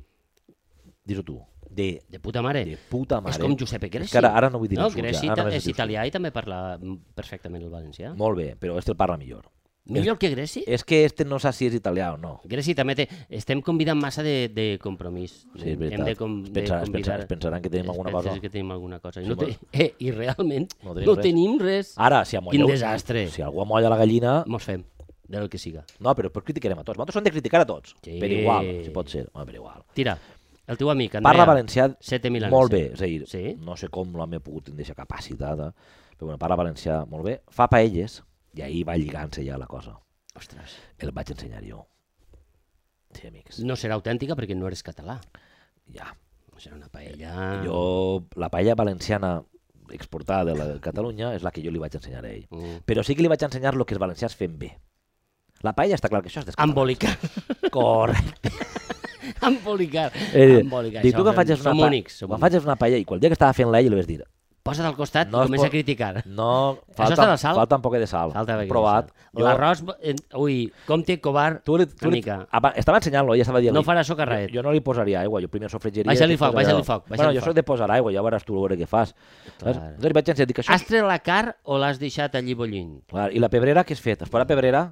Speaker 1: Dis-ho tu, de,
Speaker 2: De puta mare.
Speaker 1: de puta mare.
Speaker 2: És com Giuseppe Greci.
Speaker 1: És que ara, ara no vull dir
Speaker 2: no,
Speaker 1: insults,
Speaker 2: Greci
Speaker 1: ara
Speaker 2: ta-
Speaker 1: només
Speaker 2: és
Speaker 1: dius-
Speaker 2: italià i també parla mm, perfectament el valencià.
Speaker 1: Molt bé, però este el parla millor.
Speaker 2: Millor que Greci?
Speaker 1: És que este no sap si és italià o no.
Speaker 2: Greci també té... Estem convidant massa de, de compromís.
Speaker 1: Sí, és veritat.
Speaker 2: Hem de, com,
Speaker 1: es, pensar,
Speaker 2: de
Speaker 1: es, pensar,
Speaker 2: convidar...
Speaker 1: es pensaran que tenim
Speaker 2: es
Speaker 1: alguna
Speaker 2: pensa
Speaker 1: cosa.
Speaker 2: que tenim alguna cosa. I,
Speaker 1: Sí,
Speaker 2: no te...
Speaker 1: molt.
Speaker 2: eh, I realment
Speaker 1: No
Speaker 2: no
Speaker 1: tenim
Speaker 2: tenim no
Speaker 1: res. Ah.
Speaker 2: res. Tenim res.
Speaker 1: Ara, si amolleu...
Speaker 2: desastre.
Speaker 1: Si algú amolla la gallina...
Speaker 2: Mos fem, del que siga.
Speaker 1: No, però per criticarem a tots. Nosaltres hem de criticar a tots.
Speaker 2: Sí.
Speaker 1: Per igual, si pot ser. Home, per igual.
Speaker 2: Tira, el teu amic, Andrea.
Speaker 1: Parla valencià
Speaker 2: 7.000 anys.
Speaker 1: molt bé. És a dir,
Speaker 2: Sí.
Speaker 1: no sé com l'hem pogut tenir aquesta capacitat. Eh? Però bueno, parla valencià molt bé. Fa paelles i ahir va lligant-se ja la cosa.
Speaker 2: Ostres,
Speaker 1: El vaig ensenyar jo. Sí, amics.
Speaker 2: no serà autèntica perquè no eres català.
Speaker 1: Ja.
Speaker 2: Serà una paella...
Speaker 1: Eh, Jo, la paella valenciana exportada de la de Catalunya és la que jo li vaig ensenyar a ell.
Speaker 2: Mm.
Speaker 1: Però sí que li vaig ensenyar el que els valencians fem bé. La paella està clar que això és descatalà.
Speaker 2: Embolicar.
Speaker 1: Correcte.
Speaker 2: Embolicar.
Speaker 1: Eh,
Speaker 2: Embolicar.
Speaker 1: dic, tu
Speaker 2: això,
Speaker 1: quan facis una,
Speaker 2: som
Speaker 1: pa...
Speaker 2: únics. Som
Speaker 1: quan
Speaker 2: únics.
Speaker 1: facis una paella i qual dia que estava fent la ell li vas dir
Speaker 2: Posa't al costat
Speaker 1: No
Speaker 2: no
Speaker 1: es
Speaker 2: i comença
Speaker 1: pot-
Speaker 2: a criticar.
Speaker 1: no,
Speaker 2: està
Speaker 1: falta,
Speaker 2: de sal?
Speaker 1: falta un poc de sal.
Speaker 2: Falta
Speaker 1: He provat.
Speaker 2: Jo... L'arròs... eh, Ui, compte, covard,
Speaker 1: Tu li, tu
Speaker 2: una
Speaker 1: li,
Speaker 2: mica.
Speaker 1: apa, estava ensenyant-lo i estava dient
Speaker 2: No farà això que res.
Speaker 1: Jo, jo, no li posaria aigua, jo primer sofregiria...
Speaker 2: Baixa-li
Speaker 1: després
Speaker 2: foc, baixa-li
Speaker 1: allò.
Speaker 2: foc, baixa-li
Speaker 1: Bueno, jo
Speaker 2: foc.
Speaker 1: soc de posar aigua, ja veuràs tu a veure què fas.
Speaker 2: Clar.
Speaker 1: Saps? Llavors li vaig ensenyar, dic, això
Speaker 2: Has tret la car o l'has deixat allí bollint?
Speaker 1: Clar, I la pebrera, què has fet? Es posa pebrera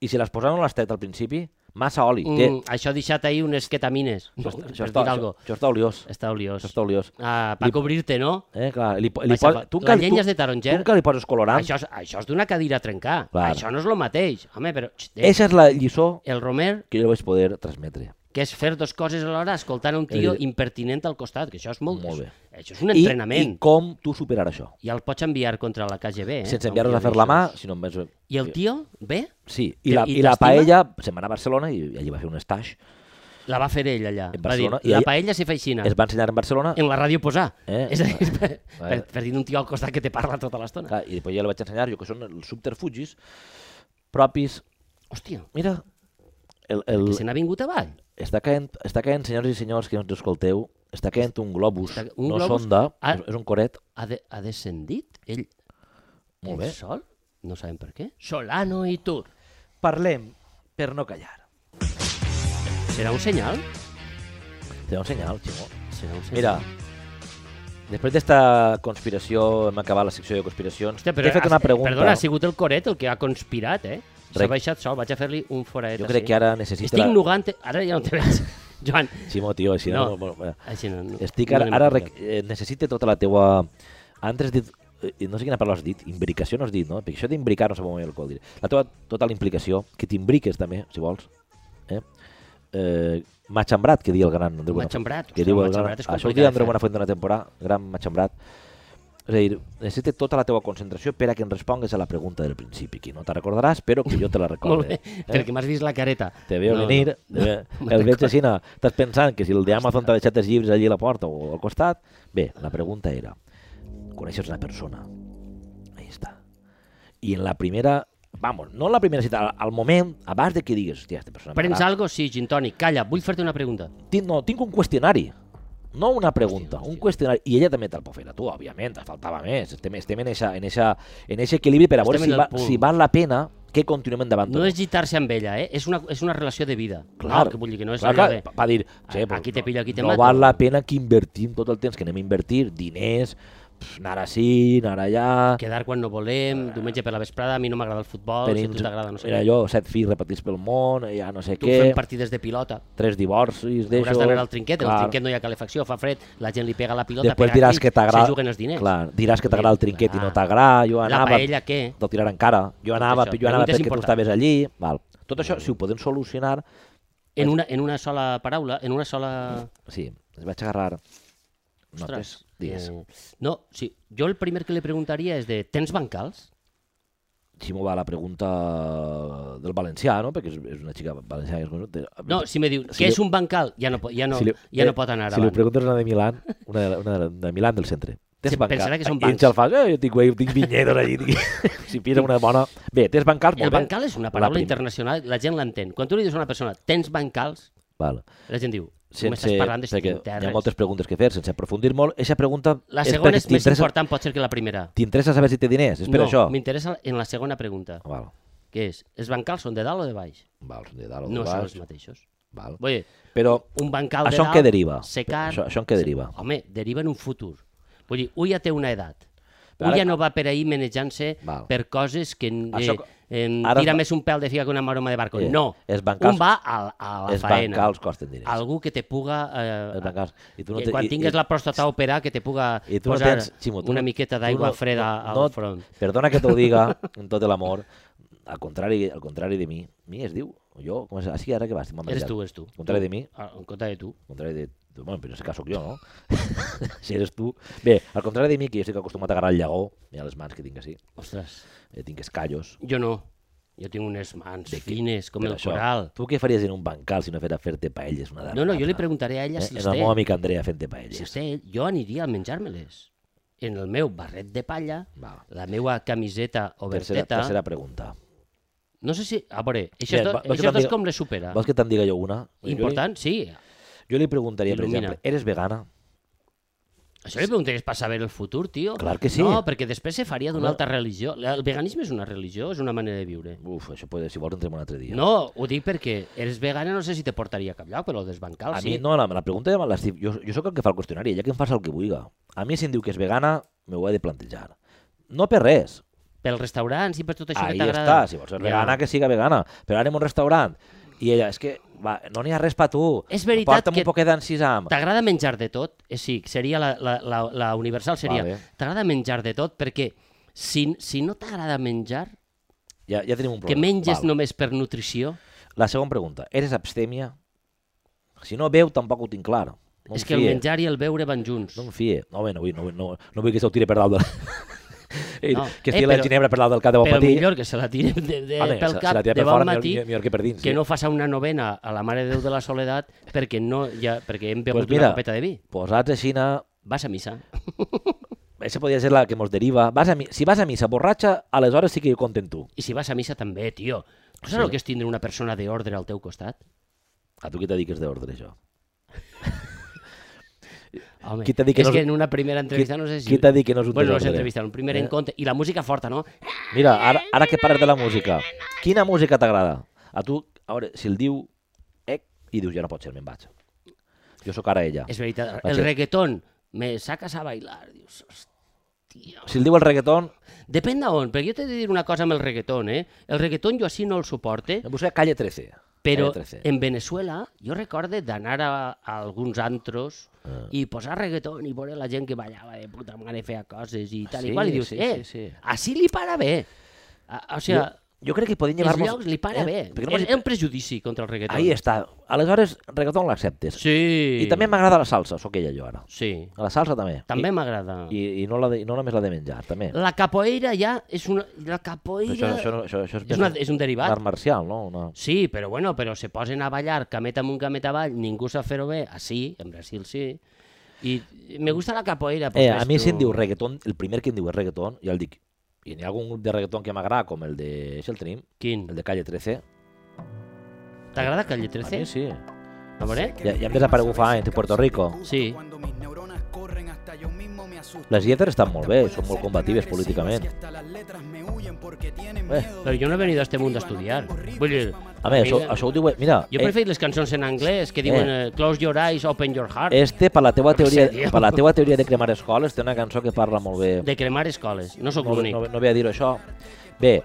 Speaker 1: i si les posant no l'has tret al principi, massa oli. Té,
Speaker 2: Mm, això ha deixat ahir unes ketamines. No,
Speaker 1: això,
Speaker 2: per
Speaker 1: està,
Speaker 2: dir
Speaker 1: això, està, això,
Speaker 2: algo.
Speaker 1: això està oliós.
Speaker 2: Està oliós.
Speaker 1: Això està oliós.
Speaker 2: Ah, per
Speaker 1: Li-
Speaker 2: cobrir-te, no?
Speaker 1: Eh, clar, li, po- li
Speaker 2: Vaja,
Speaker 1: posa-
Speaker 2: va-
Speaker 1: tu
Speaker 2: la
Speaker 1: encara-
Speaker 2: llenya
Speaker 1: tu-
Speaker 2: és de taronger.
Speaker 1: Tu encara li poses colorant.
Speaker 2: Això és, això és d'una cadira a trencar.
Speaker 1: Clar.
Speaker 2: Això no és el mateix. Home, però... Xt, eh,
Speaker 1: Eixa és la lliçó
Speaker 2: El Romer,
Speaker 1: que jo vaig poder transmetre.
Speaker 2: que és fer dos coses alhora, escoltant un tio
Speaker 1: Eh,
Speaker 2: impertinent al costat, que això és molt...
Speaker 1: Molt bé.
Speaker 2: Això és un
Speaker 1: I,
Speaker 2: entrenament.
Speaker 1: I com tu superar això?
Speaker 2: I, el pots enviar contra la KGB, eh?
Speaker 1: Sense
Speaker 2: Com
Speaker 1: enviar-los
Speaker 2: que
Speaker 1: a fer la mà,
Speaker 2: dius.
Speaker 1: sinó més...
Speaker 2: I el tio, bé,
Speaker 1: Sí, i
Speaker 2: I-
Speaker 1: la,
Speaker 2: i
Speaker 1: i la
Speaker 2: t'estima?
Speaker 1: paella se'n va anar a Barcelona i allí va fer un stash.
Speaker 2: la va fer ell allà.
Speaker 1: En
Speaker 2: Va dir,
Speaker 1: Barcelona, i
Speaker 2: la
Speaker 1: ell-
Speaker 2: paella se fa aixina.
Speaker 1: Es va ensenyar en Barcelona
Speaker 2: En la ràdio posar.
Speaker 1: Eh,
Speaker 2: És a dir, per, per,
Speaker 1: eh.
Speaker 2: per dir un tio al costat que te parla tota l'estona.
Speaker 1: clar, i després ja li vaig ensenyar jo que són els subterfugis propis...
Speaker 2: Hòstia,
Speaker 1: Mira, el, el,
Speaker 2: que se n'ha vingut avall.
Speaker 1: està caent, està caent, senyors i senyors que ens escolteu, està caent un globus,
Speaker 2: Està- un
Speaker 1: no
Speaker 2: globus?
Speaker 1: sonda,
Speaker 2: Ah.
Speaker 1: és, és un coret.
Speaker 2: Ha, de, ha descendit ell,
Speaker 1: Molt
Speaker 2: ell
Speaker 1: bé.
Speaker 2: sol? No sabem per què. Solano i Tur.
Speaker 1: Parlem per no callar.
Speaker 2: Serà un senyal?
Speaker 1: Té un senyal, Ximó.
Speaker 2: Serà un senyal.
Speaker 1: Mira, després d'esta conspiració, hem acabat la secció de conspiracions.
Speaker 2: Hòstia,
Speaker 1: T'he fet una
Speaker 2: has-
Speaker 1: pregunta.
Speaker 2: Perdona, ha sigut el Coret el que ha conspirat, eh? S'ha
Speaker 1: Rec-
Speaker 2: baixat sol, vaig a fer-li un foradet.
Speaker 1: jo crec que ara necessita...
Speaker 2: Estic nugant, ara ja no te veig. Joan,
Speaker 1: Ximó, tio, així no.
Speaker 2: No.
Speaker 1: no, no, no.
Speaker 2: així no. no
Speaker 1: Estic
Speaker 2: no
Speaker 1: ara,
Speaker 2: anem
Speaker 1: ara
Speaker 2: a
Speaker 1: rec... eh, necessite tota la teua... Antes dit, eh, no sé quina paraula has dit, imbricació no has dit, no? Perquè això d'imbricar no sé molt bé el que vol dir. La teva tota la implicació, que t'imbriques també, si vols. Eh? Eh, matxambrat, que diu el gran Andreu Buenafuente.
Speaker 2: Matxambrat,
Speaker 1: Que
Speaker 2: ostres,
Speaker 1: diu el gran...
Speaker 2: matxambrat és
Speaker 1: Això ho
Speaker 2: complicat eh?
Speaker 1: diu
Speaker 2: de
Speaker 1: Andreu
Speaker 2: fer.
Speaker 1: Buenafuente una temporada, gran matxambrat. És a dir, necessite tota la teua concentració per a que em respongues a la pregunta del principi, que no te recordaràs, però que jo te la
Speaker 2: Molt
Speaker 1: recordo.
Speaker 2: bé, eh? perquè m'has vist la careta.
Speaker 1: Te veo
Speaker 2: No, no.
Speaker 1: venir, te ve... el veig així, no. estàs pensant que si el de Amazon t'ha deixat els llibres allí a la porta o al costat... Bé, la pregunta era, coneixes una persona? Ahí està. I en la primera, vamos, no en la primera cita, al, al moment, abans de que digues, hòstia, aquesta persona...
Speaker 2: Prens
Speaker 1: m'agrada".
Speaker 2: algo? Sí, Gintoni. Calla, vull fer-te una pregunta.
Speaker 1: Tinc, no, tinc un qüestionari, no una pregunta,
Speaker 2: Hòstia,
Speaker 1: un
Speaker 2: hòstia.
Speaker 1: qüestionari. I ella també te'l pot fer a tu, òbviament, et faltava més. Estem, estem en eixa, en eixa, en eixa equilibri per a veure
Speaker 2: Estem en
Speaker 1: si,
Speaker 2: el
Speaker 1: va,
Speaker 2: punt.
Speaker 1: si val la pena que continuem endavant. o
Speaker 2: No és gitar-se amb ella, eh? És una, és una relació de vida.
Speaker 1: Clar,
Speaker 2: No, que vull dir que no és
Speaker 1: clar,
Speaker 2: allò
Speaker 1: clar,
Speaker 2: de...
Speaker 1: pa- pa dir, "Che,
Speaker 2: A-
Speaker 1: però
Speaker 2: aquí te
Speaker 1: no-
Speaker 2: pillo, aquí te
Speaker 1: no
Speaker 2: mato".
Speaker 1: val la pena que invertim tot el temps que anem a invertir, diners, pf, anar ací, anar allà...
Speaker 2: Quedar quan no
Speaker 1: Ah.
Speaker 2: volem, diumenge per la vesprada, a mi no m'agrada el futbol, si a tu t'agrada no sé
Speaker 1: era
Speaker 2: què.
Speaker 1: allò, set fills repetits pel món, ja no sé
Speaker 2: Tu
Speaker 1: què,
Speaker 2: fem partides de pilota.
Speaker 1: tres divorcis, d'això...
Speaker 2: Hauràs d'anar al trinquet, en
Speaker 1: clar.
Speaker 2: el trinquet no hi ha calefacció, fa fred, la gent li pega la pilota,
Speaker 1: Després
Speaker 2: pega
Speaker 1: diràs
Speaker 2: aquí,
Speaker 1: que t'agrada...
Speaker 2: se juguen els diners.
Speaker 1: Clar, diràs que t'agrada el trinquet i no
Speaker 2: Clar.
Speaker 1: t'agrada, jo
Speaker 2: la
Speaker 1: anava...
Speaker 2: paella què?
Speaker 1: Te'l tirar encara. Jo anava,
Speaker 2: això,
Speaker 1: jo anava
Speaker 2: preguntes
Speaker 1: perquè tu
Speaker 2: importants.
Speaker 1: estaves allí... Val. Tot
Speaker 2: Mm.
Speaker 1: això, si ho podem solucionar...
Speaker 2: En una, en una sola paraula, en una sola...
Speaker 1: Sí, es vaig agarrar... Notes,
Speaker 2: Ostres,
Speaker 1: digues.
Speaker 2: eh, No, sí, jo el primer que li preguntaria és de tens bancals?
Speaker 1: Ximo va a la pregunta del valencià, no? Perquè és, és una xica valenciana. que és-
Speaker 2: No, si me diu,
Speaker 1: Si
Speaker 2: què
Speaker 1: li- eh,
Speaker 2: és un bancal? Ja no, po- ja no, ja no pot anar
Speaker 1: Si li
Speaker 2: avant.
Speaker 1: preguntes una de Milán, una de, una de, de Milán del centre. Tens
Speaker 2: Sí, pensarà que són
Speaker 1: I
Speaker 2: bancs.
Speaker 1: ells el fan, eh, jo tinc, jo tinc vinyedos allí. Tinc... si pira una bona... Bé, tens bancals, molt
Speaker 2: El
Speaker 1: bé.
Speaker 2: bancal és una paraula
Speaker 1: prim-
Speaker 2: internacional, la gent l'entén. Quan tu li dius a una persona, tens bancals,
Speaker 1: Val.
Speaker 2: la gent diu, m'estàs parlant de
Speaker 1: perquè hi
Speaker 2: Terres.
Speaker 1: ha moltes preguntes que fer, sense aprofundir molt. Eixa pregunta
Speaker 2: La
Speaker 1: és
Speaker 2: segona
Speaker 1: perquè
Speaker 2: és més
Speaker 1: t'interessa-
Speaker 2: important potser que la primera.
Speaker 1: T'interessa saber si té diners? És per
Speaker 2: no,
Speaker 1: això?
Speaker 2: m'interessa en la segona pregunta,
Speaker 1: Val,
Speaker 2: que és, els bancals són de dalt o de baix?
Speaker 1: val, de dalt o
Speaker 2: no
Speaker 1: de
Speaker 2: són
Speaker 1: baix.
Speaker 2: els mateixos.
Speaker 1: Val.
Speaker 2: Vull dir,
Speaker 1: Però
Speaker 2: un bancal de
Speaker 1: això en
Speaker 2: dalt...
Speaker 1: què deriva?
Speaker 2: Secar,
Speaker 1: Això, això en què deriva?
Speaker 2: Home, deriva en un futur. Vull dir, un ja té una edat.
Speaker 1: Però
Speaker 2: Un
Speaker 1: ara-
Speaker 2: ja no va per ahir manejant-se
Speaker 1: Val.
Speaker 2: per coses que eh,
Speaker 1: Això-
Speaker 2: eh,
Speaker 1: ara es
Speaker 2: tira
Speaker 1: va-
Speaker 2: més un pèl de figa que una maroma de barco.
Speaker 1: Eh,
Speaker 2: No,
Speaker 1: els bancals-
Speaker 2: un va a, la- a la
Speaker 1: Els
Speaker 2: faena.
Speaker 1: bancals costen diners.
Speaker 2: Algú que te puga...
Speaker 1: Els
Speaker 2: Eh,
Speaker 1: bancals. I tu
Speaker 2: no
Speaker 1: te-
Speaker 2: quan
Speaker 1: i-
Speaker 2: tingues
Speaker 1: i-
Speaker 2: la pròstata a operar, que te puga
Speaker 1: i tu no
Speaker 2: posar
Speaker 1: tens, Ximo, tu
Speaker 2: una
Speaker 1: no-
Speaker 2: miqueta
Speaker 1: tu
Speaker 2: d'aigua
Speaker 1: no-
Speaker 2: freda
Speaker 1: no-
Speaker 2: al
Speaker 1: no-
Speaker 2: front.
Speaker 1: Perdona que t'ho diga, amb tot l'amor, al contrari, al contrari de mi, mi es diu, o jo, com és, ah, sí, ara que vas, m'ha
Speaker 2: Eres
Speaker 1: menjat.
Speaker 2: tu, eres tu.
Speaker 1: Al contrari de mi,
Speaker 2: Ah, En compte de tu.
Speaker 1: al contrari de... de- Bueno, però en aquest cas sóc jo, no? si eres tu... Bé, al contrari de mi, que jo estic acostumat a agarrar el llagó, mira les mans que tinc així,
Speaker 2: Ostres,
Speaker 1: eh, tinc escallos,
Speaker 2: jo no. Jo tinc unes mans
Speaker 1: De què?
Speaker 2: fines, com
Speaker 1: Per
Speaker 2: el coral.
Speaker 1: Tu què faries en un bancal si no fera fer-te paelles una darrere?
Speaker 2: No, no, jo li
Speaker 1: l'altra?
Speaker 2: preguntaré a ella si
Speaker 1: Eh?
Speaker 2: les
Speaker 1: És la
Speaker 2: té.
Speaker 1: meva amica Andrea fent-te
Speaker 2: Si
Speaker 1: paelles.
Speaker 2: es té, jo aniria a menjar-me-les. En el meu barret de palla,
Speaker 1: Va.
Speaker 2: la meva camiseta
Speaker 1: Tercera,
Speaker 2: oberteta...
Speaker 1: tercera pregunta.
Speaker 2: No sé si... A veure,
Speaker 1: Mira,
Speaker 2: aquestes do,
Speaker 1: va- vols que
Speaker 2: aquestes
Speaker 1: te'n
Speaker 2: dos
Speaker 1: diga-
Speaker 2: com les supera?
Speaker 1: Vols que te'n diga jo una?
Speaker 2: Ah. Important, sí.
Speaker 1: Jo li, jo li preguntaria,
Speaker 2: Il·lumina.
Speaker 1: per exemple, eres vegana?
Speaker 2: Això li preguntaries per saber el futur, tio.
Speaker 1: Clar que sí.
Speaker 2: No, perquè després se faria d'una
Speaker 1: No.
Speaker 2: altra religió. El veganisme és una religió, és una manera de viure.
Speaker 1: Uf, això pot, si vols entrem un altre dia.
Speaker 2: No, ho dic perquè eres vegana no sé si te portaria a cap lloc, però desbancal,
Speaker 1: a
Speaker 2: sí.
Speaker 1: mi, no, la, la pregunta ja me l'estic... Jo, jo sóc el que fa el qüestionari, ja que em fas el que vulga. A mi, si em diu que és vegana, m'ho he de plantejar. No per res.
Speaker 2: Pels restaurants i per tot això
Speaker 1: Ahí
Speaker 2: que t'agrada.
Speaker 1: està, si vols ser vegana, que siga vegana. Però ara anem a un restaurant i ella, és que va, no n'hi ha res per tu.
Speaker 2: És veritat
Speaker 1: Porta'm
Speaker 2: que-
Speaker 1: un poquet d'encisam.
Speaker 2: T'agrada menjar de tot? Eh, sí, seria la, la, la, la universal seria.
Speaker 1: Vale.
Speaker 2: T'agrada menjar de tot perquè si, si no t'agrada menjar,
Speaker 1: Ja, ja tenim un
Speaker 2: que
Speaker 1: problema.
Speaker 2: menges
Speaker 1: Val.
Speaker 2: només per nutrició,
Speaker 1: La segona pregunta. Eres abstèmia? Si no veu, tampoc ho tinc clar. No
Speaker 2: és
Speaker 1: em
Speaker 2: que el
Speaker 1: fie.
Speaker 2: menjar i el beure van junts.
Speaker 1: No em fie. No, bé, no, vull, no, vull- no, no vull que se'l tiri per dalt de... Ei,
Speaker 2: No.
Speaker 1: Que
Speaker 2: Eh,
Speaker 1: estigui la
Speaker 2: però-
Speaker 1: ginebra per dalt del cap de bon
Speaker 2: Però
Speaker 1: matí.
Speaker 2: millor que se la tirem de, de,
Speaker 1: Home,
Speaker 2: pel
Speaker 1: se- se
Speaker 2: cap
Speaker 1: la tira
Speaker 2: de
Speaker 1: per
Speaker 2: bon
Speaker 1: fora,
Speaker 2: matí,
Speaker 1: millor, millor que per dins. eh.
Speaker 2: que no fas una novena a la Mare de Déu de la Soledat perquè no hi ha, perquè hem begut
Speaker 1: mira.
Speaker 2: una copeta de vi.
Speaker 1: Posats així,
Speaker 2: Vas a missa.
Speaker 1: Això podria ser la que mos deriva. Vas a, mi- si vas a missa borratxa, aleshores sí que jo compte en tu.
Speaker 2: I si vas a missa també, tio. Tu saps
Speaker 1: Sí.
Speaker 2: el que és tindre una persona d'ordre al teu costat?
Speaker 1: A tu qui t'adiques d'ordre, això?
Speaker 2: Home,
Speaker 1: Qui t'ha dit que
Speaker 2: és
Speaker 1: no-
Speaker 2: que en una primera entrevista no sé si...
Speaker 1: Qui t'ha dit que no és un
Speaker 2: Bueno, no
Speaker 1: desordre?
Speaker 2: s'entrevista, un primer
Speaker 1: Eh?
Speaker 2: encontre. I la música forta, no?
Speaker 1: Mira, ara, ara que parles de la música, quina música t'agrada? A tu, a veure, si el diu ec, i dius, ja no pot ser, me'n vaig. Jo sóc ara ella.
Speaker 2: És veritat,
Speaker 1: Va
Speaker 2: el
Speaker 1: ser-
Speaker 2: reggaeton, me sacas a bailar, dius, hòstia...
Speaker 1: Si el diu el reggaeton,
Speaker 2: Depèn d'on, perquè jo t'he de dir una cosa amb el reggaeton, eh? El reggaeton jo així no el suporte,
Speaker 1: em busca Calle 13.
Speaker 2: però
Speaker 1: Calle 13.
Speaker 2: en Venezuela jo recorde d'anar a, a alguns antros
Speaker 1: Ah.
Speaker 2: i posar reggaeton i veure la gent que ballava de puta mare, feia coses i tal
Speaker 1: Ah, Sí,
Speaker 2: i qual, i dius,
Speaker 1: sí,
Speaker 2: eh,
Speaker 1: sí, sí.
Speaker 2: així li para bé. A, o
Speaker 1: Jo,
Speaker 2: sigui,
Speaker 1: jo crec que podem
Speaker 2: els
Speaker 1: llevar-nos... eh?
Speaker 2: llocs li para bé.
Speaker 1: perquè
Speaker 2: És,
Speaker 1: No
Speaker 2: és un prejudici contra el reggaeton.
Speaker 1: Ahí està. Aleshores, reggaeton l'acceptes.
Speaker 2: Sí.
Speaker 1: I també m'agrada la salsa, sóc ella jo ara.
Speaker 2: Sí,
Speaker 1: A la salsa també.
Speaker 2: també m'agrada.
Speaker 1: I, i, i no, la de, no només la de menjar, també.
Speaker 2: La capoeira ja és una... La
Speaker 1: Però
Speaker 2: capoeira...
Speaker 1: això, això, no- això, això és,
Speaker 2: És, una, és un derivat.
Speaker 1: art marcial, no? Una...
Speaker 2: Sí, però bueno, però se posen a ballar camet amunt, camet avall, ningú sap fer-ho bé, així, en Brasil sí, i me gusta la capoeira. Pues
Speaker 1: Eh, a mi si em diu reggaeton, el primer que em diu és reggaeton, ja el dic. I n'hi ha algun grup de reggaeton que m'agrada, com el de... Això el tenim,
Speaker 2: Quin?
Speaker 1: el de Calle 13.
Speaker 2: T'agrada Calle
Speaker 1: A mi
Speaker 2: 13?
Speaker 1: sí.
Speaker 2: A veure?
Speaker 1: Ja, ja hem desaparegut fa anys de Puerto Rico.
Speaker 2: eh? Sí.
Speaker 3: Les lletres estan molt bé,
Speaker 1: són
Speaker 3: són
Speaker 1: molt
Speaker 3: molt
Speaker 1: combatives
Speaker 3: combatives
Speaker 1: políticament.
Speaker 3: políticament.
Speaker 1: Bé,
Speaker 2: Però jo no he venit a este món d'estudiar. Vull dir,
Speaker 1: A més, això, això ho diu... Mira,
Speaker 2: jo
Speaker 1: eh,
Speaker 2: prefereixo les cançons en anglès que diuen eh, Close your eyes, open your heart,
Speaker 1: este, per la, teua
Speaker 2: que
Speaker 1: teoria,
Speaker 2: sé, tio.
Speaker 1: per la teua teoria de cremar escoles, té una cançó que parla molt bé.
Speaker 2: de cremar escoles. No sóc
Speaker 1: No,
Speaker 2: l'únic.
Speaker 1: no, no ve a dir això. Bé,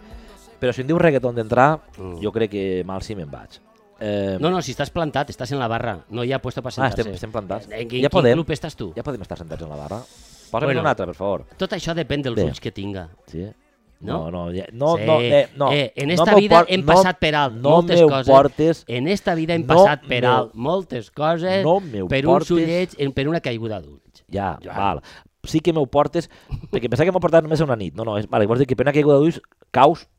Speaker 1: però si em diu reggaeton d'entrar,
Speaker 2: Mm.
Speaker 1: jo crec que mal si me'n vaig. Eh,
Speaker 2: No, no, si estàs plantat, estàs en la barra, no hi ha puesto per
Speaker 1: ah, estem,
Speaker 2: sentar-se. Eh,
Speaker 1: estem plantats.
Speaker 2: En quin, quin
Speaker 1: ja, podem,
Speaker 2: club estàs tu?
Speaker 1: ja podem estar sentats en la barra. Posa'm
Speaker 2: Bueno.
Speaker 1: bueno. un altre, per favor.
Speaker 2: Tot això depèn dels
Speaker 1: Bé.
Speaker 2: ulls que tinga.
Speaker 1: Sí.
Speaker 2: No?
Speaker 1: No, no, ja- no,
Speaker 2: Sí.
Speaker 1: no, eh, no.
Speaker 2: Eh, en
Speaker 1: No
Speaker 2: esta
Speaker 1: m'ho
Speaker 2: vida
Speaker 1: por-
Speaker 2: hem
Speaker 1: no-
Speaker 2: passat per alt
Speaker 1: no
Speaker 2: moltes
Speaker 1: m'ho
Speaker 2: coses. Eh,
Speaker 1: portes-
Speaker 2: En esta vida hem
Speaker 1: No
Speaker 2: passat per
Speaker 1: m'ho-
Speaker 2: alt moltes coses
Speaker 1: no m'ho
Speaker 2: per uns
Speaker 1: portes-
Speaker 2: ullets, en- per una caiguda d'ulls.
Speaker 1: Ja,
Speaker 2: Joan.
Speaker 1: val. Sí que m'ho portes, perquè pensava que m'ho portat només una nit. No, no, és, vale, vols dir que per una caiguda d'ulls caus,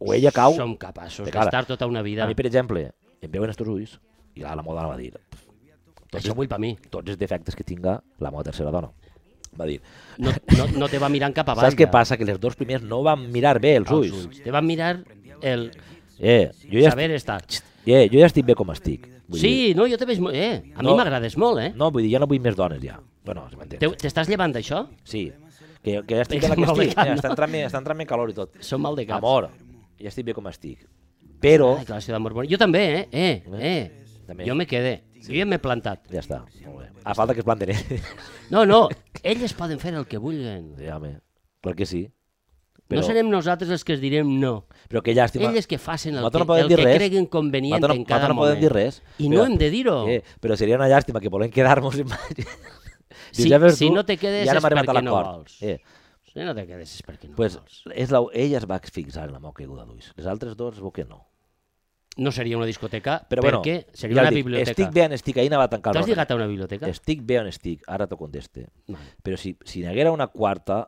Speaker 1: o ella cau.
Speaker 2: Som capaços
Speaker 1: Perquè, clar,
Speaker 2: d'estar tota una vida.
Speaker 1: A mi, per exemple, em veuen els teus ulls i la, la meva dona va dir tots,
Speaker 2: Això ho vull per mi.
Speaker 1: tots els defectes que tinga la meva tercera dona. Va dir,
Speaker 2: No, no, no te va mirant cap avall.
Speaker 1: saps què
Speaker 2: ja,
Speaker 1: passa? Que les dos
Speaker 2: Ah,
Speaker 1: primers no van mirar bé els
Speaker 2: als
Speaker 1: ulls.
Speaker 2: Te van mirar el
Speaker 1: Eh, jo ja,
Speaker 2: saber estar.
Speaker 1: est- Yeah, jo ja estic bé com estic. Vull
Speaker 2: sí, no, jo també... és mo- Eh, a mi
Speaker 1: No.
Speaker 2: m'agrades molt, eh?
Speaker 1: Dir, no, vull dir, ja no vull més dones, ja. Bueno, si m'entens.
Speaker 2: Teu- T'estàs llevant d'això?
Speaker 1: Sí, que, que ja estic
Speaker 2: Vinga,
Speaker 1: bé la que
Speaker 2: molt
Speaker 1: estic.
Speaker 2: bé,
Speaker 1: eh,
Speaker 2: no?
Speaker 1: Està entrant-me està entrant calor i tot.
Speaker 2: Som mal de cap.
Speaker 1: Amor, ja estic bé com estic. Però,
Speaker 2: Ai, declaració d'amor bona. Jo també, eh? Eh, eh.
Speaker 1: També.
Speaker 2: Jo me quedé. Sí. Jo ja m'he plantat.
Speaker 1: ja està, molt bé. A falta que es planten eh? ells.
Speaker 2: No, no, elles poden fer el que vulguen.
Speaker 1: Ja, home, clar que sí.
Speaker 2: Però...
Speaker 1: Però,
Speaker 2: No serem nosaltres els que els direm no.
Speaker 1: però que llàstima.
Speaker 2: Elles que facin el que,
Speaker 1: Nosaltres no podem
Speaker 2: el
Speaker 1: dir
Speaker 2: que
Speaker 1: res.
Speaker 2: creguen convenient
Speaker 1: Nosaltres
Speaker 2: en
Speaker 1: nosaltres
Speaker 2: cada
Speaker 1: no podem
Speaker 2: moment.
Speaker 1: dir res.
Speaker 2: I no
Speaker 1: Però-
Speaker 2: hem de dir-ho.
Speaker 1: Eh, però seria una llàstima que volem quedar-nos en
Speaker 2: Si- si no te quedes és perquè no vols.
Speaker 1: Eh,
Speaker 2: Si no te quedes és perquè no
Speaker 1: pues,
Speaker 2: vols.
Speaker 1: és la, ella es va fixar en la meva caiguda d'ulls. Les altres dues es veu que no.
Speaker 2: No seria una discoteca,
Speaker 1: Però bueno,
Speaker 2: perquè seria
Speaker 1: ja
Speaker 2: una
Speaker 1: ho dic,
Speaker 2: biblioteca.
Speaker 1: Estic bé on estic, ahir anava a tancar el
Speaker 2: T'has
Speaker 1: rodet.
Speaker 2: lligat a una biblioteca?
Speaker 1: Estic bé on estic, ara t'ho conteste.
Speaker 2: Vale.
Speaker 1: Però si, si n'haguera una quarta,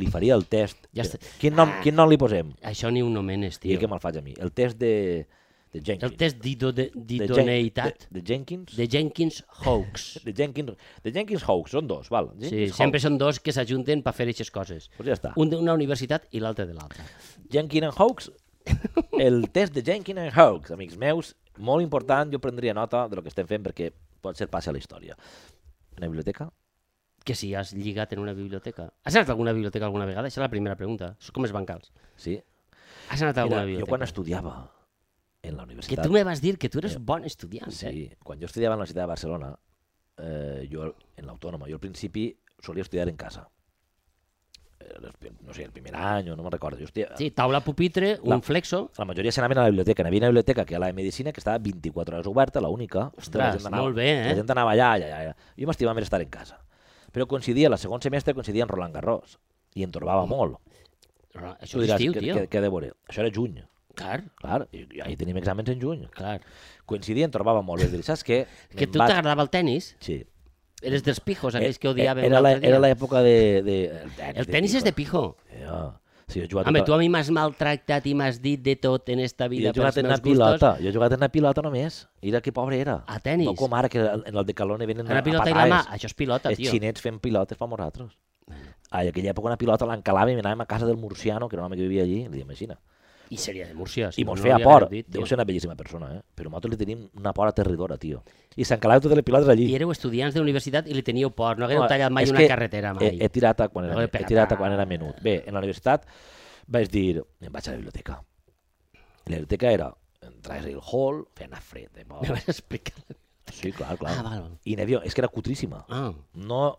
Speaker 1: li faria el test.
Speaker 2: Ja
Speaker 1: Però
Speaker 2: està.
Speaker 1: Quin nom,
Speaker 2: Ah.
Speaker 1: quin nom li posem?
Speaker 2: Això ni un nomenes,
Speaker 1: I
Speaker 2: tio.
Speaker 1: què me'l faig a mi? El test de, de Jenkins.
Speaker 2: El test d'ido- de-
Speaker 1: de, Jen-
Speaker 2: d'idoneïtat
Speaker 1: de, de Jenkins?
Speaker 2: de Jenkins Hoax.
Speaker 1: De Jenkins, de Jenkins Hawks, són dos, val.
Speaker 2: Sí,
Speaker 1: Jenkins
Speaker 2: sempre
Speaker 1: Hawks.
Speaker 2: són dos que s'ajunten per fer aquestes coses.
Speaker 1: Pues ja està.
Speaker 2: Un d'una universitat i l'altre de l'altra.
Speaker 1: Jenkins and Hawks, el test de Jenkins and Hawks, amics meus, molt important, jo prendria nota de lo que estem fent perquè pot ser passi a la història. Una biblioteca?
Speaker 2: Que si has lligat en una biblioteca... Has anat a alguna biblioteca alguna vegada? Això és la primera pregunta. És com els bancals.
Speaker 1: Sí.
Speaker 2: Has anat a alguna
Speaker 1: Mira, jo
Speaker 2: biblioteca?
Speaker 1: quan estudiava en la
Speaker 2: Que
Speaker 1: universitat...
Speaker 2: tu me vas dir que tu eres
Speaker 1: Eh,
Speaker 2: bon estudiant, eh?
Speaker 1: Sí, quan jo estudiava a la Universitat de Barcelona, eh, jo al- en l'Autònoma, jo al principi solia estudiar en casa. Eh, les prim- No sé, el primer any o no me'n recordo. Jo estudiava,
Speaker 2: Sí, taula pupitre, un
Speaker 1: La-
Speaker 2: flexo...
Speaker 1: La majoria se n'anaven a la biblioteca. N'hi havia una biblioteca que era la de Medicina, que estava 24 hores oberta, la única. Ostres, la gent
Speaker 2: molt bé, eh?
Speaker 1: La gent anava allà, allà, allà. Jo m'estimava més estar en casa. Però coincidia, la segon semestre coincidia en Roland Garros. I em torbava molt.
Speaker 2: Però Mm. Això
Speaker 1: Tu
Speaker 2: és
Speaker 1: diràs,
Speaker 2: estiu,
Speaker 1: què-
Speaker 2: tio.
Speaker 1: què- què he de veure? Això era juny.
Speaker 2: Clar,
Speaker 1: Clar, i, i ahir tenim exàmens en juny.
Speaker 2: clar.
Speaker 1: Coincidia, em torbava molt. Vaig dir, saps què?
Speaker 2: Que
Speaker 1: Me'n
Speaker 2: tu
Speaker 1: vaig-
Speaker 2: t'agradava el tennis?
Speaker 1: Sí.
Speaker 2: Eres dels pijos, aquells que
Speaker 1: Eh,
Speaker 2: odiaven
Speaker 1: era, la,
Speaker 2: l'altre dia.
Speaker 1: era l'època de, de... El tenis,
Speaker 2: El tennis és de pijo.
Speaker 1: Ja. Sí, jo he jugat,
Speaker 2: Home,
Speaker 1: tota-
Speaker 2: tu a mi m'has maltractat i m'has dit de tot en esta
Speaker 1: jo
Speaker 2: vida
Speaker 1: he jugat
Speaker 2: pels
Speaker 1: en una
Speaker 2: meus gustos.
Speaker 1: pilota. Jo he jugat en una pilota només. Mira que pobre era.
Speaker 2: A tenis?
Speaker 1: No com ara, que en el de Calone venen
Speaker 2: Una
Speaker 1: a
Speaker 2: pilota i la mà,
Speaker 1: patades.
Speaker 2: això és pilota,
Speaker 1: Els
Speaker 2: tio.
Speaker 1: xinets fent pilotes per nosaltres. A aquella època una pilota l'encalava i anàvem a casa del murciano, que era un home que vivia allí, li imagina.
Speaker 2: I seria de Múrcia.
Speaker 1: I mos
Speaker 2: no
Speaker 1: feia
Speaker 2: li
Speaker 1: por.
Speaker 2: hagués dit, tio.
Speaker 1: Deu ser una bellíssima persona, eh? Però nosaltres li tenim una por aterridora, tio. I s'encalava totes les pilotes allí.
Speaker 2: I éreu estudiants d'universitat i li teníeu por, no hagueu
Speaker 1: No,
Speaker 2: tallat mai
Speaker 1: és
Speaker 2: una
Speaker 1: que e-
Speaker 2: carretera
Speaker 1: He,
Speaker 2: mai.
Speaker 1: he, tirat a quan
Speaker 2: No
Speaker 1: era,
Speaker 2: he
Speaker 1: he
Speaker 2: pegat
Speaker 1: tirat a
Speaker 2: res.
Speaker 1: quan era menut. Bé, en la universitat vaig dir, em vaig a la biblioteca. I la biblioteca era, entraves al hall, feia una fred. Eh, bo.
Speaker 2: Me vas explicar.
Speaker 1: sí, clar, clar.
Speaker 2: Ah, val, val.
Speaker 1: I n'hi havia, és que era cutríssima.
Speaker 2: Ah,
Speaker 1: no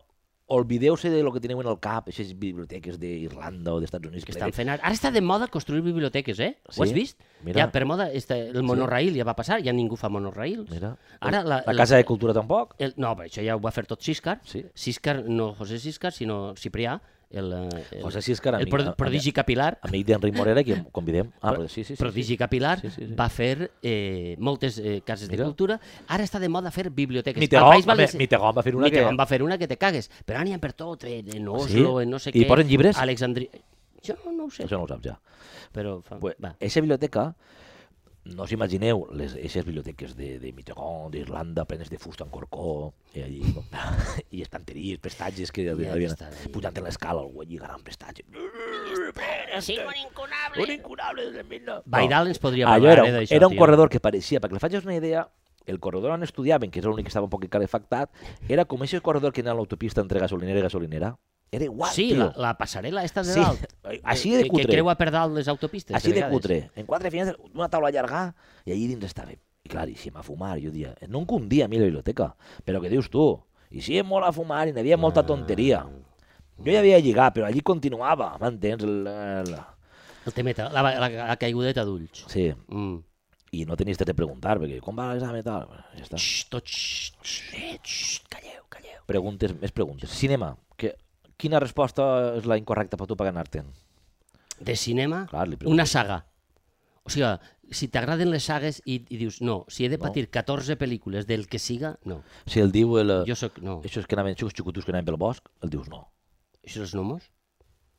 Speaker 1: olvideu-se de lo que teniu en el cap, aquestes biblioteques d'Irlanda o d'Estats Units.
Speaker 2: que estan fent ara. Ara està de moda construir biblioteques, eh?
Speaker 1: Sí?
Speaker 2: Ho has vist?
Speaker 1: Mira.
Speaker 2: Ja, per moda, este, el monorail ja va passar, ja ningú fa monorails.
Speaker 1: Mira,
Speaker 2: Ara la,
Speaker 1: la Casa de Cultura tampoc?
Speaker 2: El, no, però això ja ho va fer tot Siscar.
Speaker 1: Sí.
Speaker 2: Siscar, no José Siscar, sinó Ciprià, el, eh, el,
Speaker 1: José Siscar,
Speaker 2: el
Speaker 1: amic,
Speaker 2: pro- prodigi capilar.
Speaker 1: amic d'Enric Morera, que em convidem. Ah, però, sí, sí, sí, sí.
Speaker 2: Prodigi Capilar
Speaker 1: Sí, sí, sí.
Speaker 2: va fer eh, moltes eh, cases de
Speaker 1: Mira.
Speaker 2: cultura. Ara està de moda fer biblioteques.
Speaker 1: Mitterrand,
Speaker 2: Al País
Speaker 1: home,
Speaker 2: Valencià-
Speaker 1: Mitterrand va fer una que-
Speaker 2: Mitterrand va fer una que te cagues. Però ara n'hi ha per tot, eh, en Oslo, en no sé
Speaker 1: I
Speaker 2: què.
Speaker 1: posen llibres?
Speaker 2: Alexandria... Jo no, no ho sé,
Speaker 1: Això no ho saps ja.
Speaker 2: però... Fa...
Speaker 1: Pues,
Speaker 2: va.
Speaker 1: eixa biblioteca, no us imagineu, les, eixes biblioteques de, de Mitterrand, d'Irlanda, plenes de fusta en corcó, i, allí, com- i estanteries, prestatges que havien, havien
Speaker 2: està, ja.
Speaker 1: pujant en l'escala, algú allí agarrant prestatges.
Speaker 4: Sí, un incunable.
Speaker 1: Ah, Un incurable de mil...
Speaker 2: Baidal ens podria
Speaker 1: Allò
Speaker 2: parlar,
Speaker 1: era,
Speaker 2: eh,
Speaker 1: un,
Speaker 2: d'això,
Speaker 1: era un
Speaker 2: tio.
Speaker 1: corredor que pareixia, perquè li facis una idea, el corredor on estudiaven, que era l'únic que estava un poc calefactat, era com aquest corredor que anava a l'autopista entre gasolinera i gasolinera. Era igual,
Speaker 2: Sí,
Speaker 1: tio.
Speaker 2: la, la passarel·la esta de
Speaker 1: Sí,
Speaker 2: dalt.
Speaker 1: així
Speaker 2: que-
Speaker 1: de cutre.
Speaker 2: Que creua per dalt les autopistes.
Speaker 1: Així de
Speaker 2: vegades.
Speaker 1: cutre. En quatre finestres, una taula llarga, i allí dins estava. I clar, i si em va fumar, jo dia, no em condia a mi la biblioteca, però què dius tu? I si em mola fumar, i n'hi havia
Speaker 2: Ah.
Speaker 1: molta tonteria. Jo ja havia lligat, però allí continuava, m'entens? El, el...
Speaker 2: El temeta, la, la, la caigudeta d'ulls.
Speaker 1: Sí,
Speaker 2: Mm.
Speaker 1: i no tenies temps de preguntar, perquè com va l'examen i tal? Bueno, Ja està.
Speaker 2: Xxt, tot xxt, xxt, eh, xxt, calleu, calleu.
Speaker 1: Preguntes, més preguntes. Cinema, que, quina resposta és la incorrecta per tu per ganar-te'n?
Speaker 2: De cinema,
Speaker 1: Clar, li pregunto.
Speaker 2: una saga. O sigui, si t'agraden les sagues i, i dius, no, si he de
Speaker 1: No.
Speaker 2: patir 14 pel·lícules del que siga, no.
Speaker 1: Si el diu el...
Speaker 2: Jo sóc, no.
Speaker 1: Això és que anaven xucs xucutus que anaven pel bosc, el dius no.
Speaker 2: Això són els nomos?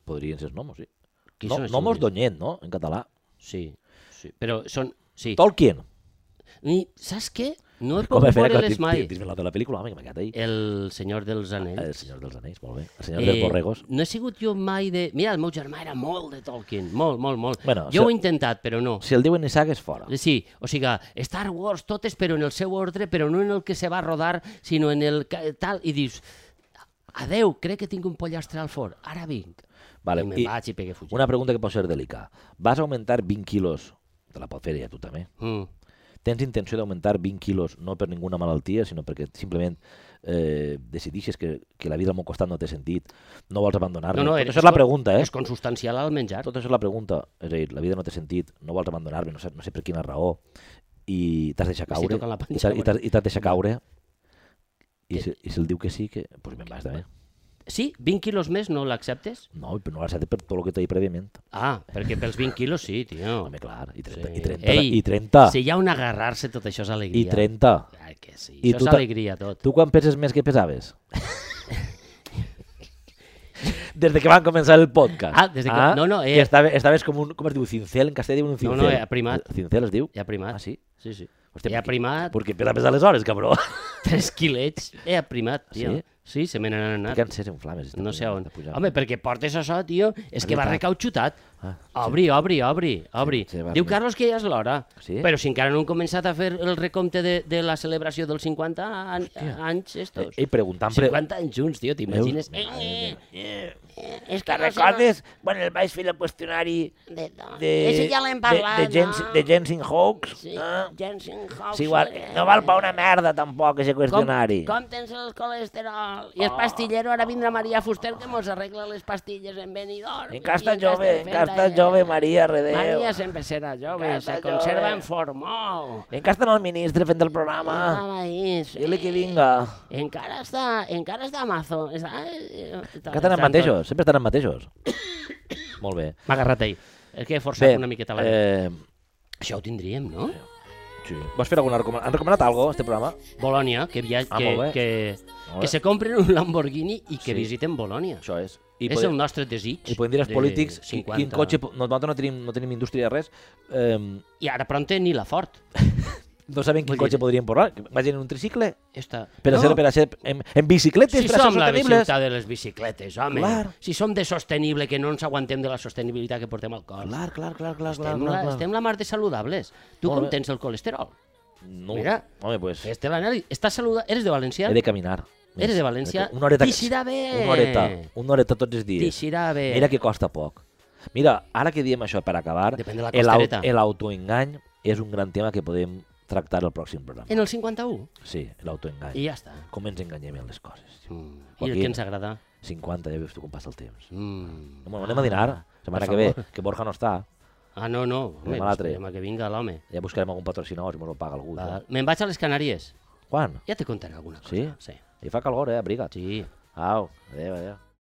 Speaker 1: Podrien ser els nomos, sí.
Speaker 2: Qui
Speaker 1: No,
Speaker 2: són els
Speaker 1: nomos
Speaker 2: nomos?
Speaker 1: d'onyet, no? En català.
Speaker 2: Sí, sí. Però són... Sí.
Speaker 1: Tolkien.
Speaker 2: I saps què? No he
Speaker 1: Com
Speaker 2: pogut
Speaker 1: és veure
Speaker 2: veure-les
Speaker 1: que
Speaker 2: mai.
Speaker 1: t'he vist la de la pel·lícula, home, que m'encanta ahir.
Speaker 2: El senyor dels
Speaker 1: El
Speaker 2: anells. eh,
Speaker 1: senyor dels anells, molt bé. El senyor dels borregos.
Speaker 2: no he sigut jo mai de... Mira, el meu germà era molt de Tolkien, molt, molt, molt.
Speaker 1: Bueno,
Speaker 2: jo ho
Speaker 1: se-
Speaker 2: he intentat, però no. Eh,
Speaker 1: Si el diuen ni saga és fora.
Speaker 2: Sí, o sigui, Star Wars totes, però en el seu ordre, però no en el que se va rodar, sinó en el ca- tal, i dius, adeu, crec que tinc un pollastre al forn, ara vinc.
Speaker 1: Vale,
Speaker 2: I me'n
Speaker 1: i-
Speaker 2: vaig i pegué fugir.
Speaker 1: Una pregunta que pot ser delicada. Vas augmentar 20 quilos, te la pot fer ja tu també,
Speaker 2: Mm.
Speaker 1: tens intenció d'augmentar 20 quilos no per ninguna malaltia, sinó perquè simplement eh, decidixes que, que la vida al meu costat no té sentit, no vols abandonar-la. Tot això és la
Speaker 2: con-
Speaker 1: pregunta, eh?
Speaker 2: És consustancial al menjar.
Speaker 1: Tot Tota això és la pregunta. És a dir, la vida no té sentit, no vols abandonar-me, no, sé, no sé per quina raó, i t'has deixat
Speaker 2: M'estic
Speaker 1: caure,
Speaker 2: tocant la panxa,
Speaker 1: i t'has- i t'has- i t'has deixat caure, i
Speaker 2: Que-
Speaker 1: si, i si el diu que sí, que... Pues me'n vas també.
Speaker 2: Sí, 20 quilos més no l'acceptes?
Speaker 1: No, però no l'has fet per tot el que t'he dit prèviament.
Speaker 2: Ah, perquè pels 20 quilos sí, tio.
Speaker 1: Home, clar, i 30,
Speaker 2: Sí.
Speaker 1: i 30,
Speaker 2: Ei,
Speaker 1: i 30,
Speaker 2: Si hi ha un agarrar-se, tot això és
Speaker 1: i
Speaker 2: alegria.
Speaker 1: 30.
Speaker 2: Ah, que sí.
Speaker 1: I
Speaker 2: I
Speaker 1: tu
Speaker 2: això és
Speaker 1: ta-
Speaker 2: alegria, tot.
Speaker 1: Tu quan peses més que pesaves? des de que van començar el podcast.
Speaker 2: Ah, des de que- no, no, eh.
Speaker 1: que Estava, estaves com un, com es diu, cincel, en castellà diuen
Speaker 2: No,
Speaker 1: un cincel.
Speaker 2: no, eh, aprimat.
Speaker 1: Cincel es diu?
Speaker 2: He aprimat.
Speaker 1: Ah, sí?
Speaker 2: Sí, sí.
Speaker 1: Hòstia,
Speaker 2: he aprimat
Speaker 1: Perquè pesa més aleshores, cabró.
Speaker 2: 3 quilets. He aprimat, tio.
Speaker 1: Ah, Sí?
Speaker 2: Sí, se me n'han anat.
Speaker 1: Ficant ses en flames.
Speaker 2: No sé on. Home,
Speaker 1: Home,
Speaker 2: perquè portes això, tio, és que va
Speaker 1: veritat.
Speaker 2: recauxutat.
Speaker 1: Ah,
Speaker 2: Obri, obri, obri, obri.
Speaker 1: Sí, sí, va
Speaker 2: Diu
Speaker 1: bé.
Speaker 2: Carlos que ja és l'hora.
Speaker 1: Sí?
Speaker 2: Però si encara no han començat a fer el recompte de, de la celebració dels 50 an anys estos.
Speaker 1: Ei, preguntant... Pre...
Speaker 2: 50 anys junts, tio, t'imagines?
Speaker 1: Veus?
Speaker 2: Eh, eh,
Speaker 4: És
Speaker 1: Te
Speaker 4: que no sé...
Speaker 1: recordes quan el vaig fer el qüestionari
Speaker 4: De, de,
Speaker 1: de...
Speaker 4: Això ja l'hem parlat,
Speaker 1: de, de, gens,
Speaker 4: no?
Speaker 1: de gens in hoax?
Speaker 4: Sí,
Speaker 1: Ah?
Speaker 4: Jensen Hobbs.
Speaker 1: Sí, igual, no val pa una merda, tampoc, aquest
Speaker 4: Com,
Speaker 1: qüestionari.
Speaker 4: com tens el colesterol? I el pastillero, ara vindrà Maria Fuster que mos arregla les pastilles en Benidorm.
Speaker 1: Encara
Speaker 4: I
Speaker 1: està jove,
Speaker 4: estem fent
Speaker 1: encara està
Speaker 4: allà.
Speaker 1: jove, Maria, redeu.
Speaker 4: eh? Maria sempre serà jove,
Speaker 1: Encara
Speaker 4: se
Speaker 1: està
Speaker 4: conserva
Speaker 1: jove.
Speaker 4: en formol.
Speaker 1: Encara està el ministre fent el programa.
Speaker 4: Ah, sí.
Speaker 1: Dile que vinga.
Speaker 4: Encara està, encara està mazo. Està, està,
Speaker 1: Encara estan els mateixos, sempre estan els mateixos. Molt bé.
Speaker 2: M'ha agarrat ahir. És que he forçat una miqueta la... Eh...
Speaker 1: eh,
Speaker 2: Això ho tindríem, no?
Speaker 1: sí. Vols fer alguna recomanació? Han recomanat alguna cosa, este programa?
Speaker 2: Bolònia, que, viatge,
Speaker 1: Ah, molt
Speaker 2: que,
Speaker 1: bé.
Speaker 2: que,
Speaker 1: Molt
Speaker 2: que
Speaker 1: bé.
Speaker 2: se compren un Lamborghini i que
Speaker 1: Sí.
Speaker 2: visiten Bolònia.
Speaker 1: Això és.
Speaker 2: I
Speaker 1: I,
Speaker 2: és
Speaker 1: podem-
Speaker 2: el nostre desig.
Speaker 1: i podem dir als
Speaker 2: de
Speaker 1: polítics qui-
Speaker 2: 50.
Speaker 1: quin cotxe... po- Nosaltres no tenim, no tenim indústria de res. Eh,
Speaker 2: I ara pront ni la Ford.
Speaker 1: no saben quin
Speaker 2: Vull dir-
Speaker 1: cotxe podrien portar. Que Vagin en un tricicle.
Speaker 2: Esta...
Speaker 1: Per a ser, per a ser en, en bicicletes,
Speaker 2: si
Speaker 1: per a ser
Speaker 2: som la
Speaker 1: sostenibles.
Speaker 2: ciutat de les bicicletes, home.
Speaker 1: Clar.
Speaker 2: Si som de sostenible, que no ens aguantem de la sostenibilitat que portem al cor.
Speaker 1: Clar, clar, clar, clar, clar,
Speaker 2: estem,
Speaker 1: clar,
Speaker 2: la,
Speaker 1: clar.
Speaker 2: estem la mar de saludables. Tu
Speaker 1: Molt
Speaker 2: com
Speaker 1: bé.
Speaker 2: tens el colesterol?
Speaker 1: No,
Speaker 2: Mira.
Speaker 1: home, pues,
Speaker 2: Fes-te l'anàlisi. Estàs saluda... Eres de València?
Speaker 1: he de caminar.
Speaker 2: Eres de València?
Speaker 1: Una horeta,
Speaker 2: T'eixirà bé.
Speaker 1: Una horeta, una horeta tots els dies.
Speaker 2: T'eixirà bé.
Speaker 1: Mira que costa poc. Mira, ara que diem això per acabar,
Speaker 2: Depèn de la
Speaker 1: el au-
Speaker 2: costereta.
Speaker 1: el autoengany és un gran tema que podem tractar al pròxim programa.
Speaker 2: En el 51?
Speaker 1: Sí, l'autoengany.
Speaker 2: I ja està.
Speaker 1: Com ens enganyem en les coses. tio.
Speaker 2: Mm. I el
Speaker 1: Joaquim.
Speaker 2: que ens agrada?
Speaker 1: 50, ja veus tu com passa el temps.
Speaker 2: Mm.
Speaker 1: Bueno, anem a dinar, setmana
Speaker 2: per
Speaker 1: que ve,
Speaker 2: favor.
Speaker 1: que Borja no està.
Speaker 2: Ah, no, no. Home,
Speaker 1: Anem a l'altre.
Speaker 2: esperem a que vinga l'home.
Speaker 1: Ja buscarem algun patrocinador, si mos ho paga algú.
Speaker 2: Va,
Speaker 1: això.
Speaker 2: Me'n vaig a les Canàries.
Speaker 1: Quan?
Speaker 2: Ja te contaré alguna cosa.
Speaker 1: Sí?
Speaker 2: Sí.
Speaker 1: I fa calor, eh? Abriga't.
Speaker 2: sí.
Speaker 1: Au, adéu, adéu.